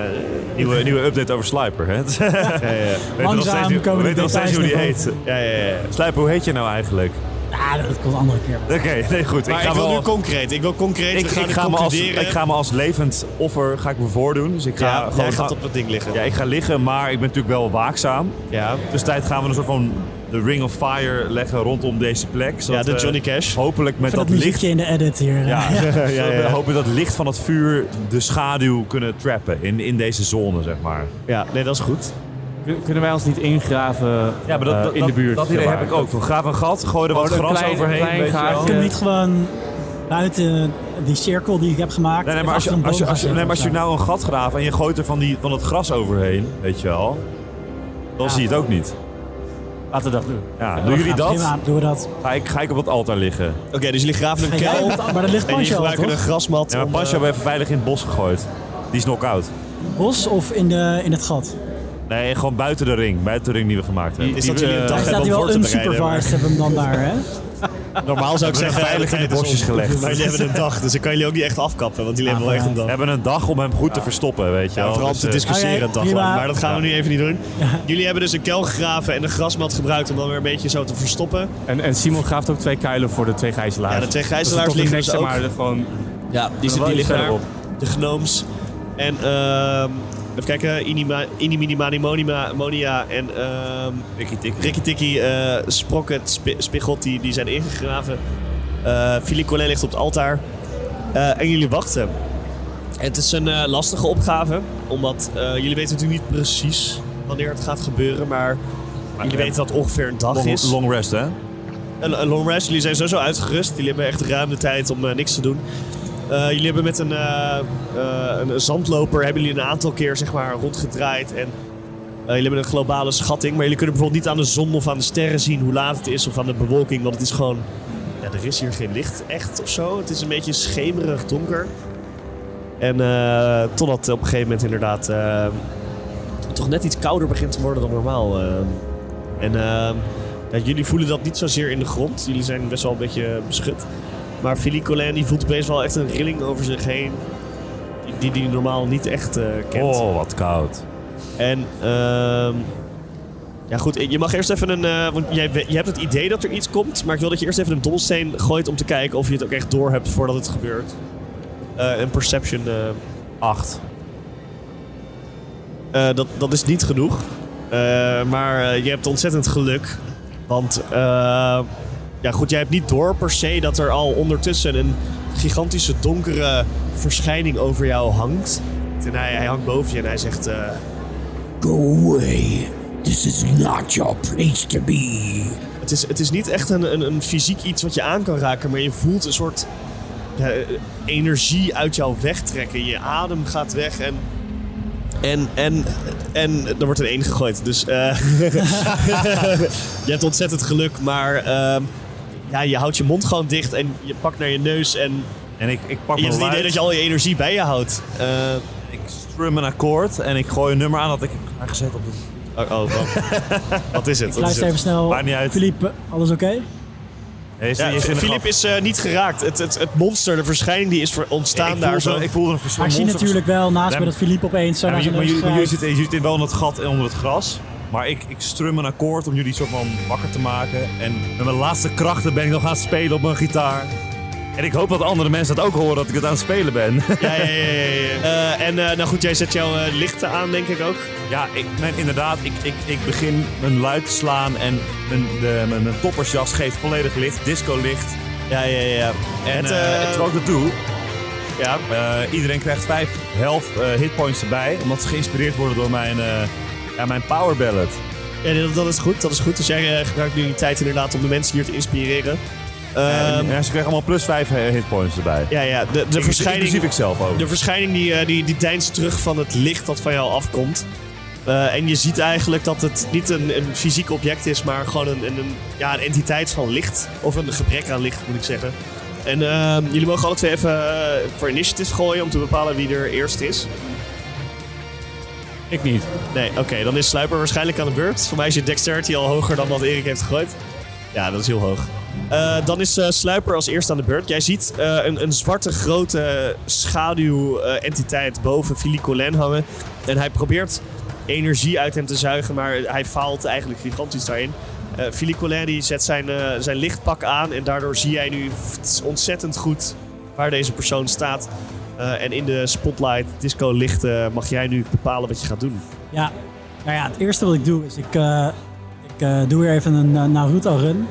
S2: Nieuwe, nieuwe update over Slijper, hè?
S3: Ja, ja.
S6: Langzaam
S2: we
S6: komen de
S2: weten nog steeds
S6: details
S2: hoe die
S6: naar
S2: heet.
S3: ja, ja, ja.
S2: Slijper, hoe heet je nou eigenlijk?
S6: Ah, dat komt een andere keer.
S2: Oké, nee goed.
S3: Maar ik,
S2: ik ga
S3: wil
S2: wel...
S3: nu concreet. Ik wil concreet.
S2: ik,
S3: we gaan
S2: ik,
S3: nu
S2: ga me als,
S3: concluderen.
S2: ik ga me als levend offer ga ik me voordoen. Dus ik ga
S3: Ja,
S2: gewoon
S3: jij
S2: gaan-
S3: gaat op dat ding liggen.
S2: ja, ik ga liggen, maar ik ben natuurlijk wel waakzaam.
S3: ja.
S2: Dus tijd gaan we een soort van de Ring of Fire leggen rondom deze plek.
S3: Ja,
S2: zodat
S3: de
S2: we
S3: Johnny Cash.
S2: Hopelijk met
S6: Even dat,
S2: dat,
S6: muziekje
S2: licht.
S6: in de edit hier.
S2: Ja, zodat
S3: ja, ja.
S2: we hopen dat het licht van het vuur de schaduw kunnen trappen in, in deze zone, zeg maar.
S3: Ja, nee, dat is goed.
S5: Kun- Kunnen wij ons niet ingraven
S2: Ja, maar
S5: eh,
S2: dat,
S5: in de buurt?
S2: Dat idee
S5: zeg
S2: heb
S5: maar?
S2: ik ook. We graven een gat, gooi er
S5: Oh,
S2: wat
S5: een
S2: gras
S5: klein-
S2: overheen.
S5: klein
S2: weet je wel.
S5: gaatje.
S6: Kunnen we niet gewoon buiten die cirkel die ik heb gemaakt...
S2: Nee, nee, maar als je,
S6: even achter
S2: als, je,
S6: een
S2: als, je, nee,
S6: boom
S2: maar als je
S6: gaan
S2: nou een gat graaft en je gooit er van, die, van het gras overheen, weet je wel, dan zie je het ook niet.
S5: Laten we dat doen.
S2: Ja, doen jullie
S6: zetten?
S2: nou dat?
S6: Nou, Prima, doen we dat.
S2: Ga ik, ga ik op het altaar liggen.
S3: Oké, dus jullie graven
S6: Ga
S3: een
S6: jij
S3: kuil.
S6: op het- maar dat ligt
S3: En jullie
S6: Pancho al,
S3: gebruiken een
S6: toch?
S3: grasmat.
S2: Ja, maar
S3: om,
S2: Pasja
S3: eh,
S2: hebben we even veilig in het bos gegooid. Die is knock-out.
S6: Bos of in, de, in het gat?
S2: Nee, gewoon buiten de ring. Buiten de ring die eh, we gemaakt hebben.
S3: eh, is dat jullie een dag
S6: Hij
S3: hebben
S6: staat
S3: om
S6: hier
S3: voor
S6: wel
S3: te bereiden. maar
S6: unsupervised, hebben we hem dan daar, hè?
S3: Normaal zou ik zeggen...
S2: veilig in de
S3: tijd is
S2: bosjes
S3: om.
S2: gelegd.
S3: Maar jullie hebben een dag, dus ik kan jullie ook niet echt afkappen. Want jullie hebben wel echt een
S2: We
S3: dag.
S2: hebben een dag om hem goed te verstoppen, weet je
S3: Ja,
S2: wel.
S3: vooral om
S2: Dus,
S3: te
S2: eh,
S3: discussiëren
S6: oké,
S3: een dag
S6: prima.
S3: lang. Maar dat gaan we nu even niet doen. Jullie hebben dus een kuil gegraven en een grasmat gebruikt om dan weer een beetje zo te verstoppen.
S5: En, en Simon graaft ook twee kuilen voor de twee gijzelaars.
S3: Ja, de twee gijzelaars
S5: Dat is toch
S3: liggen
S5: niks,
S3: dus ook.
S5: zeg maar gewoon
S3: Ja, die, zit,
S2: wel
S3: die
S2: iets
S3: liggen daar.
S2: verderop.
S3: De gnooms. En ehm even kijken, Inima, Inimini Mani Monima, Monia en ehm
S2: Tikkie, tikkie.
S3: Rikki Tikki, eh, Sprocket, Spi- Spigotti, die zijn ingegraven. Eh Philippe Collet ligt op het altaar. Eh, en jullie wachten. Het is een eh, lastige opgave, omdat eh, jullie weten natuurlijk niet precies wanneer het gaat gebeuren, maar, jullie weten dat het ongeveer een dag
S2: Long,
S3: is.
S2: long rest, hè?
S3: Een, een long rest. Jullie zijn sowieso uitgerust. Jullie hebben echt ruim de tijd om eh, niks te doen. Eh, jullie hebben met een, eh, eh, een zandloper hebben jullie een aantal keer zeg maar, rondgedraaid. En eh, jullie hebben een globale schatting. Maar jullie kunnen bijvoorbeeld niet aan de zon of aan de sterren zien hoe laat het is. Of aan de bewolking. Want het is gewoon... Ja, er is hier geen licht echt of zo. Het is een beetje schemerig donker. En eh, totdat op een gegeven moment inderdaad... eh, toch net iets kouder begint te worden dan normaal. eh. en... eh, ja, jullie voelen dat niet zozeer in de grond. Jullie zijn best wel een beetje beschut. Maar Philippe Collin die voelt opeens wel echt een rilling over zich heen. Die die hij normaal niet echt eh, kent.
S2: Oh, wat koud.
S3: En ehm, ja goed, je mag eerst even een... eh, want jij, we- je hebt het idee dat er iets komt. Maar ik wil dat je eerst even een dobbelsteen gooit om te kijken of je het ook echt door hebt voordat het gebeurt. Eh, een perception. eh.
S2: Acht.
S3: Eh, dat, dat is niet genoeg. Eh, maar eh, je hebt ontzettend geluk. Want eh, ja, goed, jij hebt niet door per se dat er al ondertussen een gigantische donkere verschijning over jou hangt. En hij, hij hangt boven je en hij zegt... eh,
S7: Go away. Eh, This is not your place to be.
S3: Het is, het is niet echt een, een, een fysiek iets wat je aan kan raken, maar je voelt een soort ja, eh, energie uit jou wegtrekken. Je adem gaat weg en. En, en, en er wordt een één gegooid. Dus eh, je hebt ontzettend geluk, maar ehm, ja, je houdt je mond gewoon dicht en je pakt naar je neus. En
S2: En ik, ik pak
S3: je
S2: mijn
S3: hebt het idee
S2: luid,
S3: dat je al je energie bij je houdt. Eh,
S2: ik strum een akkoord en ik gooi een nummer aan dat ik heb aangezet op de...
S3: oh, oh, wat- wat is het? Wat is
S6: Luister even
S3: het?
S6: snel.
S2: Maakt niet uit.
S6: Philippe, alles oké?
S2: Hey, is
S3: Ja,
S2: die- is die in de
S3: Filip
S2: graf?
S3: is eh, niet geraakt. Het, het, het monster, de verschijning die is ver-
S2: Ja,
S3: ontstaan
S2: ik
S3: daar
S2: voelde-
S3: zo.
S2: Ik voelde een
S6: Maar ik zie
S2: verschijning.
S6: natuurlijk wel naast
S2: Nee,
S6: me dat Philippe opeens zo
S2: Ja,
S6: naar
S2: maar je- maar
S6: zijn neus
S2: jullie maar jullie
S6: grijpt.
S2: zitten, je zit wel in dat gat onder het gras. Maar ik, ik strum een akkoord om jullie soort van wakker te maken. En met mijn laatste krachten ben ik nog aan het spelen op mijn gitaar. En ik hoop dat andere mensen dat ook horen dat ik het aan het spelen ben.
S3: Ja, ja, ja. ja, ja. Eh, en eh, nou goed, jij zet jouw eh, lichten aan, denk ik ook.
S2: Ja, ik, mijn- inderdaad, ik, ik, ik begin mijn luid te slaan en mijn, de, mijn, mijn toppersjas geeft volledig licht, disco licht.
S3: Ja, ja, ja.
S2: En
S3: Het,
S2: het,
S3: eh,
S2: terwijl ik dat doe,
S3: Ja.
S2: eh, iedereen krijgt vijf health eh, hitpoints erbij, omdat ze geïnspireerd worden door mijn, eh, ja, mijn power ballad.
S3: Ja, dat, dat is goed, dat is goed. Dus jij eh, gebruikt nu die tijd inderdaad om de mensen hier te inspireren. Ehm,
S2: en, ja, ze krijgen allemaal plus vijf eh, hitpoints erbij.
S3: ja, ja, de, de
S2: Ik-
S3: verschijning...
S2: Inclusief ikzelf ook.
S3: De verschijning die, eh, die, die deinst terug van het licht dat van jou afkomt. Eh, en je ziet eigenlijk dat het niet een, een fysiek object is, maar gewoon een, een, een- ja, een entiteit van licht. Of een gebrek aan licht, moet ik zeggen. En eh, jullie mogen alle twee even eh, voor initiative gooien om te bepalen wie er eerst is.
S5: Ik niet.
S3: Nee, oké, dan is Sluiper waarschijnlijk aan de beurt. Voor mij is je dexterity al hoger dan wat Erik heeft gegooid. Ja, dat is heel hoog. Eh, dan is eh, Sluiper als eerste aan de beurt. Jij ziet eh, een, een zwarte grote schaduwentiteit boven Philly Colin hangen. En hij probeert energie uit hem te zuigen, maar hij faalt eigenlijk gigantisch daarin. Eh Philly Colin die zet zijn, eh, zijn lichtpak aan en daardoor zie jij nu ontzettend goed waar deze persoon staat. Eh, en in de spotlight disco lichten mag jij nu bepalen wat je gaat doen.
S6: Ja, nou ja, het eerste wat ik doe is ik, eh, ik eh, doe weer even een eh, Naruto-run.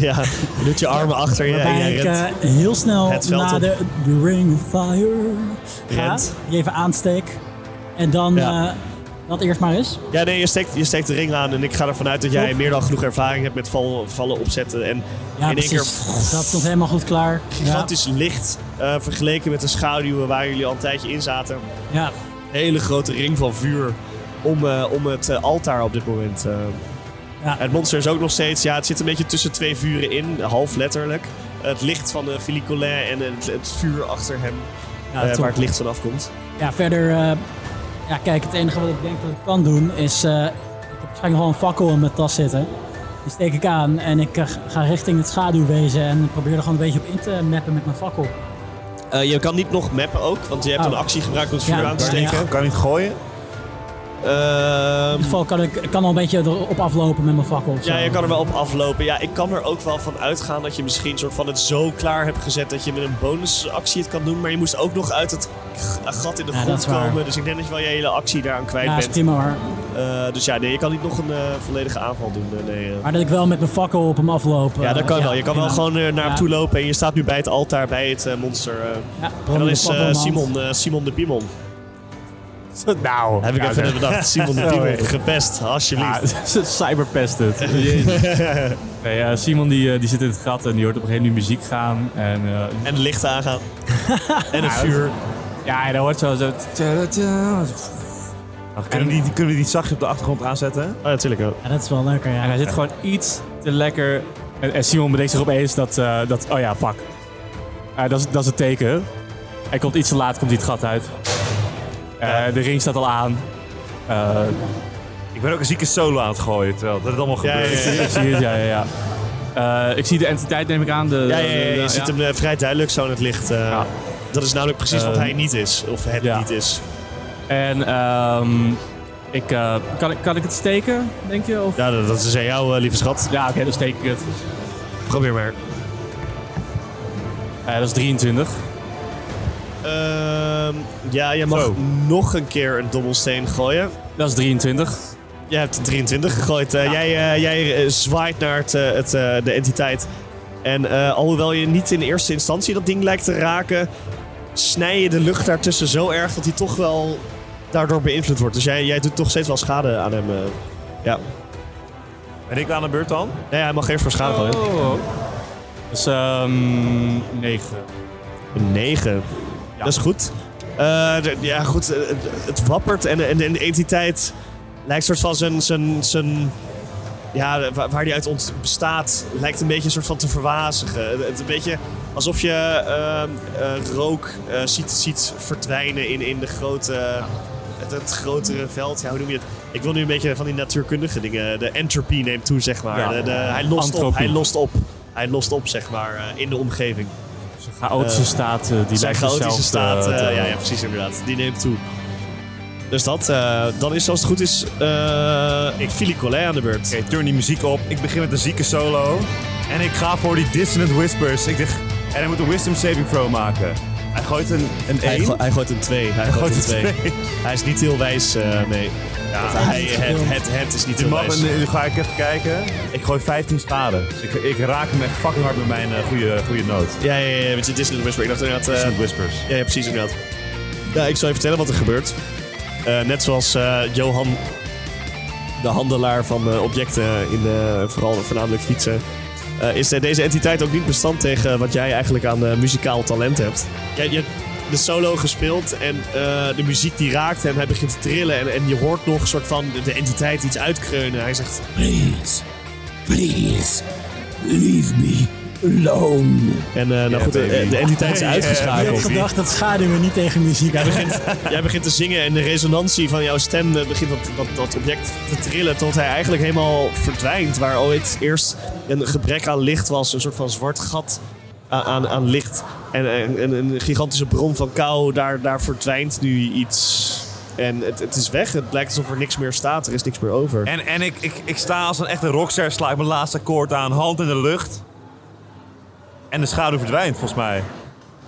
S3: ja, je doet je armen achter je en
S6: waarbij
S3: jij
S6: ik
S3: rent.
S6: eh, heel snel
S3: Het veld
S6: naar
S3: op.
S6: de, de Ring of Fire ga.
S3: Rent.
S6: Die even aansteek. En dan
S3: Ja.
S6: eh, dat eerst maar eens.
S3: Ja, nee, je steekt, je steekt de ring aan en ik ga ervan uit dat jij meer dan genoeg ervaring hebt met val- vallen opzetten. En
S6: Ja,
S3: in één keer
S6: precies. Dat stond helemaal goed klaar.
S3: gigantisch licht eh, vergeleken met de schaduwen waar jullie al een tijdje in zaten.
S6: Ja,
S3: Hele grote ring van vuur om, eh, om het eh, altaar op dit moment. eh.
S6: Ja.
S3: Het monster is ook nog steeds, ja, het zit een beetje tussen twee vuren in, half letterlijk. Het licht van eh Philippe Collin en het, het vuur achter hem,
S6: ja,
S3: eh,
S6: ja,
S3: waar
S6: top.
S3: het licht vanaf komt.
S6: ja verder... eh, ja, kijk, het enige wat ik denk dat ik kan doen is... eh, ik heb waarschijnlijk wel een fakkel in mijn tas zitten. Die steek ik aan en ik eh, ga richting het schaduwwezen en probeer er gewoon een beetje op in te mappen met mijn fakkel.
S3: Eh, je kan niet nog mappen ook, want je hebt
S6: Oh.
S3: een actie gebruikt om het vuur
S6: Ja,
S3: aan te
S6: ja.
S3: steken.
S2: Kan niet gooien?
S3: Ehm,
S6: In ieder geval kan ik kan al een beetje erop aflopen met mijn fakkel. of zo.
S3: ja, je kan er wel op aflopen. Ja, ik kan er ook wel van uitgaan dat je misschien soort van het zo klaar hebt gezet dat je met een bonusactie het kan doen. Maar je moest ook nog uit het g- gat in de
S6: Ja, dat
S3: grond
S6: is waar.
S3: komen. Dus ik denk dat je wel je hele actie daaraan kwijt
S6: Ja, is
S3: bent.
S6: prima hoor.
S3: Eh, dus ja, nee, je kan niet nog een eh, volledige aanval doen. eh, nee, eh.
S6: Maar dat ik wel met mijn fakkel op hem afloop.
S3: Ja, dat
S6: eh,
S3: kan wel. Je kan wel
S6: Ah, prima.
S3: gewoon eh, naar hem
S6: Ja.
S3: toe lopen en je staat nu bij het altaar bij het eh, monster. eh.
S6: Ja,
S3: en dan
S6: met
S3: is
S6: mijn fakkel in
S3: eh,
S6: mijn hand.
S3: Simon, eh, Simon de Piemon.
S2: Nou,
S3: Heb ik even bedacht. Simon de Piemon, gepest, alsjeblieft.
S5: Ja, cyberpest het. Nee, eh, Simon die, eh, die zit in het gat en die hoort op een gegeven moment muziek gaan. En, eh,
S3: Ah, En de lichten aangaan. en het vuur.
S5: ja, en dan hoort zo... zo
S2: kunnen, we die, kunnen we die zachtjes op de achtergrond aanzetten?
S3: Oh, natuurlijk wel.
S6: Ja, dat is wel leuker, ja.
S5: en hij zit gewoon iets te lekker... En, en Simon bedenkt zich opeens dat... eh, dat oh ja, fuck. Eh, dat, is, dat is het teken. Hij komt iets te laat, komt hij het gat uit. Eh, De ring staat al aan. Eh,
S2: Ik ben ook een zieke solo aan het gooien, terwijl dat het allemaal
S3: Ja,
S2: gebeurt.
S3: ja, ja.
S5: ik zie het, ja, ja, ja. Eh, ik zie de entiteit, neem ik aan. De,
S3: Ja, ja, ja,
S5: de-
S3: je
S5: ja.
S3: ziet hem eh, vrij duidelijk zo in het licht. eh.
S5: Ja.
S3: Dat is namelijk precies wat
S5: Eh,
S3: hij niet is. Of het
S5: ja.
S3: niet is.
S5: En ehm, ik, eh, kan, ik, kan ik het steken, denk je? Of?
S3: Ja, dat, dat is aan jou, eh, lieve schat.
S5: Ja, oké, dan steek ik het.
S3: Probeer maar.
S5: Eh, dat is 23.
S3: Ehm, ja, je mag
S2: Zo.
S3: nog een keer een dobbelsteen gooien.
S5: Dat is 23.
S3: Jij hebt 23 gegooid. Eh, Jij, eh, jij eh, zwaait naar het, eh, het, eh, de entiteit. En eh, alhoewel je niet in eerste instantie dat ding lijkt te raken, snij je de lucht daartussen zo erg dat hij toch wel daardoor beïnvloed wordt. Dus jij, jij doet toch steeds wel schade aan hem. eh. Ja.
S2: Ben ik aan de beurt dan?
S3: Nee, hij mag eerst voor schade gooien.
S5: Oh, Dus ehm 9.
S3: Een 9. Dat is goed. Eh, d- ja, goed. eh, Het, het wappert en, en, en de entiteit lijkt soort van zijn. zijn, zijn ja, waar, waar die uit ont- bestaat, lijkt een beetje een soort van te verwazigen. Het, het een beetje alsof je ehm, eh, rook eh, ziet, ziet verdwijnen in, in de grote. Het, het grotere veld, ja, hoe noem je het? Ik wil nu een beetje van die natuurkundige dingen. De entropie neemt toe, zeg maar.
S5: Ja.
S3: De, de- hij, lost op,
S5: Antropie.
S3: hij lost op. Hij lost op, zeg maar, eh, in de omgeving.
S5: Chaotische
S3: Eh,
S5: staat, eh, die
S3: Zijn
S5: lijkt zichzelf
S3: chaotische
S5: te-
S3: staat,
S5: te-
S3: eh, ja, ja, precies inderdaad. Die neemt toe. Dus dat, eh, dan is als het goed is eh Philly Collet aan de beurt.
S2: Oké, turn die muziek op. Ik begin met een zieke solo. En ik ga voor die Dissonant Whispers. Ik dacht, en hij moet een Wisdom Saving Throw maken. Hij gooit een 1.
S3: Hij, go- hij gooit een 2. Hij gooit een 2. Hij is niet heel wijs, eh, nee. Ja, hij, het, het, het is niet
S2: Die
S3: heel
S2: mag
S3: wijs.
S2: een, nu ga ik even kijken. Ik gooi 15 schade. Dus ik, ik raak hem echt fucking hard met mijn eh, goede, goede noot.
S3: Ja, ja, ja, want je Disney Whisper. Ik dacht inderdaad... eh,
S2: Dissonant Whispers.
S3: Ja, ja, precies inderdaad. Ja, ik zal je vertellen wat er gebeurt. Eh, net zoals eh, Johan, de handelaar van eh, objecten in eh, vooral voornamelijk fietsen, eh, is eh, deze entiteit ook niet bestand tegen wat jij eigenlijk aan eh, muzikaal talent hebt. Jij, je hebt de solo gespeeld en eh, de muziek die raakt hem, hij begint te trillen en, en je hoort nog een soort van de, de entiteit iets uitkreunen. Hij zegt,
S7: Please, please, leave me alone.
S3: en eh, nou goed, de-
S2: baby.
S3: de entiteit is
S6: Ik heb
S3: uitgeschakeld.
S6: gedacht dat schaduwen niet tegen muziek
S3: Jij begint, jij begint te zingen en de resonantie van jouw stem eh, begint dat, dat, dat object te trillen tot hij eigenlijk helemaal verdwijnt. Waar ooit eerst een gebrek aan licht was, een soort van zwart gat a- aan, aan licht. En, en, en een gigantische bron van kou, daar, daar verdwijnt nu iets. En het, het is weg, het lijkt alsof er niks meer staat, er is niks meer over.
S2: En, en ik, ik, ik sta als een echte rockster, sla ik mijn laatste akkoord aan, hand in de lucht. En de schaduw verdwijnt volgens mij.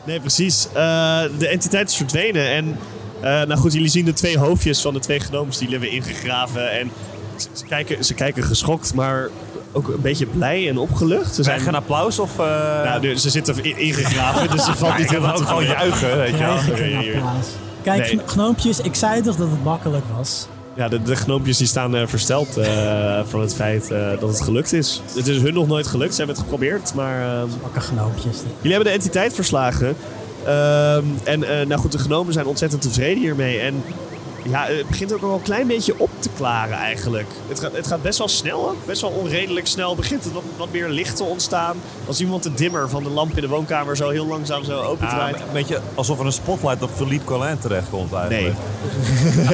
S3: Nee, precies. Eh, de entiteit is verdwenen. En eh, nou goed, jullie zien de twee hoofdjes van de twee genomes die hebben ingegraven. En ze, ze kijken, ze kijken geschokt, maar ook een beetje blij en opgelucht. Ze zijn
S2: Krijg je een applaus of... eh
S3: nou, nu- ze zitten in- ingegraven, dus ze valt
S2: ik
S3: niet
S2: kan
S3: heel
S2: ook
S3: goed
S2: gewoon juichen, weet je wel.
S6: Krijg ik
S3: ja, ja,
S6: een
S3: ja.
S6: applaus. Kijk,
S3: Nee.
S6: gno- gnoompjes, ik zei toch dat het makkelijk was.
S3: Ja, de, de gnoompjes die staan eh, versteld eh, van het feit eh, dat het gelukt is. Het is hun nog nooit gelukt, ze hebben het geprobeerd, maar... ehm,
S6: Makke gnoompjes.
S3: Jullie hebben de entiteit verslagen. Ehm, en eh, nou goed, de genomen zijn ontzettend tevreden hiermee. En ja, het begint ook al een klein beetje op te klaren eigenlijk. Het gaat, het gaat best wel snel, ook. best wel onredelijk snel. Begint het wat, wat meer licht te ontstaan. Als iemand de dimmer van de lamp in de woonkamer zo heel langzaam zo
S2: Ja,
S3: opendraait.
S2: een beetje alsof er een spotlight op Philippe Collin terechtkomt eigenlijk.
S3: Nee.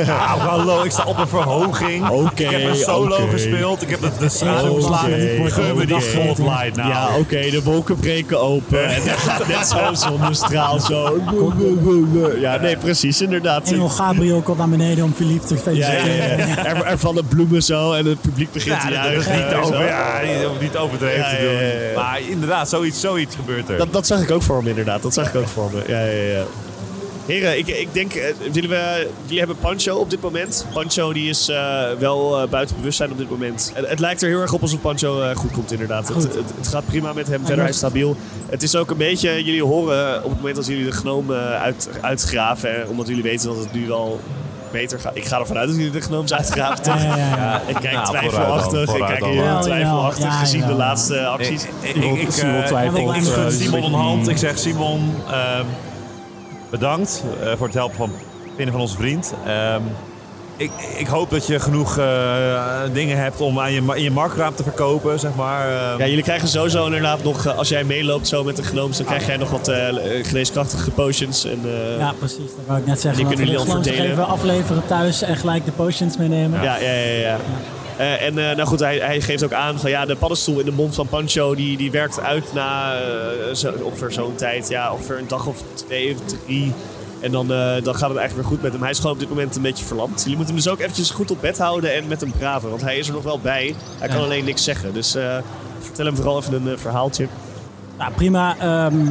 S2: Ah, hallo, ik sta op een verhoging.
S3: Oké,
S2: ik heb een solo
S3: oké.
S2: gespeeld. Ik heb de, de schaduw
S6: Oké,
S2: verslagen. Gun me die
S6: oké.
S2: spotlight nou.
S3: Ja, oké, de wolken breken open. En daar gaat net zo'n zonnestraal zo. Ja, nee, precies, inderdaad.
S6: Engel Gabriel komt naar beneden om Philippe te
S3: Ja,
S6: feliciteren.
S3: ja, ja. Er, er vallen bloemen zo en het publiek begint
S2: Ja,
S3: te
S2: dat is
S3: juichen.
S2: niet,
S3: en zo.
S2: over, ja, niet, niet overdreven
S3: Ja,
S2: te
S3: ja,
S2: doen.
S3: ja, ja.
S2: Maar inderdaad, zoiets, zoiets gebeurt er.
S3: Dat, dat zag ik ook voor me, inderdaad. Dat zag ik ook voor me. Ja, ja, ja. Heren, ik, ik denk, eh, jullie, we, jullie hebben Pancho op dit moment. Pancho die is eh, wel eh, buiten bewustzijn op dit moment. Het, het lijkt er heel erg op alsof Pancho eh, goed komt, inderdaad. Het, het, het gaat prima met hem, verder hij is stabiel. Het is ook een beetje, jullie horen op het moment dat jullie de gnoom eh, uit, uitgraven, eh, omdat jullie weten dat het nu wel beter gaat. Ik ga ervan uit dat jullie de gnooms uitgraven. toch?
S6: Ja, ja, ja.
S3: Ik kijk
S2: Nou, vooruit dan,
S3: twijfelachtig, ik
S2: vooruit
S3: kijk
S2: dan.
S3: hier
S6: Wel,
S3: twijfelachtig
S6: ja,
S3: gezien
S6: ja.
S3: de laatste acties.
S2: Ik, ik, ik,
S5: Simon
S2: eh,
S5: twijfelt,
S2: ik schud
S5: eh, dus
S2: Simon
S5: een
S2: een
S5: beetje-
S2: hand. Ik zeg Simon, ehm, bedankt eh, voor het helpen van vinden van onze vriend. Ehm, ik, ik hoop dat je genoeg eh, dingen hebt om aan je, ma- in je marktraam te verkopen, zeg maar. Ehm,
S3: Ja, jullie krijgen sowieso inderdaad nog, eh, als jij meeloopt zo met de gnooms, dan krijg jij nog wat eh, eh, geneeskrachtige potions. En, eh, ja.
S6: Ja, precies. Dat wou ik net zeggen. Nou,
S3: Die kunnen
S6: Laten we
S3: jullie
S6: de
S3: dan
S6: glans
S3: verdelen.
S6: Even afleveren thuis en gelijk de potions meenemen.
S3: Ja, ja, ja, Eh, en eh, nou goed, hij, hij geeft ook aan van ja, de paddenstoel in de mond van Pancho, die, die werkt uit na eh, zo, ongeveer zo'n tijd. Ja, ongeveer een dag of twee of drie. En dan, eh, dan gaat het eigenlijk weer goed met hem. Hij is gewoon op dit moment een beetje verlamd. Jullie moeten hem dus ook eventjes goed op bed houden en met hem praten. Want hij is er nog wel bij. Hij kan alleen niks zeggen. Dus eh, vertel hem vooral even een eh, verhaaltje.
S6: Nou, prima. Ehm,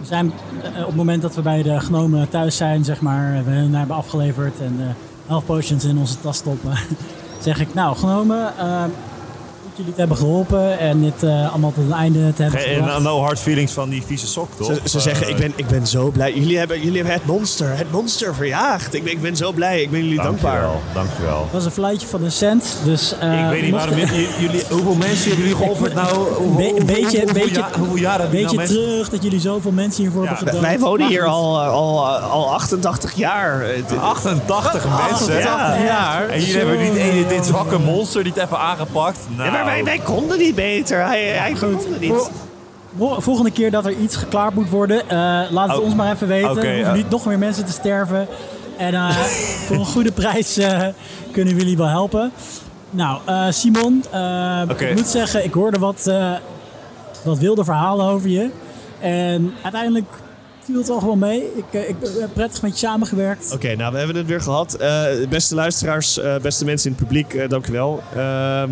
S6: we zijn, eh, op het moment dat we bij de genomen thuis zijn, zeg maar, we hen hebben afgeleverd en eh half potions in onze tas stoppen, zeg ik, nou, genomen, ehm, goed jullie het hebben geholpen en dit eh, allemaal tot een einde te hebben
S2: en
S6: gebracht.
S2: en no hard feelings van die vieze sok, toch?
S3: Ze, ze zeggen,
S2: Eh,
S3: ik ben, ik ben zo blij. Jullie hebben, jullie hebben het monster, het monster verjaagd. Ik ben, ik ben zo blij, ik ben jullie dankbaar.
S2: Dankjewel, dankjewel.
S6: Het was een fluitje van een cent, dus... eh,
S2: ik weet niet
S6: mocht-
S2: waarom j- jullie... Hoeveel mensen hebben jullie geofferd nou? Hoe- hoe-
S6: Be-
S2: hoe-
S6: beetje-
S2: hoeveel
S6: beetje-
S2: ja- hoeveel jaren hebben
S6: Beetje
S2: jullie nou mensen-
S6: terug dat jullie zoveel mensen hiervoor
S2: Ja,
S6: hebben gedood.
S3: Wij wonen
S6: Maar
S3: hier
S6: goed.
S3: al, eh, al, al 88 jaar. Eh, Het-
S2: 88 mensen.
S3: 88 Ah, jaar.
S2: En jullie hebben niet één- dit zwakke monster niet even aangepakt. Nou,
S3: Ja, maar wij, wij konden niet beter. Hij, hij kon niet.
S6: Vol- vol- Volgende keer dat er iets geklaard moet worden, eh, laat het
S2: Oh.
S6: ons maar even weten.
S2: Oké,
S6: er hoeven
S2: ja.
S6: niet nog meer mensen te sterven. En eh, voor een goede prijs eh, kunnen we jullie wel helpen. Nou, eh, Simon, eh,
S2: Oké.
S6: ik moet zeggen, ik hoorde wat, eh, wat wilde verhalen over je. En uiteindelijk viel het al gewoon mee. Ik, eh, ik heb prettig met je samengewerkt.
S3: Oké, nou, we hebben het weer gehad. Eh, beste luisteraars, eh, beste mensen in het publiek, eh, dank u wel. Ehm,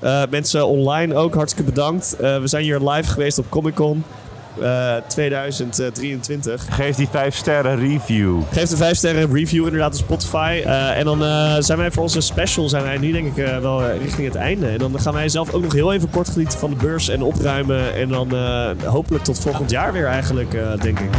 S3: eh, mensen online ook, hartstikke bedankt. Eh, we zijn hier live geweest op eh, Comic Con 2023.
S2: Geef die 5 sterren review.
S3: Geef een 5 sterren review inderdaad op Spotify. Eh, en dan eh, zijn wij voor onze special, zijn wij nu denk ik eh, wel eh, richting het einde. En dan gaan wij zelf ook nog heel even kort genieten van de beurs en opruimen. En dan eh, hopelijk tot volgend jaar weer eigenlijk, eh, denk ik.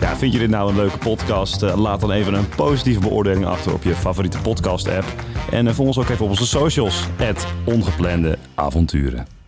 S2: Ja, vind je dit nou een leuke podcast? Eh, Laat dan even een positieve beoordeling achter op je favoriete podcast app. En eh, volg ons ook even op onze socials. Het ongeplande avonturen.